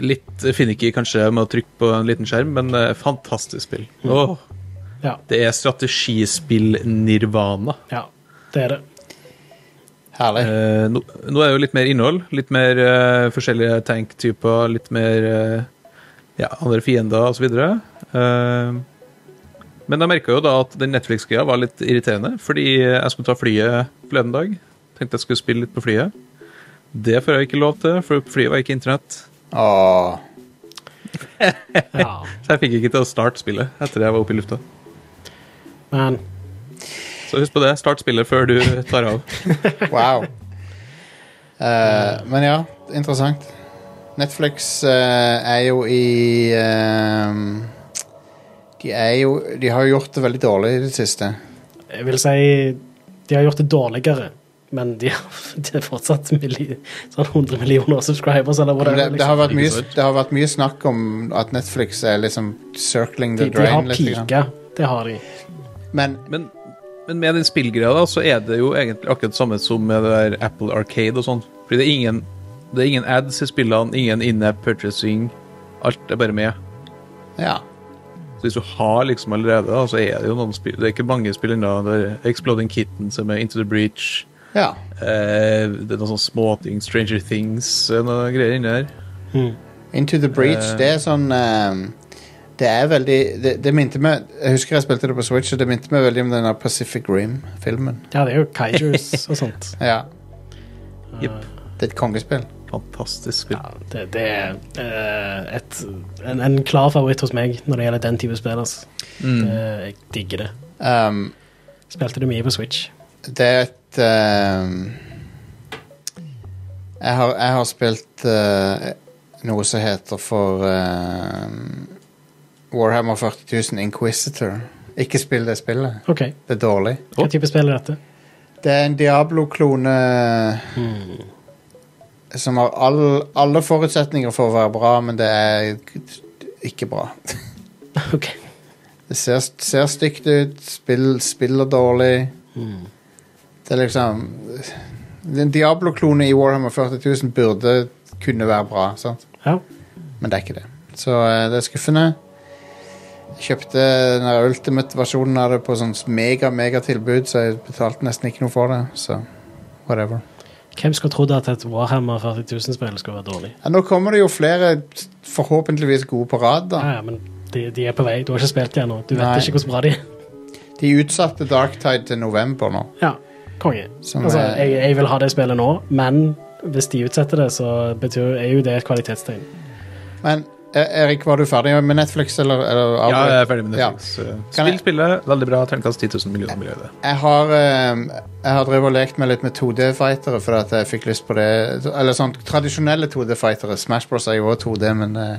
litt finicky kanskje med å trykke på en liten skjerm, men eh, fantastisk spill. Åh, Ja. det er strategispill-nirvana. ja. Det er det. Herlig. Eh, nå, nå er det jo litt mer innhold, litt mer eh, forskjellige tanktyper, litt mer eh, ja, andre fiender osv. Uh, men jeg merka jo da at den Netflix-greia var litt irriterende, fordi jeg skulle ta flyet forleden dag. Tenkte jeg skulle spille litt på flyet. Det får jeg ikke lov til, for på flyet var ikke internett. Eh. Åh. Ja. Så jeg fikk ikke til å starte spillet etter jeg var oppe i lufta. Men Så husk på det, start spillet før du tar av. Wow. Eh, men ja, interessant. Netflix eh, er jo i eh, De er jo De har jo gjort det veldig dårlig i det siste. jeg vil si de har gjort det dårligere. Men de har, (laughs) det er fortsatt milli, sånn 100 millioner subscribers eller hva Men det, det er. det, Liksom. har vært mye, det har vært mye snakk om at Netflix er liksom circling the De, de har drain litt. grann. pika. Det har de. Men Men Men med den spillgreia da, så er det jo egentlig akkurat samme som med det der Apple Arcade og sånn. Fordi det er ingen, det er ingen ads i spillene, ingen in-app purchasing. Alt er bare med. Ja. Så hvis du har liksom allerede, da, så er det jo noen spill Det er ikke mange spill ennå. Det er Exploding Kitten som er Into the Breach. ja. Eh, det er noen sånne småting. Stranger Things eh, noe greier inni der. Into the Breach, Eh. det er sånn ehm, Det er veldig Det, det minte meg Jeg husker jeg spilte det på Switch, og det minte meg veldig om den der Pacific Rim-filmen. Ja, det er jo (laughs) kaijus og sånt. Ja. Jepp. Det er et kongespill. Fantastisk spill. Ja, det, det er eh, et, en, en klar favoritt hos meg når det gjelder den type spill. Altså. Mm. Det- jeg digger det. Um, Spilte det mye på Switch. Det er et ehm, jeg, har, jeg har spilt eh, noe som heter for ehm, Warhammer 40.000 Inquisitor. Ikke spill det spillet. OK. Det er dårlig. Hva type spill er dette? Det er en Diablo-klone som har all, alle forutsetninger for å være bra, men det er ikke bra. OK. Det ser, ser stygt ut, spill, spiller dårlig. Det er liksom En Diablo-klone i Warhammer 40 000 burde kunne være bra, sant? Ja. men det er ikke det. Så eh, det er skuffende. Jeg kjøpte den der ultimate-versjonen av det på sånn mega-megatilbud, så jeg betalte nesten ikke noe for det. Så whatever. Hvem skulle trodd at et Warhammer 40 000-spill skulle være dårlig? Ja, nå kommer det jo flere forhåpentligvis gode på rad, da. Ja, ja, men de, de er på vei. Du har ikke spilt de ennå. Du vet Ah. Nei. ikke hvordan bra de er. De utsatte Darktide til november nå. Ja, konge. Som altså, er- jeg, jeg vil ha det spillet nå, men hvis de utsetter det, så betyr, er jo det et kvalitetstegn. Men eh, Erik, var du ferdig med Netflix, eller? eller Ja, jeg er ferdig med Ja. Netflix. Ja. Kan jeg- Spill spillet. Veldig bra. Terningkast 10 000 millioner miljøer. jeg har, ehm, jeg har drevet og lekt meg litt med 2D-fightere fordi at jeg fikk lyst på det. Eller sånn tradisjonelle 2D-fightere. Smash Bros er jo også 2D, men eh,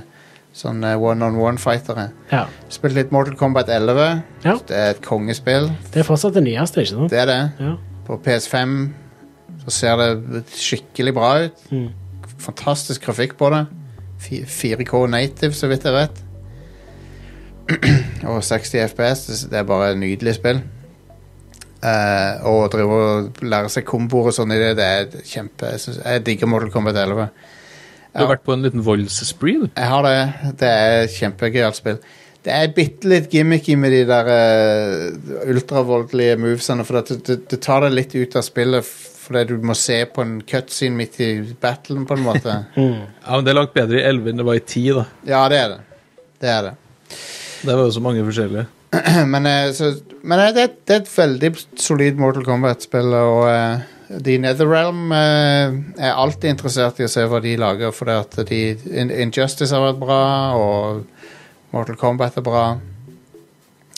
sånn eh, one-on-one-fightere. Ja. Spilte litt Mortal Kombat 11. Ja. Det er et kongespill. Det er fortsatt det nyeste, ikke sant? Det er det. Ja. På PS5 så ser det skikkelig bra ut. Mm. Fantastisk grafikk på det. Fi- 4K native, så vidt jeg vet. (clears throat) og 60 FPS. det- Det er bare et nydelig spill. Eh, og å drive og lære seg komboer og sånn i det, det er et kjempe Jeg, synes, jeg digger Mortal Kombat 11. Du har vært på en liten voldsspree, du. Jeg har det. Det er et kjempegøyalt spill. Det er bitte litt gimmicky med de der eh, ultravoldelige movesene, for at det, det tar deg litt ut av spillet f- fordi du må se på en cutscene midt i battlen, på en måte. Ja, men Det er langt bedre i 11 enn det var i 10. da. ja, det er det. Det er det. Det var jo så mange forskjellige. (laughs) Men, eh, så, men eh, det, det er et veldig solid Mortal Kombat-spill, og eh, de i Netherrealm eh, er alltid interessert i å se hva de lager, for at de, In- Injustice har vært bra, og Mortal Kombat er bra.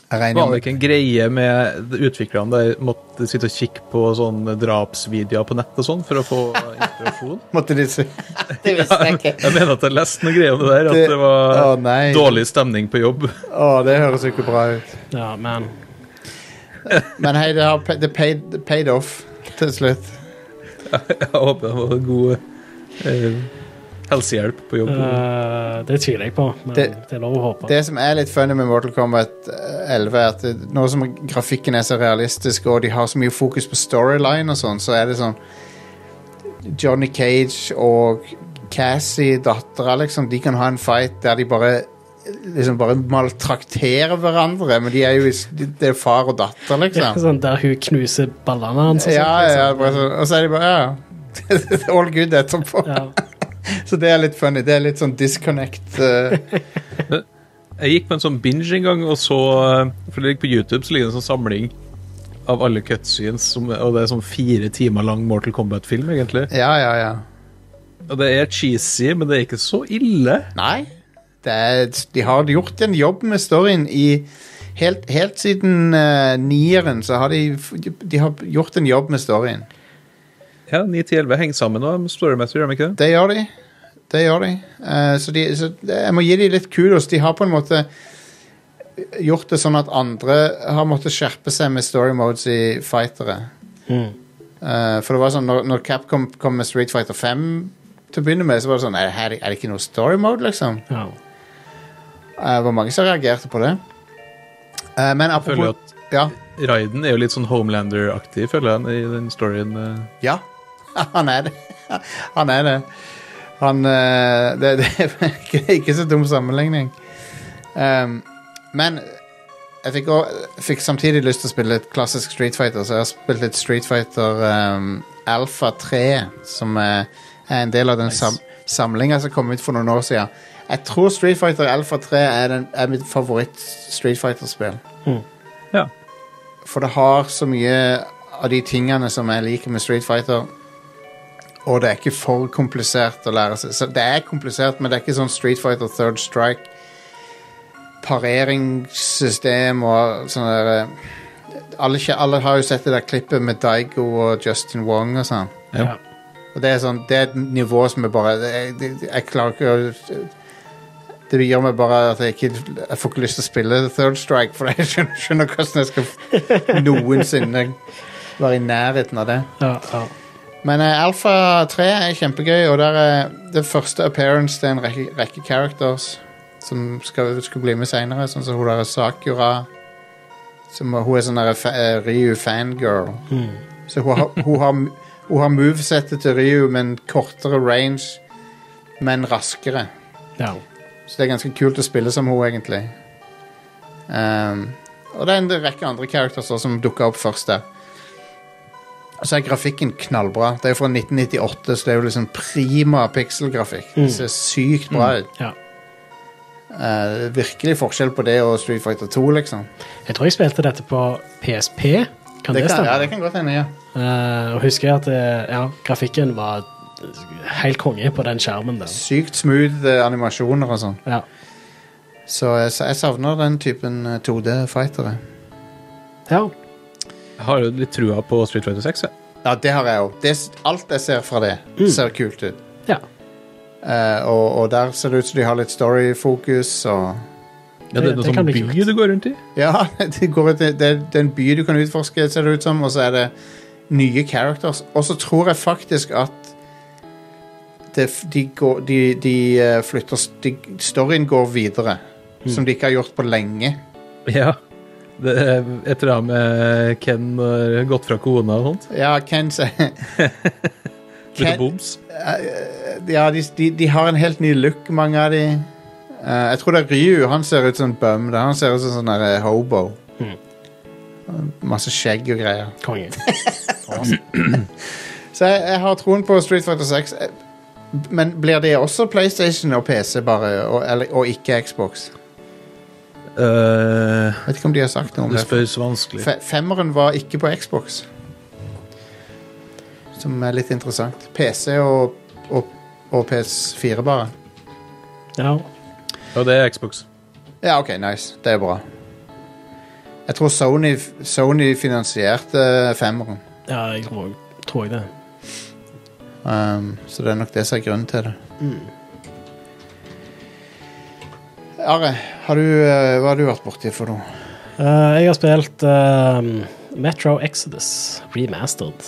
Jeg regner Var det ikke en greie med utviklerne der måtte sitte og kikke på sånne drapsvideoer på nett og sånn for å få inspirasjon? Måtte de si (laughs) Det visste jeg ikke. Jeg mener at jeg leste noen greier om det der, Det- at det var Å, nei. dårlig stemning på jobb. (laughs) Å, det høres jo ikke bra ut. Ja, men Men hei, det har pa- det paid, det paid off til slutt. Jeg håper det var god eh, helsehjelp på jobb. øh, det tviler jeg på. Men det, Det- er lov å håpe. Det som er litt funny med Mortal Kombat eh, 11, er at det- nå som grafikken er så realistisk, og de har så mye fokus på storyline og sånn, så er det sånn Johnny Cage og Cassie, dattera, liksom, de kan ha en fight der de bare liksom bare maltrakterer hverandre, men de er jo i s- de- det er far og datter, Ja, liksom. sånn der hun knuser ballene hans. og sånt, Ja, liksom. ja, bare så- og så er de bare ja, ja. (laughs) All good etterpå. Ja. Så det er litt funny. Det er litt sånn disconnect. eh, Jeg gikk på en sånn binge en gang, og så eh, For det ligger på YouTube, så ligger det en sånn samling av alle cutscenes, som, og det er sånn fire timer lang Mortal Kombat-film, egentlig. ja, ja, ja. Og det er cheesy, men det er ikke så ille. Nei. Det er, de har gjort en jobb med storyen i Helt, helt siden eh, nieren så har de, f- de har gjort en jobb med storyen. Ja, 9 til 11 henger sammen og storymessig, gjør de ikke det? Det gjør de. Det gjør de. Eh, så de så det- jeg må gi de litt kudos. De har på en måte gjort det sånn at andre har måttet skjerpe seg med story modes i fightere. Eh, for det var sånn, når, når Capcom kom med Street Fighter 5 til å begynne med, så var det sånn Er, er, det, er det ikke noe story mode, liksom? Ja. Eh, Det var mange som reagerte på det. Eh, men Jeg føler apropos at Ja. Raiden er jo litt sånn Homelander-aktig, føler jeg, i den storyen. eh. Ja, (laughs) han er det. (laughs) Han er det. Han eh, Det, det er (laughs) ikke- ikke så dum sammenligning. Ehm, men jeg fikk, også, fikk samtidig lyst til å spille et klassisk Street Fighter, så jeg har spilt et Street Fighter ehm, Alpha 3, som eh, er en del av den sam samlinga som kom ut for noen år siden. Jeg tror Street Fighter Alpha 3 er, den, er mitt favoritt-Street Fighter-spill. Ja. For det har så mye av de tingene som jeg liker med Street Fighter. Og det er ikke for komplisert å lære seg. Så det er komplisert, men det er ikke sånn Street Fighter Third Strike. Pareringssystem og sånn der eh, alle, kje- alle har jo sett det der klippet med Daigo og Justin Wong og sånn. Ja. Og det er sånn, det er et nivå som er bare Jeg, jeg, jeg klarer ikke å Det gjør meg bare at jeg ikke Jeg får ikke lyst til å spille Third Strike, for jeg skjønner, skjønner hvordan jeg skal noensinne være i nærheten av det. Ja, ja. Men eh, Alpha 3 er kjempegøy, og der er det første appearance det er en rekke, rekke characters som skal, skal bli med seinere, sånn som hun der Sakura. Som, hun er sånn der fa- eh, Ryu fangirl. Så hun har, hun har, hun har movesettet til Ryu, men kortere range, men raskere. ja. Så det er ganske kult å spille som hun, egentlig. Ehm, og det er en rekke andre characters også som dukka opp først der. Og så er grafikken knallbra. Det er jo fra 1998, så det er jo liksom prima pikselgrafikk. Det ser sykt bra ut. Mm. ja. Eh, virkelig forskjell på det og Street Fighter 2, liksom. Jeg tror jeg spilte dette på PSP. Kan Det det, kan, stemme? ja, det kan godt hende, ja. Eh, og husker jeg at eh, ja, grafikken var helt konge på den skjermen der. Sykt smooth eh, animasjoner og sånn. Ja. Så jeg, jeg savner den typen eh, 2D-fightere. ja. Jeg har jo litt trua på Street Fighter 6. Jeg. Ja, det har jeg òg. Alt jeg ser fra det, Mm. ser kult ut. ja. Eh, og, og der ser det ut som de har litt storyfokus og Ja, det er Det- noe det kan sånn bli by kult. du går rundt i. Ja, (laughs) det, går ut, det, det er en by du kan utforske, ser det ut som, og så er det nye characters. Og så tror jeg faktisk at det, f- de, går, de, de eh, flytter s- de, Storyen går videre, som de ikke har gjort på lenge. Ja. Det er etter det med Ken har gått fra kona og sånt. Ja, Ken se- (laughs) Blitt Ken- boms. Ja, de, de, de har en helt ny look, mange av de. Eh, jeg tror det er Ryu. Han ser ut som en bum. da. Han ser ut som en sånn der, eh, hobo. Masse skjegg og greier. Konge. Så jeg, jeg har troen på Street Fighter 6. Eh, Men blir det også PlayStation og PC bare, og, eller, og ikke Xbox? Eh, Vet ikke om de har sagt noe om du det. spør så vanskelig. Fe- Femmeren var ikke på Xbox. Som er litt interessant. PC og, og, og PS4 bare. (laughs) Ja. Og det er Xbox. Ja, ok, nice. Det er bra. Jeg tror Sony, Sony finansierte femmeren. ja, jeg tror, tror jeg det. Um, så det er nok det som er grunnen til det. Mm. Are, har du, eh, hva har du vært borti for noe? Eh, jeg har spilt eh, Metro Exodus remastered.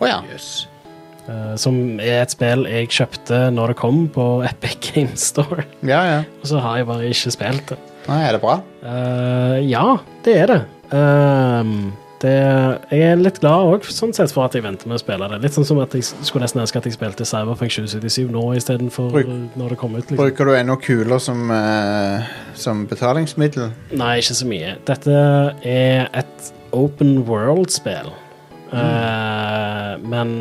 Å ja. eh, som er et spill jeg kjøpte når det kom på (laughs) Epic Game Store. Ja, ja. Og så har jeg bare ikke spilt det. Nei, er det bra? Eh, ja, det er det. Ehm, det. Jeg er litt glad òg, sånn sett, for at jeg venter med å spille det. Litt sånn som at jeg skulle nesten ønske at jeg spilte Cyberpunk 2077 nå istedenfor Bruk- eh, når det kom ut. Liksom. Bruker du ennå kuler som, eh, som betalingsmiddel? Nei, ikke så mye. Dette er et open world-spill. Eh, men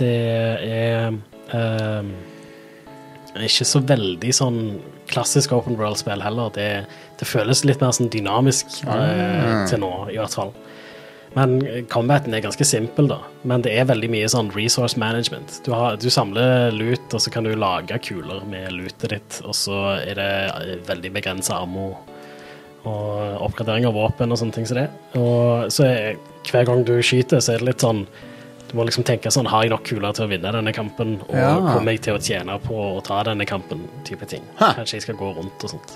det er ehm, ikke så veldig sånn klassisk open world-spill heller. Det, det føles litt mer sånn dynamisk eh, til nå, i hvert fall. Men combaten er ganske simpel, da. Men det er veldig mye sånn resource management. Du, har, du samler lut, og så kan du lage kuler med lutet ditt, og så er det eh, veldig begrensa ammo og oppgradering av våpen og sånne ting som det. Og så er, hver gang du skyter, så er det litt sånn Du må liksom tenke sånn Har jeg nok kuler til å vinne denne kampen? Og Ja. kommer jeg til å tjene på å ta denne kampen? Type ting. Ha. Kanskje jeg skal gå rundt og sånt.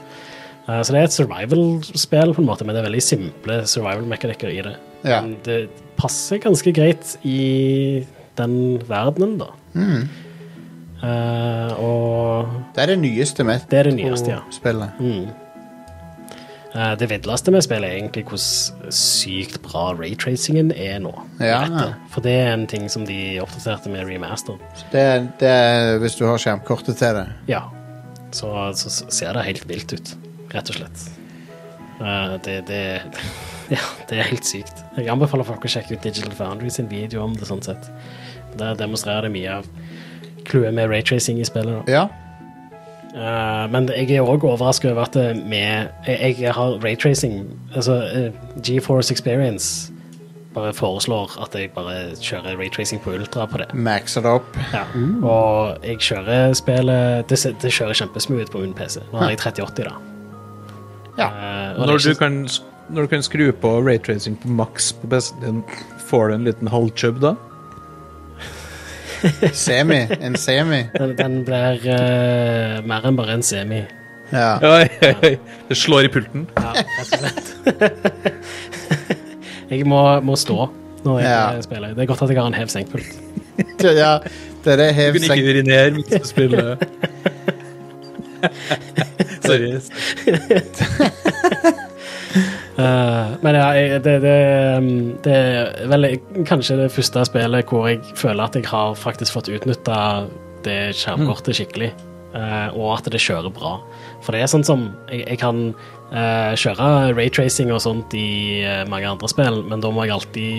Eh, Så det er et survival-spill, på en måte, men det er veldig simple survival-mekanikker i det. Ja. Men det passer ganske greit i den verdenen, da. Mm. Eh, og Det er det nyeste med Oh, det er det nyeste, ja. spillet. Mm. Eh, Det villeste med spillet er egentlig hvordan sykt bra raytracingen er nå. Ja. Rettet. For det er en ting som de oppdaterte med remaster. Det, er- det er hvis du har skjermkortet til det. Ja. Så, så ser det helt vilt ut, rett og slett. Eh, Det, det, (laughs) ja, det er helt sykt. Jeg anbefaler folk å sjekke ut Digital Foundry sin video om det. sånn sett. Der demonstrerer det mye av clouet med raytracing i spillet. da. Ja. Eh, men jeg er òg overrasket over at eh, med Jeg, jeg har raytracing Altså, eh, GeForce Experience bare foreslår at jeg bare kjører raytracing på ultra på det. Maxer det opp. Ja. Og jeg kjører spillet Det, se- det kjører kjempesmooth på min PC. Nå har jeg 3080, da. Ja. Eh, og det er Når du ikke- kan, sk- når du kan skru på raytracing på maks på PC-en din, får du en liten halvchub da? Semi. En (laughs) semi. den, den blir eh, mer enn bare en semi. Ja. Oi, oi, oi. Det slår i pulten. Ja, rett og slett. jeg må, må stå når jeg Ja. spiller. Det er godt at jeg har en hev senkpult. Det, ja. Det er det Du hev kan ikke senk... urinere mens du spiller. Sorry. Eh, men ja, jeg, det, det, um, det er vel kanskje det første spillet hvor jeg føler at jeg har faktisk fått utnytta det skjermkortet skikkelig. eh, og at det kjører bra. For det er sånn som Jeg, jeg kan eh, kjøre raytracing og sånt i eh, mange andre spill, men da må jeg alltid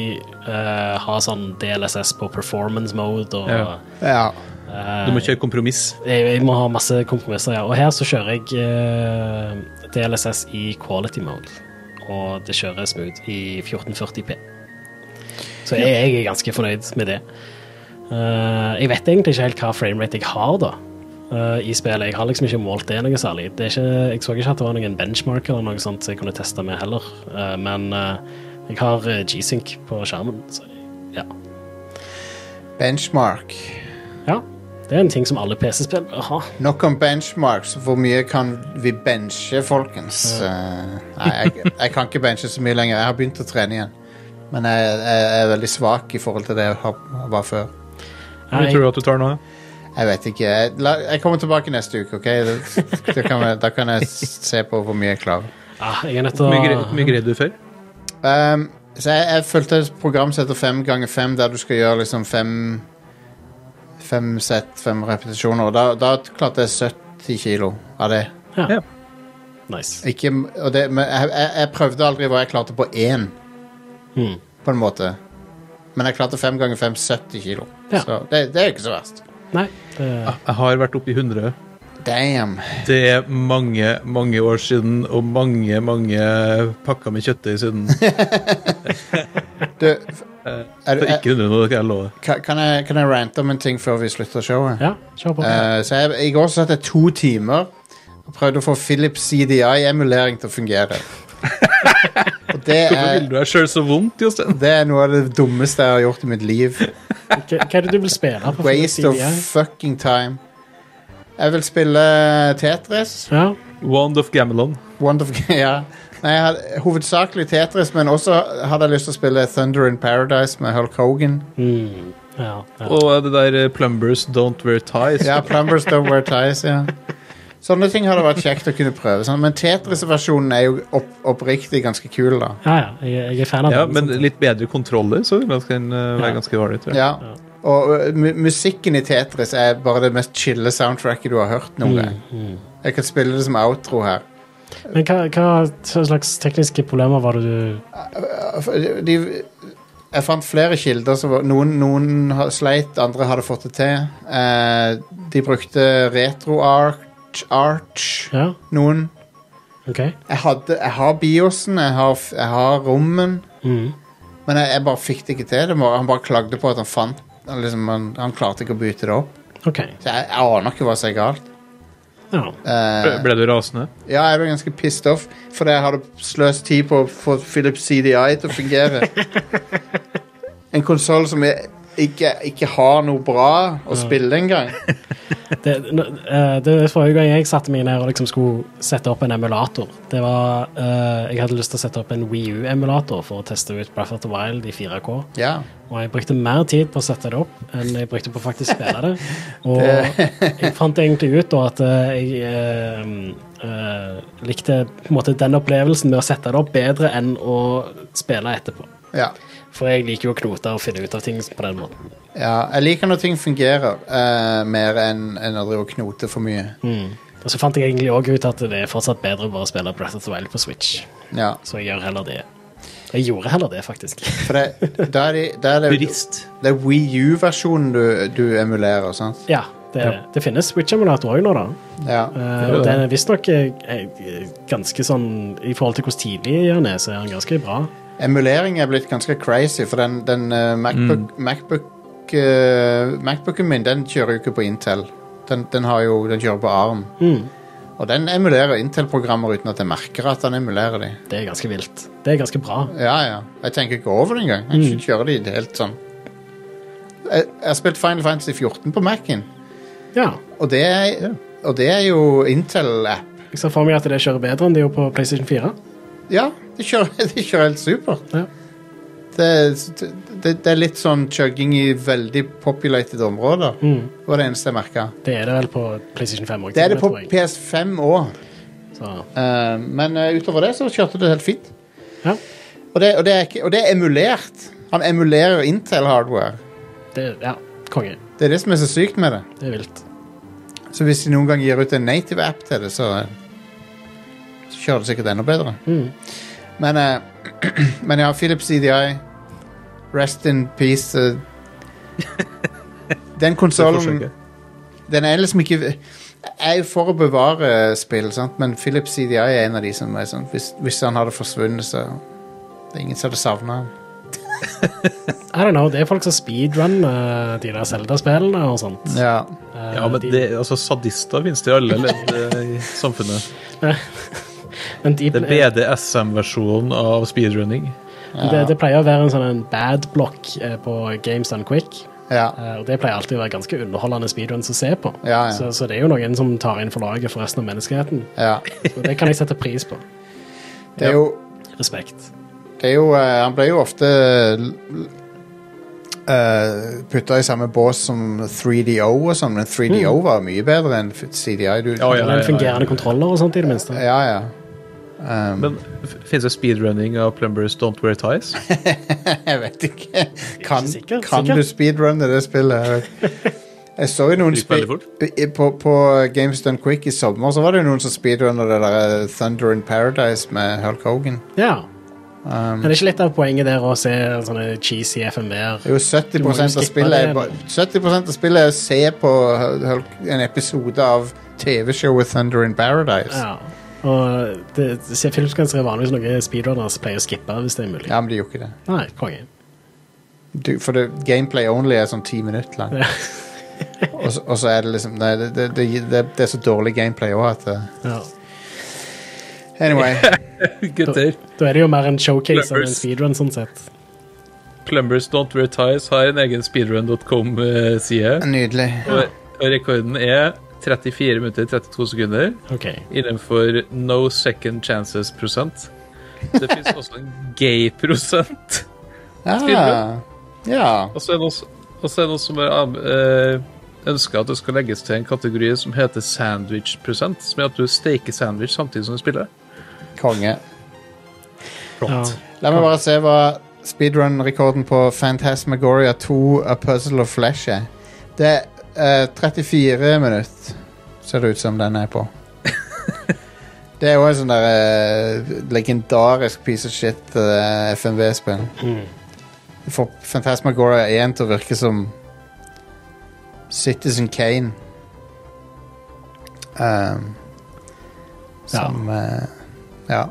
eh, ha sånn DLSS på performance mode og Ja. Ja. Du må kjøre kompromiss. jeg, jeg må ha masse kompromisser, ja. Og her så kjører jeg eh, DLSS i quality mode. Og det kjører smooth i 1440p. Så jeg, jeg er ganske fornøyd med det. Eh, jeg vet egentlig ikke helt hva framerate jeg har da eh, i spillet. Jeg har liksom ikke målt det noe særlig. Det er ikke, jeg så ikke at det var noen benchmarker eller noe sånt som jeg kunne teste med heller. Eh, men eh, jeg har eh, G-Sync på skjermen, så ja. Benchmark. ja. Det er en ting som alle PC-spill bør ha. Nok om benchmarks. Hvor mye kan vi benche, folkens? Eh, nei, jeg, jeg kan ikke benche så mye lenger. Jeg har begynt å trene igjen. Men jeg, jeg er veldig svak i forhold til det jeg har- var før. Hvor mye tror du at du tar nå? Jeg vet ikke. Jeg, la, jeg kommer tilbake neste uke, OK? Det, det kan, jeg- da kan jeg se på hvor mye jeg klarer. Ah, jeg er nødt til å Hvor mye gre- hvor mye greide du før? Ehm, så jeg, jeg fulgte et program som heter fem ganger fem, der du skal gjøre liksom fem Fem sett, fem repetisjoner. Og da, da klarte jeg 70 kilo av det. Ja. Ja. Nice. Ikke, og det men jeg, jeg, jeg prøvde aldri hva jeg klarte på én, Mm. Hmm. på en måte. Men jeg klarte fem ganger fem 70 kilo. Ja. Så det, det er jo ikke så verst. Nei, eh, det, Jeg har vært oppe i 100. Damn. Det er mange, mange år siden, og mange, mange pakker med kjøttdeig siden. Så Du, f- (laughs) er, du- Eh, eh, ikke 100 nå, det kan jeg love. Ka- Kan jeg, kan jeg rante om en ting før vi slutter showet? ja, kjør på. Eh, så jeg, I går satt jeg to timer og prøvde å få Philips CDI-emulering til å (laughs) fungere. og det Hvorfor vil er, du deg sjøl så vondt, Jostein? det er noe av det dummeste jeg har gjort i mitt liv. Hva, hva er det du vil spille på? Waste of CDI? fucking time. Jeg vil spille Tetris. Ja, Wand of Gamelon. Wonderful, (laughs) ja. Nei, jeg hadde, hovedsakelig Tetris, men også hadde jeg lyst til å spille Thunder in Paradise med Hulk Hogan. ja, ja. Og det der eh, Plumbers Don't Wear Ties. Ja, Plumbers Don't Wear Ties, ja. Sånne ting hadde vært kjekt å kunne prøve. Sånn. Men Tetris-versjonen er jo opp, oppriktig ganske kul, da. ja, ja jeg, jeg er fan av Ja, den, men sånn. litt bedre kontroller, så man kan eh, Ja. være ganske ålreit. tror jeg. Ja. Og ø, mu musikken i Tetris er bare det mest chille soundtracket du har hørt noen gang. Jeg kan spille det som outro her. Men hva, hva slags tekniske problemer var det du De, jeg fant flere kilder som var Noen, noen har- sleit, andre hadde fått det til. Eh, de brukte retro-arch, arch, Ja, noen. OK. Jeg, hadde, jeg har biosen, jeg har, f- jeg har rommen. Mm. Men jeg, jeg bare fikk det ikke til. Det var, han bare klagde på at han fant han, liksom, han, han klarte ikke å bytte det opp. OK. Så jeg, jeg aner ikke hva som er galt. Ja. Eh, Ble- Ble du rasende? ja, jeg ble ganske pissed off fordi jeg hadde sløst tid på å få Philips CDI til å fungere. en konsoll som jeg ikke, ikke har noe bra å spille engang. Det, n- eh, det Forrige gang jeg satte meg ned og liksom skulle sette opp en emulator Det var eh, Jeg hadde lyst til å sette opp en Wii U-emulator for å teste ut Breath of the Wild i 4K. Ja. Og jeg brukte mer tid på å sette det opp enn jeg brukte på å faktisk spille (laughs) det. Og jeg fant egentlig ut da at eh, jeg eh, eh, likte på en måte den opplevelsen med å sette det opp bedre enn å spille etterpå. ja. For jeg liker jo å knote og finne ut av ting på den måten. ja. Jeg liker når ting fungerer eh, mer enn enn å drive og knote for mye. Og så fant jeg egentlig også ut at det er fortsatt bedre å bare spille Breath of the Wild på Switch. Ja. Så jeg gjør heller det. Jeg gjorde heller det, faktisk. (laughs) For det, da er, de, da er det, Turist. det er Wii U-versjonen du, du emulerer, sant? Ja, det, er det. det finnes Switch-emulator òg nå, da. Ja. Eh, og den er visstnok eh, eh, ganske sånn I forhold til hvor tidlig han er, så er han ganske bra. Emulering er blitt ganske crazy, for den, den eh, Macbook, Macbook eh, Macbooken min den kjører jo ikke på Intel. Den, den, har jo, den kjører på ARM. Og den emulerer Intel-programmer uten at jeg merker at den emulerer de. Det er ganske vilt. Det er ganske bra. Ja, ja. Jeg tenker ikke over det engang. Jeg kjører de helt sånn. Jeg, jeg har spilt Final Fantasy 14 på Mac-en, Ja. og, det er- og det er jo Intel-app. Jeg ser for meg at det kjører bedre enn de gjorde på PlayStation 4. Ja, de kjører, (laughs) de kjører helt supert. Ja. Det, det, eh, det er litt sånn chugging i veldig populated områder. Det var det eneste jeg merka. Mm. Det er det vel på PlayStation 5 òg. Det er det på PS5 òg. Så men eh, utover det så kjørte det helt fint. Ja. Og, det, og, det er ikke, og det er emulert. Han emulerer Intel Hardware. det er Ja, konge. Det er det som er så sykt med det. Det er vilt. Så hvis de noen gang gir ut en native app til det, så, så kjører det sikkert enda bedre. Men, eh, (clears throat) men ja, Philips CDI Rest in peace. eh. den konsollen forsøket. Den er liksom ikke Jeg er jo for å bevare spill, sant? men Philips CDI er en av de som er sånn Hvis, hvis han hadde forsvunnet, så Det er ingen som hadde savna han. I don't know, det er folk som speedrunner de der Zelda-spillene og sånt. Ja. Eh, Ja, men de, det, altså, sadister finnes det i alle ledd eh, i samfunnet. (laughs) men de, Det er BDSM-versjonen av speedrunning. det, det pleier å være en sånn en bad block eh, på Games Done Quick. ja. Eh, Og Det pleier alltid å være ganske underholdende speedruns å se på. Ja, ja. Så, så det er jo noen som tar inn for laget for resten av menneskeheten. ja. Og det kan jeg sette pris på. Det er jo Respekt. Det er jo, eh, han ble jo ofte uh, putta i samme bås som 3DO og sånn, men 3DO var mye bedre enn f- CDI. Du, Ja, Det er en fungerende kontroller og sånt, i det minste. ja, ja. (laughs) Men f- finnes det speedrunning av Plumbers Don't Wear Ties? Jeg vet ikke. Kan, sikker, kan sikker. du speedrunne det spillet? Jeg, vet. jeg så jo noen Det gikk spe- veldig fort. i- På, på Games Done Quick i sommer så var det jo noen som speedrunner det der eh, Thunder in Paradise med Hulk Hogan. Ja. Men det er ikke litt av poenget der å se sånne cheesy FMV-er? Det er jo 70 Du må av jo skippe spillet er det. bare- 70 av spillet er å se på Hulk, en episode av TV-showet Thunder in Paradise. Ja. Og det, det- se, filmskansere er vanligvis noe speedrunnere som pleier å skippe hvis det er mulig. Ja, men det gjorde ikke det. Nei, konge. Du, for det, gameplay only er sånn ti minutter lang. Ja. og, så, og så er det liksom Nei, det, det, det, det, det er så dårlig gameplay òg at det, Ja. (laughs) Anyway. (laughs) Gutter, Da er det jo mer en showcase enn en Lovers. speedrun, sånn sett. Plumbers Don't Wear Ties har en egen speedrun.com-side. Nydelig. eh, Og, og rekorden er 34 minutter 32 sekunder Ok. innenfor no second chances-prosent. Det fins også en gay-prosent. Ah, Speedrun. ja. Og så er det også- og så er det noen som eh, ønsker at det skal legges til en kategori som heter sandwich-prosent. Som er at du steker sandwich samtidig som du spiller. Konge. Ja. La meg bare se hva speedrun-rekorden på Phantasmagoria 2 A Puzzle of Flesh er. Det er eh, 34 minutter, ser det ut som den er på. Det er jo en sånn der eh, legendarisk piece of shit eh, FMV-spill. Det får Phantasmagoria 1 til å virke som Citizen Kane. Um, som eh, Ja.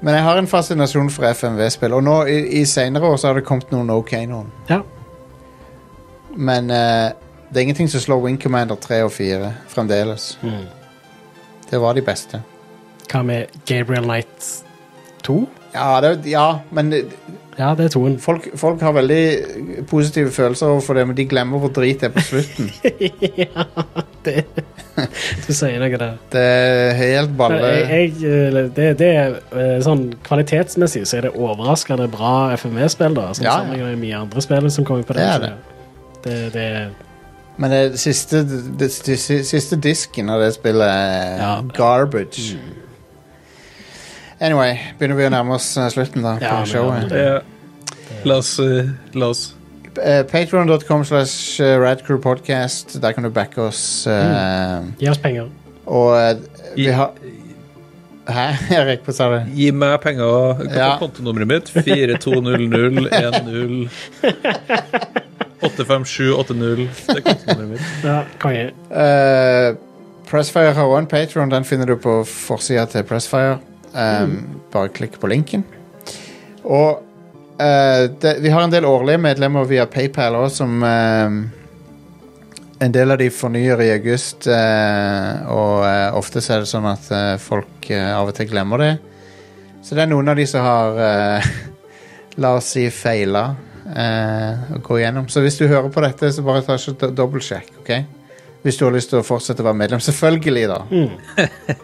Men jeg har en fascinasjon for FMV-spill, og nå i, i senere år så har det kommet noen OK noen. ja. Men eh, det er ingenting som slår Wing Commander 3 og 4 fremdeles. Mm. Det var de beste. Hva med Gabriel Knight 2? Ja, det, ja men det- Ja, det er toen. folk, folk har veldig positive følelser overfor det, men de glemmer hvor drit det er på (laughs) slutten. ja, det (laughs) Du sier noe der. Det er helt Men balle. Jeg, jeg, eh, det, det er eh, sånn Kvalitetsmessig så er det overraskende bra FME-spill, da. sånn Som Ja, ja. sammenlignet med mye andre spill som kommer på Det er den. Det, det, det Men det siste, det, det siste disken av det spillet er Ja. Mm. garbage. Anyway, begynner vi å nærme oss eh, slutten da, på Ja, vi gjør showet. det. Ja. La oss eh, La oss Uh, Patron.com slash eh, Radcrew Podcast. Der kan du backe oss. eh, Gi oss penger. Og eh, vi I- har Hæ, (laughs) Erik? Hva sa du? gi meg penger. Hva Ja. er kontonummeret mitt? (laughs) 420010 85780. Det er kontonummeret mitt. Ja, konge. Eh, Pressfire har også en Patron. Den finner du på forsida til Pressfire. Um, Bare klikk på linken. Og eh, det, vi har en del årlige medlemmer via PayPal òg, som eh, En del av de fornyer i august, eh, og eh, ofte så er det sånn at eh, folk eh, av og til glemmer det. Så det er noen av de som har eh, (laughs) La oss si feila eh, å gå igjennom. Så hvis du hører på dette, så bare ta så do- dobbeltsjekk. ok? Hvis du har lyst til å fortsette å være medlem, selvfølgelig, da.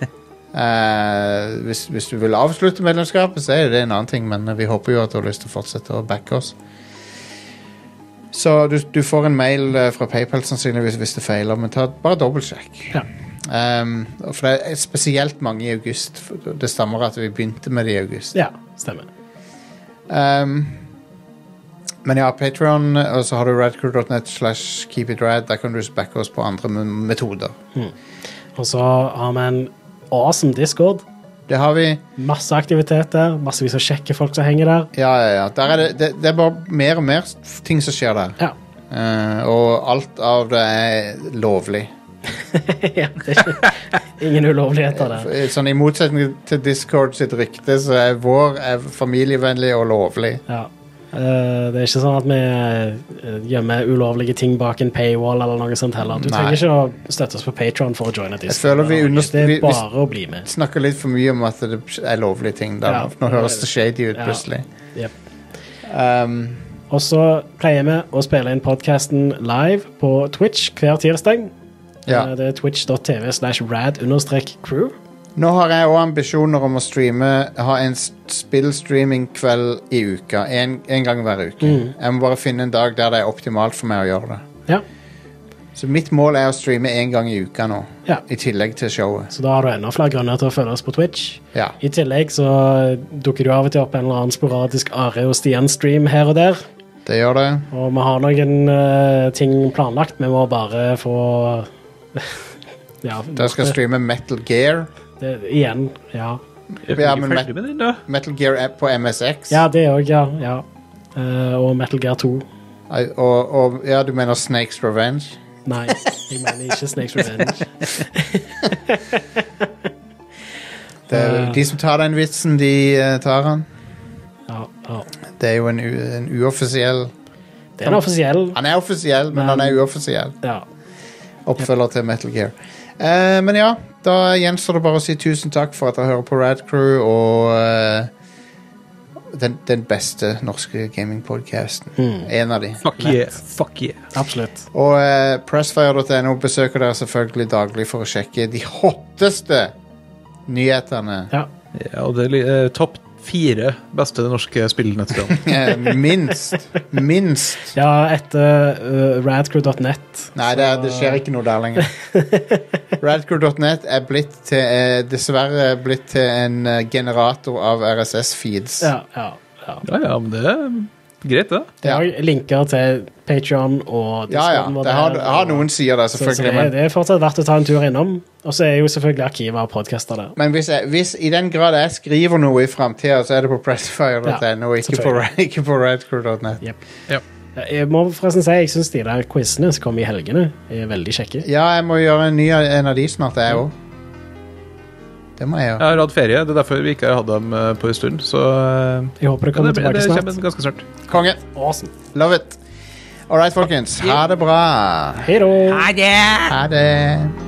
(laughs) Eh, hvis, hvis du vil avslutte medlemskapet, så er jo det en annen ting, men vi håper jo at du har lyst til å fortsette å backe oss. Så du, du får en mail eh, fra PayPal sannsynligvis hvis det feiler, men ta, bare dobbeltsjekk. Ja. Ehm, og for det er spesielt mange i august. for Det stammer at vi begynte med det i august. Ja, stemmer. Ehm, men ja, Patron, og så har du radcrew.net slash keepitrad. Der kan du backe oss på andre me- metoder. Og så har vi en awesome Discord. Det har vi. Masse aktivitet der. Massevis av kjekke folk som henger der. Ja, ja, ja. Der er det, det, det er bare mer og mer s- ting som skjer der. Ja. (laughs) Eh, og alt av det er lovlig. ja det er ikke, ingen ulovligheter der. Eh, Sånn I motsetning til Discord sitt rykte, så er vår er familievennlig og lovlig. Ja. Eh, det er ikke sånn at vi eh, gjemmer ulovlige ting bak en paywall eller noe sånt heller. Du Nei. trenger ikke å støtte oss på Patron for å joine Discord. føler vi Det er underst- vi- vi- bare å bli med. Snakker litt for mye om at det er lovlige ting. Der. Ja. Nå høres det shady ut Ja. plutselig. Jep. Um, Og så pleier vi å spille inn podkasten live på Twitch hver tirsdag. ja. Eh, Det er twitch.tv slash rad-crew. Nå har jeg òg ambisjoner om å streame ha en s- spillstreamingkveld i uka. Én gang hver uke. Mm. Jeg må bare finne en dag der det er optimalt for meg å gjøre det. Ja. Så mitt mål er å streame én gang i uka nå, Ja. i tillegg til showet. Så da har du enda flere grunner til å følge oss på Twitch. Ja. I tillegg så dukker du av og til opp en eller annen sporadisk Are og Stian-stream her og der. Det gjør det. Og vi har noen eh, ting planlagt. Vi må bare få (laughs) Ja. Da skal jeg streame Metal Gear. det, igjen. Ja. Er vi Ja, ikke men- ferdig med den, da? Metal Gear app på MSX. ja, det òg, ja. ja. Eh, og Metal Gear 2. Ei, Og, og ja, du mener Snakes Revenge? Nei, jeg mener ikke (laughs) Snakes Revenge. Det er, Ja. De som tar den vitsen, de eh, tar den. Ja, ja. Det er jo en, u, en uoffisiell Det er en offisiell. Han er offisiell, men, Men- han er uoffisiell. Ja. Oppfølger til Metal Gear. Eh, men ja, da gjenstår det bare å si tusen takk for at dere hører på Radcrew og eh, den, den beste norske gamingpodcasten. En av de. Fuck yeah. Fuck yeah. Absolutt. Og eh, pressfire.no besøker dere selvfølgelig daglig for å sjekke de hotteste nyhetene. Ja. Ja, og det er li- eh, topp fire beste norske spillnettsteder. Eh, minst. Minst. ja, etter eh, radcrew.net. Nei, det, er- det skjer ikke noe der lenger. Radcrew.net er blitt til, eh, dessverre blitt til en eh, generator av RSS-feeds. Ja, ja, ja. (laughs) Ja, ja, men det er greit, det. Det Ja. er også linker til Patreon Ja, ja. og Discorden vår Det har, der, har og- noen sider der, Så, så det, selvfølgelig. er- Men, det er fortsatt verdt å ta en tur innom. Og så er jo selvfølgelig arkivet av podkaster der. men hvis, jeg, hvis i den grad jeg skriver noe i framtida, så er det på pressfire.no, og ikke på, (laughs) ikke på radcrew.net. Jep. Ja. Jeg må forresten si jeg syns de der quizene som kom i helgene, er veldig kjekke. Ja, jeg må gjøre en ny en av de snart, jeg òg. Det må jeg gjøre. Jeg har hatt ferie, det er derfor vi ikke har hatt dem eh, på en stund. Så eh, Jeg håper det ja, kommer det, tilbake det snart. kommer ganske snart. Konge. Awesome. Love it. All right, folkens. Ha det bra. Hei da! Ha det.